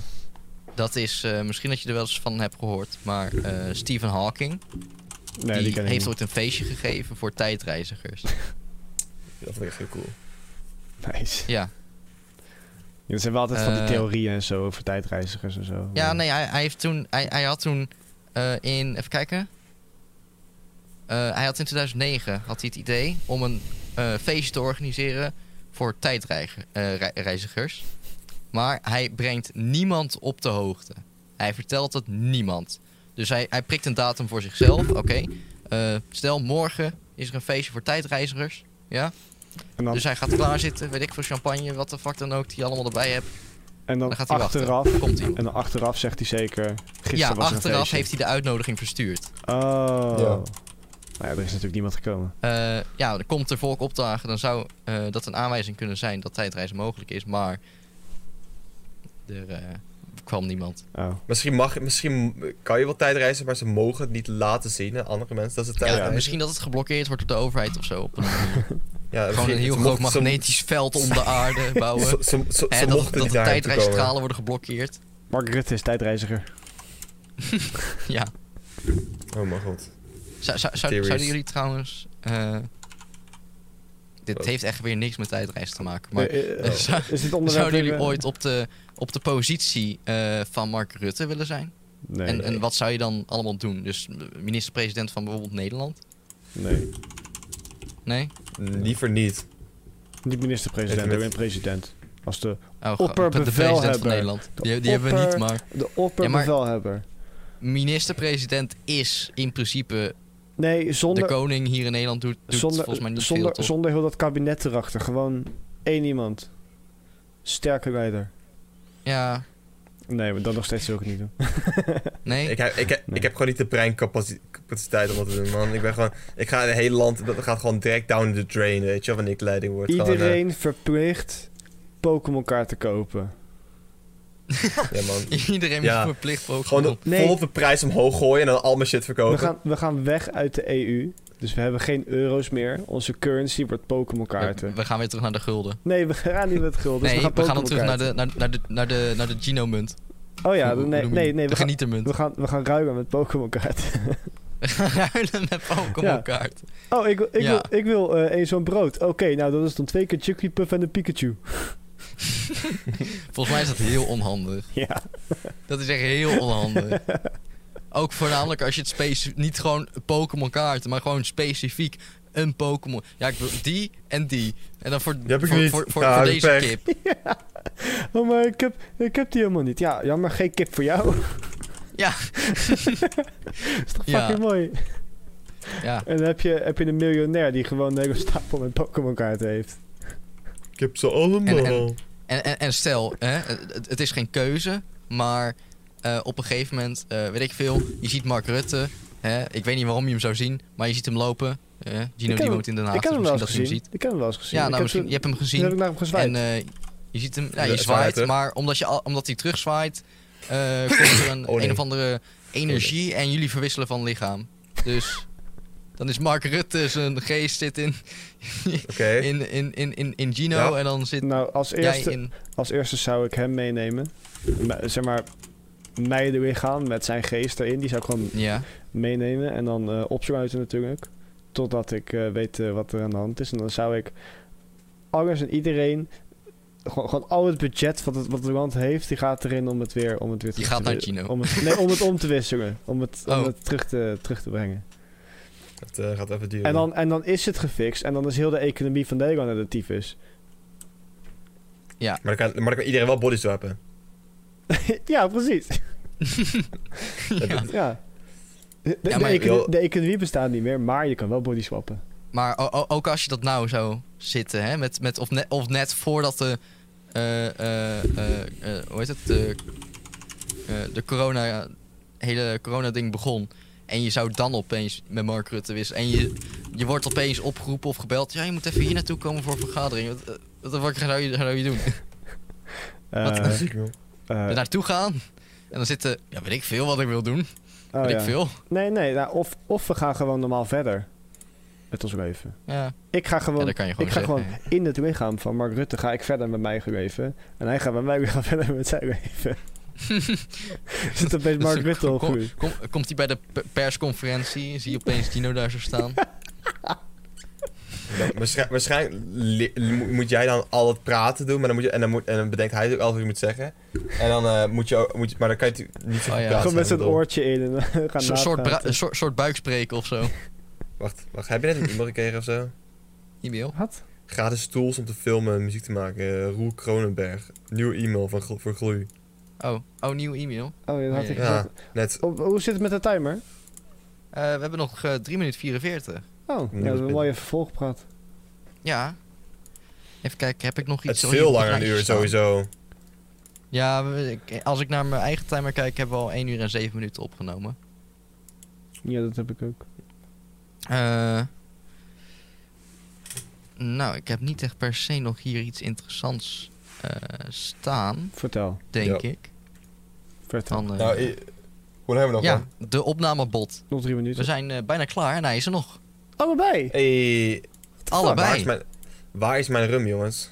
Speaker 1: dat is, eh, misschien dat je er wel eens van hebt gehoord, maar eh, Stephen Hawking...
Speaker 3: Nee, die,
Speaker 1: die
Speaker 3: ken ik
Speaker 1: heeft
Speaker 3: niet.
Speaker 1: ooit een feestje gegeven voor tijdreizigers.
Speaker 2: Dat vond ik echt heel cool.
Speaker 3: Nice.
Speaker 1: Ja,
Speaker 3: Ja, Er zijn wel altijd van die
Speaker 1: Eh.
Speaker 3: theorieën en zo over tijdreizigers en zo.
Speaker 1: ja
Speaker 3: Maar-
Speaker 1: nee, hij, hij, heeft toen, hij, hij had toen eh, in... Even kijken. Eh, hij had in 2009 had hij het idee om een eh, feestje te organiseren voor tijdreizigers. maar hij brengt niemand op de hoogte. Hij vertelt het niemand. Dus hij, hij prikt een datum voor zichzelf. Oké, eh, stel morgen is er een feestje voor tijdreizigers. Ja?
Speaker 3: En dan,
Speaker 1: Dus hij gaat klaarzitten, weet ik voor champagne, wat de fuck dan ook, die je allemaal erbij hebt.
Speaker 3: en dan,
Speaker 1: dan gaat hij wachten.
Speaker 3: achteraf.
Speaker 1: Komt iemand.
Speaker 3: En dan achteraf zegt hij zeker. Gisteren
Speaker 1: Ja,
Speaker 3: was er een
Speaker 1: achteraf
Speaker 3: feestje.
Speaker 1: heeft hij de uitnodiging verstuurd.
Speaker 3: Oh.
Speaker 2: Ja.
Speaker 3: Nou ja, er is natuurlijk niemand gekomen.
Speaker 1: Eh, ja, dan komt er volk opdagen, dan zou eh, dat een aanwijzing kunnen zijn dat tijdreizen mogelijk is, maar er eh, kwam niemand.
Speaker 3: Oh.
Speaker 2: Misschien, mag, misschien kan je wel tijdreizen, maar ze mogen het niet laten zien aan andere mensen dat ze
Speaker 1: Ja,
Speaker 2: tijdreizen.
Speaker 1: misschien dat het geblokkeerd wordt op de overheid of zo. Op een,
Speaker 2: Ja,
Speaker 1: gewoon
Speaker 2: misschien-
Speaker 1: een heel
Speaker 2: ze
Speaker 1: groot
Speaker 2: mochten- ze-
Speaker 1: magnetisch veld om de aarde
Speaker 2: Ze,
Speaker 1: bouwen.
Speaker 2: ze, ze, ze
Speaker 1: Hè, dat
Speaker 2: mochten
Speaker 1: dat de
Speaker 2: niet daarheen toe komen.
Speaker 1: tijdreisstralen worden geblokkeerd.
Speaker 3: Mark Rutte is tijdreiziger.
Speaker 1: Ja.
Speaker 2: Oh mijn god.
Speaker 1: Zou, zou, zou-
Speaker 2: Theories.
Speaker 1: zouden jullie trouwens. eh, dit
Speaker 2: Wat?
Speaker 1: heeft echt weer niks met tijdreis te maken. Maar
Speaker 3: Eh, eh,
Speaker 1: eh, zou-
Speaker 3: is dit onderwerp
Speaker 1: zouden jullie
Speaker 3: weer-
Speaker 1: ooit op de, op de positie eh, van Mark Rutte willen zijn?
Speaker 3: Nee,
Speaker 1: en,
Speaker 3: nee.
Speaker 1: en wat zou je dan allemaal doen? Dus minister-president van bijvoorbeeld Nederland?
Speaker 3: nee.
Speaker 1: Nee?
Speaker 2: Liever niet.
Speaker 3: Niet minister-president,
Speaker 2: Even
Speaker 3: ik
Speaker 2: met-
Speaker 3: ben president. Als de,
Speaker 1: Oh, gewoon de president van
Speaker 3: Opperbevelhebber.
Speaker 1: Nederland.
Speaker 3: De
Speaker 1: Die, die hebben we niet,
Speaker 3: opper-
Speaker 1: maar.
Speaker 3: de opperbevelhebber.
Speaker 1: Minister-president is in principe.
Speaker 3: Nee, zonder,
Speaker 1: de koning hier in Nederland doet, doet
Speaker 3: zonder,
Speaker 1: volgens mij niet
Speaker 3: zonder,
Speaker 1: veel. Toch?
Speaker 3: zonder heel dat kabinet erachter. Gewoon één iemand. Sterke leider.
Speaker 1: Ja,
Speaker 3: Nee, maar dat nog steeds wil ik het niet doen.
Speaker 1: nee.
Speaker 2: Ik, heb- ik, heb-
Speaker 3: Nee.
Speaker 2: ik heb gewoon niet de breincapaciteit om dat te doen, man. Ik ben gewoon... Ik ga het hele land... Dat gaat gewoon direct down the drain, weet je wel, wanneer ik leiding word. Gewoon,
Speaker 3: Iedereen verplicht Pokémon kaart te kopen.
Speaker 2: eh, ja, man.
Speaker 1: Iedereen moet
Speaker 2: Ja.
Speaker 1: verplicht ook.
Speaker 2: Gewoon de,
Speaker 3: Nee.
Speaker 2: volop de prijs omhoog gooien en dan al mijn shit
Speaker 3: We
Speaker 2: verkopen.
Speaker 3: gaan, we gaan weg uit de EU. Dus we hebben geen euro's meer. Onze currency wordt Pokémon
Speaker 1: we,
Speaker 3: kaarten.
Speaker 1: we gaan weer terug naar de gulden.
Speaker 3: Nee, we gaan niet met gulden.
Speaker 1: nee,
Speaker 3: dus we gaan,
Speaker 1: we gaan dan
Speaker 3: Pokémon
Speaker 1: terug naar
Speaker 3: kaarten.
Speaker 1: de, naar, naar de, naar de, naar de Gino-munt.
Speaker 3: Oh ja,
Speaker 1: Hoe- hoe
Speaker 3: nee,
Speaker 1: noem je
Speaker 3: nee,
Speaker 1: die?
Speaker 3: nee.
Speaker 1: De
Speaker 3: We gaan,
Speaker 1: genietermunt.
Speaker 3: we, gaan, we gaan ruilen met Pokémon kaarten.
Speaker 1: We gaan ruilen met Pokémon
Speaker 3: Ja.
Speaker 1: kaart.
Speaker 3: Oh, ik, wil- ik
Speaker 1: Ja.
Speaker 3: wil, ik wil eh, één zo'n brood. Oké, nou dat is dan twee keer Jigglypuff en een Pikachu.
Speaker 1: Volgens mij is dat heel onhandig.
Speaker 3: Ja.
Speaker 1: Dat is echt heel onhandig. Ook voornamelijk als je het specifiek... Niet gewoon Pokémon kaarten, maar gewoon specifiek een Pokémon. Ja, ik wil die en die. En dan voor,
Speaker 2: Die heb ik
Speaker 1: voor,
Speaker 2: niet.
Speaker 1: voor, voor,
Speaker 2: Ja,
Speaker 1: voor
Speaker 2: heb ik
Speaker 1: deze
Speaker 2: pech.
Speaker 1: kip.
Speaker 3: Oh, maar ik heb, ik heb die helemaal niet. Ja, jammer, geen kip voor jou.
Speaker 1: Ja.
Speaker 3: is toch
Speaker 1: Ja.
Speaker 3: fucking mooi?
Speaker 1: Ja,
Speaker 3: En dan heb je, heb je een miljonair die gewoon een hele stapel met Pokémon kaarten heeft.
Speaker 1: Nou,
Speaker 2: Ik heb ze allemaal.
Speaker 1: En- En, en, en stel, hè, het, het is geen keuze, maar eh, op een gegeven moment, eh, weet ik veel, je ziet Mark Rutte. Hè, ik weet niet waarom je hem zou zien, maar je ziet hem lopen. Hè, Gino
Speaker 3: heb
Speaker 1: die
Speaker 3: hem-
Speaker 1: woont in Den Haag,
Speaker 3: ik heb hem
Speaker 1: dus misschien
Speaker 3: wel eens
Speaker 1: dat je hem
Speaker 3: gezien.
Speaker 1: ziet.
Speaker 3: Ik heb hem wel eens gezien.
Speaker 1: Ja,
Speaker 3: Ik
Speaker 1: nou
Speaker 3: heb
Speaker 1: misschien,
Speaker 3: toen-
Speaker 1: je hebt hem
Speaker 3: toen heb ik
Speaker 1: gezien
Speaker 3: naar hem gezwaaid.
Speaker 1: en eh, je ziet hem, ja,
Speaker 2: Ja,
Speaker 1: je
Speaker 2: hij zwaait,
Speaker 1: zwaait,
Speaker 2: hè?
Speaker 1: maar omdat, je al, omdat hij terugzwaait, eh komt er een,
Speaker 2: Oh, nee.
Speaker 1: een of andere energie en jullie verwisselen van lichaam. Dus dan is Mark Rutte, zijn geest zit in,
Speaker 2: Oké.
Speaker 1: in, in, in, in, in Gino
Speaker 2: Ja.
Speaker 1: en dan zit
Speaker 3: nou, als
Speaker 1: eh, jij
Speaker 3: eerste,
Speaker 1: in...
Speaker 3: als eerste zou ik hem meenemen. Maar, Zeg maar, mij erin gaan met zijn geest erin. Die zou ik gewoon
Speaker 1: Ja.
Speaker 3: meenemen en dan eh opsluiten natuurlijk. Totdat ik eh, weet eh, wat er aan de hand is. En dan zou ik alles en iedereen, gewoon, gewoon al het budget wat het, wat het land heeft, die gaat erin om het weer, om het weer
Speaker 1: Die
Speaker 3: terug
Speaker 1: gaat
Speaker 3: te
Speaker 1: naar
Speaker 3: wi-
Speaker 1: Gino.
Speaker 3: Om het, nee, om het om te wisselen. Om het, om
Speaker 1: Oh.
Speaker 3: het terug, te, terug te brengen.
Speaker 2: Dat eh, gaat even duren.
Speaker 3: En dan, en dan is het gefixt en dan is heel de economie van Nederland naar de tyfus.
Speaker 2: Maar, dan kan, maar dan kan iedereen wel bodyswappen.
Speaker 3: ja, precies.
Speaker 1: ja.
Speaker 3: Ja. De, de
Speaker 1: maar-
Speaker 3: econo- de economie bestaat niet meer, maar je kan wel body swappen.
Speaker 1: Maar o- o- ook als je dat nou zou zitten, hè, met, met of, net, of net voordat de. eh, eh, eh, eh, hoe heet het? De, eh, de corona. hele corona-ding begon. En je zou dan opeens met Mark Rutte wisselen. En je, je wordt opeens opgeroepen of gebeld. Ja, je moet even hier naartoe komen voor een vergadering. Wat, eh, wat de fuck zou je, zou je doen? Wat?
Speaker 3: Eh,
Speaker 2: Ziek, joh.
Speaker 3: eh,
Speaker 1: Er naartoe gaan. En dan zitten. Ja, weet ik veel wat ik wil doen.
Speaker 3: oh
Speaker 1: weet
Speaker 3: ja.
Speaker 1: ik veel.
Speaker 3: Nee, nee. Nou, of, of we gaan gewoon normaal verder met ons leven.
Speaker 1: Ja,
Speaker 3: Ik ga
Speaker 1: ja
Speaker 3: gewoon,
Speaker 1: dat kan je gewoon
Speaker 3: ik ga
Speaker 1: zeggen.
Speaker 3: gewoon in het lichaam van Mark Rutte ga ik verder met mijn leven. En hij gaat met mij weer gaan verder met zijn leven. Zit opeens
Speaker 1: Dat
Speaker 3: Mark
Speaker 1: is-
Speaker 3: Rutte op u.
Speaker 1: Kom, komt hij bij de pe- persconferentie? Zie je opeens Gino daar zo staan?
Speaker 2: Ja, waarschijn- waarschijnlijk li- mo- moet jij dan al het praten doen, maar dan moet je, en, dan moet, en dan bedenkt hij ook alles wat je moet zeggen. En dan eh, moet je ook, moet je, maar dan kan je het niet zo
Speaker 1: Oh
Speaker 2: goed
Speaker 1: ja.
Speaker 2: praten.
Speaker 3: Gewoon met
Speaker 2: ik
Speaker 3: zo'n
Speaker 2: bedoel.
Speaker 3: oortje in en gaan
Speaker 1: Een soort, soort, bra-
Speaker 3: napraten.
Speaker 1: een soort, soort buikspreken of zo.
Speaker 2: Wacht, wacht, heb je net een e-mail gekregen of zo?
Speaker 1: E-mail.
Speaker 3: Wat?
Speaker 2: Gratis tools om te filmen en muziek te maken. Eh, Roel Kronenberg. Nieuwe e-mail van Glo- voor Gloei.
Speaker 1: Oh, oh nieuw e-mail.
Speaker 3: Oh, dat had ik
Speaker 2: Ja.
Speaker 3: gezegd.
Speaker 2: Net.
Speaker 3: Op- Hoe zit het met de timer?
Speaker 1: Eh, we hebben nog eh 3 minuten 44.
Speaker 3: Oh, ja,
Speaker 2: Nee,
Speaker 3: dat is
Speaker 2: dat
Speaker 3: een
Speaker 2: is
Speaker 3: mooie vervolgpraat.
Speaker 1: Ja. Even kijken, heb ik nog
Speaker 2: Het
Speaker 1: iets?
Speaker 2: is
Speaker 1: hier
Speaker 2: veel
Speaker 1: op het
Speaker 2: langer een
Speaker 1: lijstje
Speaker 2: uur
Speaker 1: staan?
Speaker 2: sowieso.
Speaker 1: Ja, we- ik- als ik naar mijn eigen timer kijk, hebben we al 1 uur en 7 minuten opgenomen.
Speaker 3: Ja, dat heb ik ook.
Speaker 1: Eh, nou, ik heb niet echt per se nog hier iets interessants eh, staan,
Speaker 3: Vertel.
Speaker 1: denk
Speaker 2: Ja.
Speaker 1: ik.
Speaker 3: Vertel.
Speaker 1: Dan, eh,
Speaker 2: Nou, i- hoe lang hebben we nog?
Speaker 1: ja,
Speaker 2: man?
Speaker 1: de opnamebot.
Speaker 3: Nog drie minuten.
Speaker 1: We zijn eh, bijna klaar en hij is er nog.
Speaker 3: Allebei!
Speaker 2: Hey, Waar is
Speaker 1: Allebei.
Speaker 2: mijn, waar is mijn rum, jongens?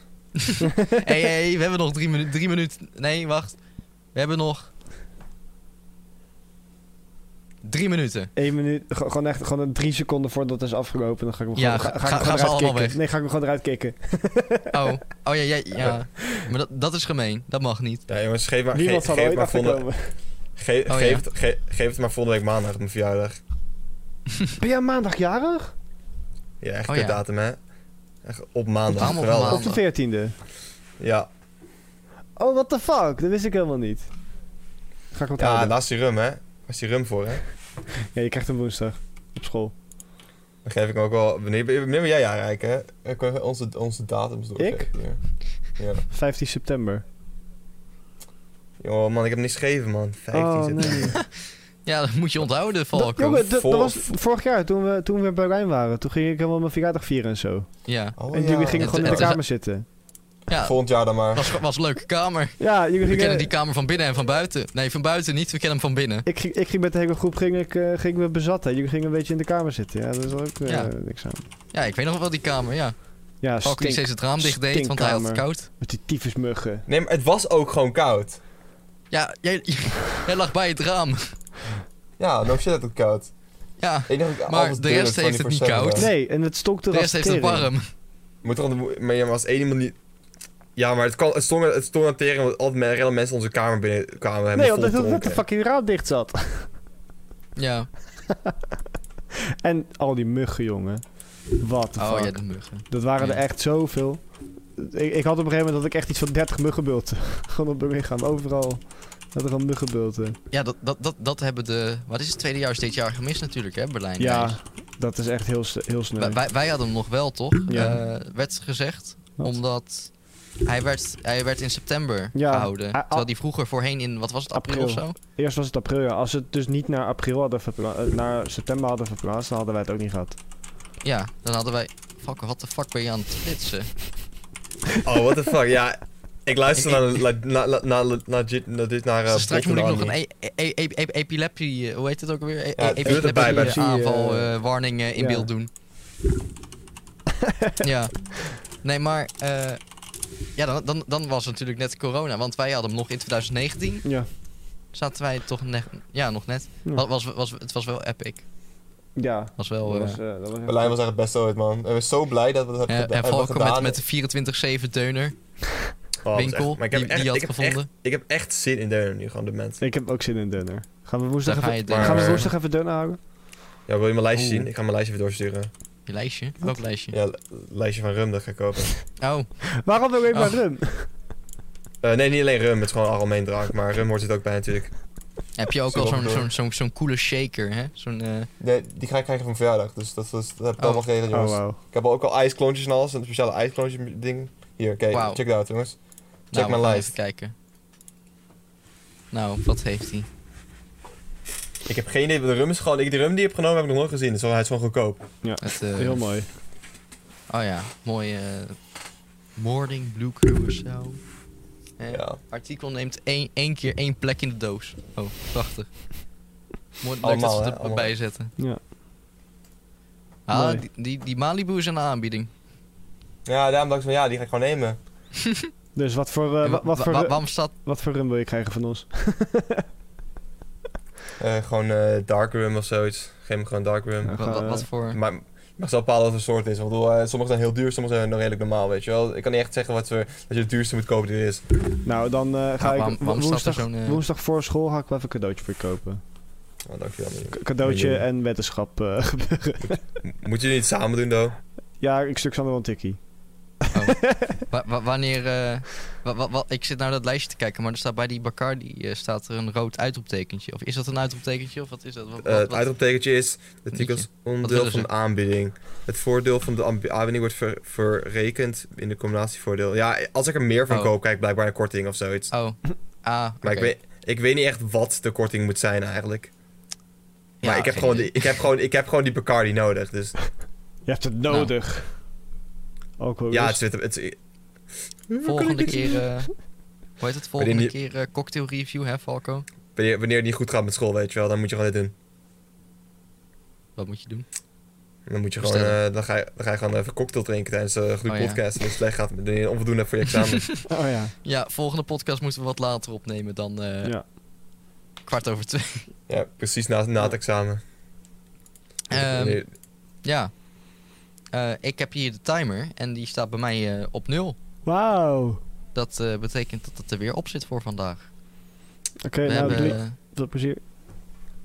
Speaker 1: hey, hey, we hebben nog drie, minu drie minuten. Nee, wacht. We hebben nog. Drie minuten.
Speaker 3: Eén minuut, ge- gewoon echt gewoon een drie seconden voordat het is afgelopen. Dan ga ik hem
Speaker 1: Ja,
Speaker 3: gewoon,
Speaker 1: ga-
Speaker 3: ik hem
Speaker 1: ga- gaan
Speaker 3: gewoon
Speaker 1: ze
Speaker 3: eruit
Speaker 1: allemaal
Speaker 3: kicken.
Speaker 1: weg?
Speaker 3: Nee, ga ik hem gewoon eruit kicken.
Speaker 1: Oh, oh ja, ja, ja. Maar dat, dat is gemeen. Dat mag niet.
Speaker 2: Ja, jongens, geef maar, ge,
Speaker 3: Niemand zal er
Speaker 2: geef,
Speaker 3: ooit
Speaker 2: maar
Speaker 3: achter
Speaker 2: volgende,
Speaker 3: komen.
Speaker 2: ge-
Speaker 1: Oh,
Speaker 2: geef,
Speaker 1: ja.
Speaker 2: het, ge- geef het maar volgende week maandag op mijn verjaardag.
Speaker 3: Ben jij maandag jarig?
Speaker 2: Ja, echt
Speaker 1: Oh,
Speaker 2: oh,
Speaker 1: ja.
Speaker 2: datum, hè? Echt op maandag.
Speaker 1: Allemaal op
Speaker 2: Geweldig.
Speaker 1: maandag.
Speaker 3: Op de veertiende.
Speaker 2: Ja,
Speaker 3: Oh, what the fuck? Dat wist ik helemaal niet. Ga ik
Speaker 2: ja
Speaker 3: onthouden.
Speaker 1: nou.
Speaker 2: daar is die rum, hè? Daar is die rum voor, hè?
Speaker 3: Ja, je krijgt hem woensdag. Op school.
Speaker 2: Dan geef ik hem ook wel... Wanneer, wanneer ben jij jaar rijk, hè? Ik wil even onze, onze datums doorgeven. hier. Ja.
Speaker 3: 15 september.
Speaker 2: Joh, man, ik heb niks gegeven, man. 15
Speaker 3: Oh,
Speaker 2: zit er.
Speaker 3: nee.
Speaker 1: Ja, dat moet je onthouden,
Speaker 3: Dat,
Speaker 1: Falco.
Speaker 3: jongen, dat, dat
Speaker 2: Vol-
Speaker 3: was vorig jaar toen we, toen we in Berlijn waren. Toen ging ik helemaal mijn verjaardag vieren en zo.
Speaker 1: Ja,
Speaker 2: Oh,
Speaker 3: en
Speaker 2: ja.
Speaker 3: jullie gingen
Speaker 1: Het-
Speaker 3: gewoon in de
Speaker 1: het is-
Speaker 3: kamer zitten.
Speaker 1: ja
Speaker 2: Volgend jaar dan maar.
Speaker 1: was, was een leuke kamer.
Speaker 3: Ja, jullie
Speaker 1: We
Speaker 3: gingen...
Speaker 1: kennen die kamer van binnen en van buiten. Nee, van buiten niet. We kennen hem van binnen.
Speaker 3: Ik ging, ik ging met de hele groep ging ik, eh, ging me bezatten. Jullie gingen een beetje in de kamer zitten. Ja, dat is ook eh,
Speaker 1: Ja.
Speaker 3: niks aan.
Speaker 1: Ja, ik weet nog wel die kamer, ja.
Speaker 3: Ja,
Speaker 1: Falco die
Speaker 3: stink.
Speaker 1: steeds het raam dicht deed, want hij had het koud.
Speaker 3: Met die tyfusmuggen.
Speaker 2: Nee, maar het was ook gewoon koud.
Speaker 1: Ja, jij, jij lag bij het raam.
Speaker 2: Ja, no shit, het was koud.
Speaker 1: Ja,
Speaker 2: Ik denk dat ik
Speaker 1: Maar
Speaker 2: alles
Speaker 1: de rest
Speaker 2: deed,
Speaker 1: heeft het niet
Speaker 2: 24/7
Speaker 1: koud.
Speaker 2: was.
Speaker 3: Nee, en het stonk er
Speaker 1: de
Speaker 3: als
Speaker 1: rest heeft het
Speaker 3: tering.
Speaker 1: warm.
Speaker 2: Moet er aan de- maar ja, maar als één iemand niet... Ja, maar het, kan, het stond het stond aan tering, want altijd rennen mensen onze kamer binnen kwamen.
Speaker 3: Nee,
Speaker 2: helemaal
Speaker 3: omdat
Speaker 2: vol
Speaker 3: het net de
Speaker 2: dronken.
Speaker 3: fucking raam dicht zat.
Speaker 1: Ja.
Speaker 3: En al die muggen, jongen. Wat de
Speaker 1: Oh
Speaker 3: fuck.
Speaker 1: ja, de muggen.
Speaker 3: Dat waren
Speaker 1: Ja.
Speaker 3: er echt zoveel. Ik, ik had op een gegeven moment dat ik echt iets van 30 muggenbulten. gewoon op mijn lichaam, overal. Dat er gewoon muggenbulten.
Speaker 1: Ja, dat, dat, dat, dat hebben de... Wat is het tweedejaars dit jaar gemist natuurlijk, hè, Berlijn?
Speaker 3: Ja, dat is echt heel, s- heel snel.
Speaker 1: Wij- Wij, wij hadden hem nog wel, toch?
Speaker 3: Ja.
Speaker 1: Eh, werd gezegd.
Speaker 3: Wat?
Speaker 1: Omdat hij werd, hij werd in september
Speaker 3: Ja,
Speaker 1: gehouden.
Speaker 3: hij-
Speaker 1: terwijl die vroeger voorheen in, wat was het, april,
Speaker 3: April.
Speaker 1: of zo?
Speaker 3: Eerst was het april, ja. Als ze het dus niet naar april hadden verpla- eh, naar september hadden verplaatst, dan hadden wij het ook niet gehad.
Speaker 1: Ja, dan hadden wij... Fuck, wat de fuck ben je aan het flitsen?
Speaker 2: Oh, what the fuck, ja. Ik luister
Speaker 1: Ik-
Speaker 2: naar, la- na- na- na- na- dit- na- dit naar... eh,
Speaker 1: Dus straks moet ik
Speaker 2: Botten
Speaker 1: nog een
Speaker 2: Army.
Speaker 1: e e e- e- epilepsie... eh, Hoe heet het ook weer? E
Speaker 2: Ja, doe het erbij, bij
Speaker 1: epilepsie
Speaker 2: de-
Speaker 1: aanval
Speaker 3: eh,
Speaker 1: eh, warning eh, in
Speaker 3: ja.
Speaker 1: beeld doen. ja. Nee, maar... eh, ja, dan, dan, dan was het natuurlijk net corona. Want wij hadden hem nog in 2019.
Speaker 3: Ja.
Speaker 1: Zaten wij toch net... Ja, nog net.
Speaker 3: Ja.
Speaker 1: Wa- Was, was, het was wel epic.
Speaker 3: Ja.
Speaker 1: Was wel...
Speaker 3: dat
Speaker 1: eh,
Speaker 3: was, eh, dat was echt-
Speaker 2: Berlijn was echt het beste ooit, man. Ik ben zo blij dat we dat
Speaker 1: eh,
Speaker 2: hebben
Speaker 1: en
Speaker 2: geda- hebben
Speaker 1: Falco met,
Speaker 2: gedaan.
Speaker 1: met de 24-7 deuner
Speaker 2: Oh, dat was echt-
Speaker 1: winkel
Speaker 2: maar ik heb
Speaker 1: die,
Speaker 2: echt-
Speaker 1: die je
Speaker 2: ik
Speaker 1: had
Speaker 2: heb
Speaker 1: gevonden.
Speaker 2: echt- Ik heb echt zin in Deurne nu, gewoon de mensen.
Speaker 3: Ik heb ook zin in dunner. Gaan we woensdag
Speaker 1: Daar ga je
Speaker 3: even,
Speaker 1: dunner.
Speaker 3: gaan we
Speaker 2: Maar-
Speaker 3: woensdag even dunner houden?
Speaker 2: Ja, wil je mijn lijstje
Speaker 1: Oeh.
Speaker 2: zien? Ik ga mijn lijstje weer doorsturen.
Speaker 1: Je lijstje? Welk lijstje?
Speaker 2: Ja, li- lijstje van rum, dat ga ik kopen.
Speaker 1: Oh,
Speaker 3: Waarom wil ik maar
Speaker 1: Oh.
Speaker 3: rum?
Speaker 2: Eh, nee, niet alleen rum, het is gewoon algemeen drank. Maar rum hoort er ook bij natuurlijk.
Speaker 1: heb je ook
Speaker 2: Zo
Speaker 1: al zo'n
Speaker 2: door.
Speaker 1: zo'n zo'n zo'n coole shaker, hè? Zo'n... eh,
Speaker 2: Nee, die ga ik krijgen van verjaardag, dus dat, dat, dat heb ik
Speaker 1: Oh.
Speaker 2: allemaal geregeld,
Speaker 3: Oh,
Speaker 2: jongens.
Speaker 3: wauw.
Speaker 2: Ik heb ook al ijsklontjes en alles, een speciale ijsklontje ding. Hier, oké,
Speaker 1: Wauw.
Speaker 2: check it out, jongens.
Speaker 1: nou,
Speaker 2: Check mijn
Speaker 1: we gaan
Speaker 2: lijst.
Speaker 1: Even kijken. Nou, wat heeft hij?
Speaker 2: Ik heb geen idee, de rum is gewoon... Ik, die rum die ik heb genomen heb ik nog nooit gezien, dus hij is gewoon goedkoop.
Speaker 1: Het, eh,
Speaker 3: Heel mooi.
Speaker 1: Oh ja, mooie... eh, Morning Blue Curacao. Eh,
Speaker 2: Ja.
Speaker 1: Artikel neemt één, één keer één plek in de doos. Oh, prachtig. Mooi leuk dat
Speaker 2: Allemaal,
Speaker 1: ze
Speaker 2: hè?
Speaker 1: het erbij
Speaker 2: Allemaal.
Speaker 1: zetten.
Speaker 3: Ja. Mooi.
Speaker 1: Ah, die, die, die Malibu is een aanbieding.
Speaker 2: Ja, daarom dacht ik van, ja, die ga ik gewoon nemen.
Speaker 3: Dus wat voor, eh,
Speaker 1: En
Speaker 3: wa-
Speaker 1: wa-
Speaker 3: wat,
Speaker 1: wa-
Speaker 3: voor,
Speaker 1: wa-
Speaker 3: ru-
Speaker 1: waarom staat...
Speaker 3: wat voor rum wil je krijgen van ons?
Speaker 2: Eh, gewoon eh dark rum of zoiets. Geef me gewoon dark rum.
Speaker 3: Ja.
Speaker 1: wa- wa-
Speaker 3: eh,
Speaker 1: wat voor...
Speaker 2: Maar Je mag zelf bepalen wat een soort is. Want ik bedoel, eh, sommige zijn heel duur, sommige zijn nog redelijk normaal, weet je wel. Ik kan niet echt zeggen wat voor, dat je het duurste moet kopen die er is.
Speaker 3: Nou, dan eh, ga
Speaker 1: waarom-
Speaker 3: ik wo-
Speaker 1: waarom staat er
Speaker 3: woensdag,
Speaker 1: zo'n, eh,
Speaker 3: woensdag voor school ga ik wel even een cadeautje voor je kopen.
Speaker 2: Oh, dankjewel. Millie.
Speaker 3: K- cadeautje
Speaker 2: Miljoen.
Speaker 3: en wetenschap. eh, gebeuren.
Speaker 2: M- Moet je dit niet samen doen, though? Eh,
Speaker 3: ja, ik stuk Sander wel een tikkie.
Speaker 1: Wa- wa- wanneer. eh, wa- wa- wa- ik zit naar dat lijstje te kijken, maar er staat bij die Bacardi eh, staat er een rood uitroeptekentje. Of is dat een uitroeptekentje? Of wat is dat? Wat,
Speaker 2: Eh,
Speaker 1: wat-
Speaker 2: het
Speaker 1: wat-
Speaker 2: uitroeptekentje is het tikkels onderdeel
Speaker 1: willen
Speaker 2: van
Speaker 1: ze?
Speaker 2: de aanbieding. Het voordeel van de ambi- aanbieding wordt ver- verrekend in de combinatievoordeel. Ja, als ik er meer van
Speaker 1: Oh.
Speaker 2: koop, kijk blijkbaar een korting of zoiets.
Speaker 1: Oh. Ah,
Speaker 2: maar
Speaker 1: oké.
Speaker 2: ik, weet, ik weet niet echt wat de korting moet zijn eigenlijk. Maar
Speaker 1: Ja,
Speaker 2: ik, heb
Speaker 1: geen
Speaker 2: gewoon die,
Speaker 1: idee.
Speaker 2: ik, heb gewoon, ik heb gewoon die Bacardi nodig. Dus
Speaker 3: Je hebt het
Speaker 1: Nou.
Speaker 3: nodig. Alcohol
Speaker 2: ja, het
Speaker 3: rust.
Speaker 2: zit... Het, het-
Speaker 1: Volgende keer. eh, hoe heet het?
Speaker 2: die
Speaker 1: Volgende
Speaker 2: niet-
Speaker 1: keer eh, cocktail review, hè, Falco?
Speaker 2: wanneer, wanneer het niet goed gaat met school, weet je wel, dan moet je gewoon dit doen.
Speaker 1: Wat moet je doen?
Speaker 2: Dan moet je gewoon...
Speaker 1: Bestellen.
Speaker 2: eh, dan, ga je, dan ga je gewoon even cocktail drinken tijdens de goede
Speaker 1: Oh, ja.
Speaker 2: podcast. Als het slecht gaat, dan je onvoldoende hebt voor je examen.
Speaker 3: Oh ja.
Speaker 1: Ja, volgende podcast moeten we wat later opnemen dan eh,
Speaker 3: ja.
Speaker 1: kwart over twee.
Speaker 2: ja, precies na, na het examen.
Speaker 1: Ehm,
Speaker 2: Wanneer-
Speaker 1: ja. Eh, ik heb hier de timer en die staat bij mij eh, op nul.
Speaker 3: Wauw.
Speaker 1: Dat eh, betekent dat het er weer op zit voor vandaag.
Speaker 3: Oké,
Speaker 1: we
Speaker 3: nou
Speaker 1: hebben.
Speaker 3: doei.
Speaker 1: eh,
Speaker 3: Veel plezier.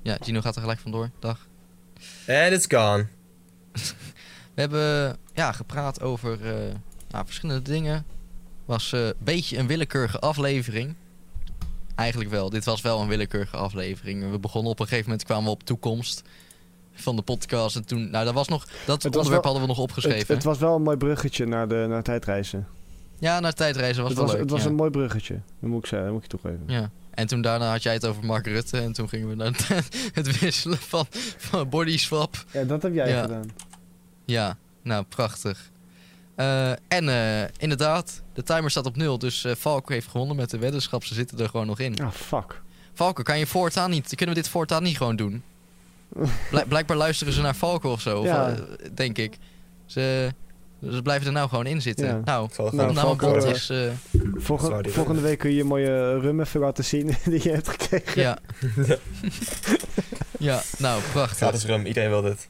Speaker 1: ja, Gino gaat er gelijk vandoor. Dag.
Speaker 2: And it's gone.
Speaker 1: We hebben ja, gepraat over eh, nou, verschillende dingen. Was eh, een beetje een willekeurige aflevering. Eigenlijk wel. Dit was wel een willekeurige aflevering. We begonnen op een gegeven moment kwamen we op toekomst van de podcast. En toen, nou, dat was nog. Dat
Speaker 3: was
Speaker 1: onderwerp
Speaker 3: wel-
Speaker 1: hadden we nog opgeschreven.
Speaker 3: Het, het was wel een mooi bruggetje naar, de, naar tijdreizen.
Speaker 1: ja, naar tijdreizen was
Speaker 3: het
Speaker 1: wel
Speaker 3: was,
Speaker 1: leuk.
Speaker 3: het was
Speaker 1: ja.
Speaker 3: een mooi bruggetje. Dat moet ik, zeggen, dat moet ik toegeven.
Speaker 1: Ja. En toen daarna had jij het over Mark Rutte. En toen gingen we naar het- het wisselen van, van body swap.
Speaker 3: Ja, dat heb jij
Speaker 1: Ja.
Speaker 3: gedaan.
Speaker 1: Ja, nou prachtig. Eh, en eh, inderdaad, de timer staat op nul. Dus eh Falco heeft gewonnen met de weddenschap. Ze zitten er gewoon nog in.
Speaker 3: Ah, fuck.
Speaker 1: Falco, kan je voortaan niet, kunnen we dit voortaan niet gewoon doen? Blijk- blijkbaar luisteren ze naar Falco of zo, of,
Speaker 3: Ja.
Speaker 1: eh, denk ik. Ze, ze blijven er nou gewoon in zitten.
Speaker 3: Ja.
Speaker 1: Nou,
Speaker 2: Ik zal gewoon
Speaker 3: Nou,
Speaker 1: nou,
Speaker 3: Falco,
Speaker 1: Bot
Speaker 3: eh,
Speaker 1: is... eh,
Speaker 3: Volgen-
Speaker 2: Zwaar die
Speaker 3: volgende week kun je je mooie rum even laten zien die je hebt gekregen.
Speaker 1: ja. ja, nou, prachtig.
Speaker 2: Gratis rum, iedereen wil dit.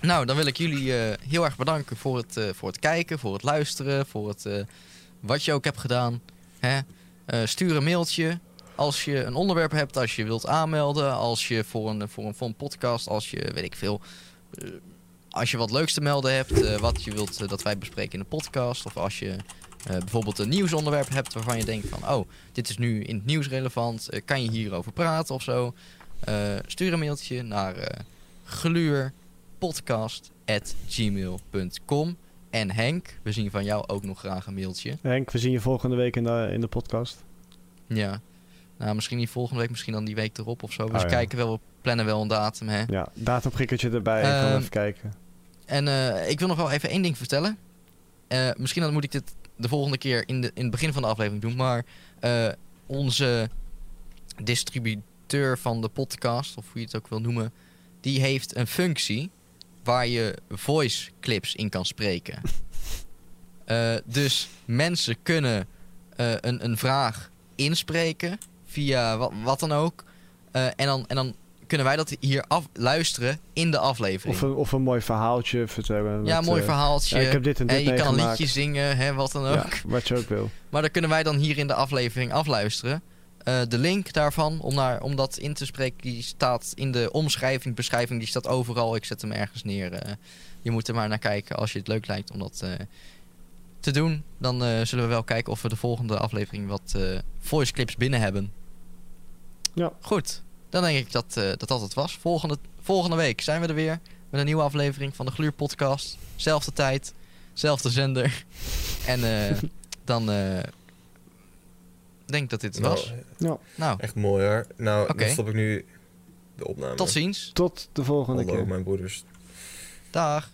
Speaker 1: Nou, dan wil ik jullie eh, heel erg bedanken voor het, eh, voor het kijken, voor het luisteren, voor het, eh, wat je ook hebt gedaan. Hè? Eh, stuur een mailtje als je een onderwerp hebt, als je wilt aanmelden, als je voor een, voor een, voor een podcast, als je, weet ik veel, eh, als je wat leuks te melden hebt, eh, wat je wilt eh, dat wij bespreken in de podcast, of als je eh, bijvoorbeeld een nieuwsonderwerp hebt waarvan je denkt van, oh, dit is nu in het nieuws relevant, eh, kan je hierover praten of zo? Eh, stuur een mailtje naar eh gluur podcast.gmail.com. En Henk, we zien van jou ook nog graag een mailtje.
Speaker 3: Henk, we zien je volgende week in de, in de podcast.
Speaker 1: Ja. Nou, misschien niet volgende week, misschien dan die week erop of zo. We
Speaker 3: Ah, ja.
Speaker 1: kijken wel, we plannen wel een datum, hè.
Speaker 3: Ja, datumprikkertje erbij.
Speaker 1: Ehm,
Speaker 3: Gaan we even kijken.
Speaker 1: En eh, ik wil nog wel even één ding vertellen. Eh, misschien dan moet ik dit de volgende keer in, de, in het begin van de aflevering doen. Maar eh, onze distributeur van de podcast, of hoe je het ook wil noemen, die heeft een functie waar je voice clips in kan spreken. Eh, dus mensen kunnen eh, een, een vraag inspreken via wat, wat dan ook. Eh, en, dan, en dan kunnen wij dat hier af, luisteren in de aflevering.
Speaker 3: Of een, of een mooi verhaaltje vertellen.
Speaker 1: Ja,
Speaker 3: met,
Speaker 1: mooi
Speaker 3: eh,
Speaker 1: verhaaltje.
Speaker 3: ja, ik heb dit en dit
Speaker 1: Hè, je kan een
Speaker 3: meegemaakt.
Speaker 1: liedje zingen, hè, wat dan ook.
Speaker 3: Ja, wat je ook wil.
Speaker 1: Maar dat kunnen wij dan hier in de aflevering afluisteren. Eh, de link daarvan, om, daar, om dat in te spreken, die staat in de omschrijving, beschrijving, die staat overal. Ik zet hem ergens neer. eh. je moet er maar naar kijken als je het leuk lijkt om dat eh, te doen. Dan eh, zullen we wel kijken of we de volgende aflevering wat eh voice clips binnen hebben.
Speaker 3: Ja.
Speaker 1: Goed, dan denk ik dat eh, dat, dat het was. Volgende, volgende week zijn we er weer met een nieuwe aflevering van de Gluur Podcast. Zelfde tijd, zelfde zender. En eh, dan eh, denk ik dat dit het was.
Speaker 2: Nou,
Speaker 1: Nou,
Speaker 2: echt mooi hoor. Nou,
Speaker 1: Oké.
Speaker 2: dan stop ik nu de opname.
Speaker 1: tot ziens.
Speaker 3: Tot de volgende
Speaker 2: Hallo
Speaker 3: keer.
Speaker 2: mijn broeders.
Speaker 1: Dag.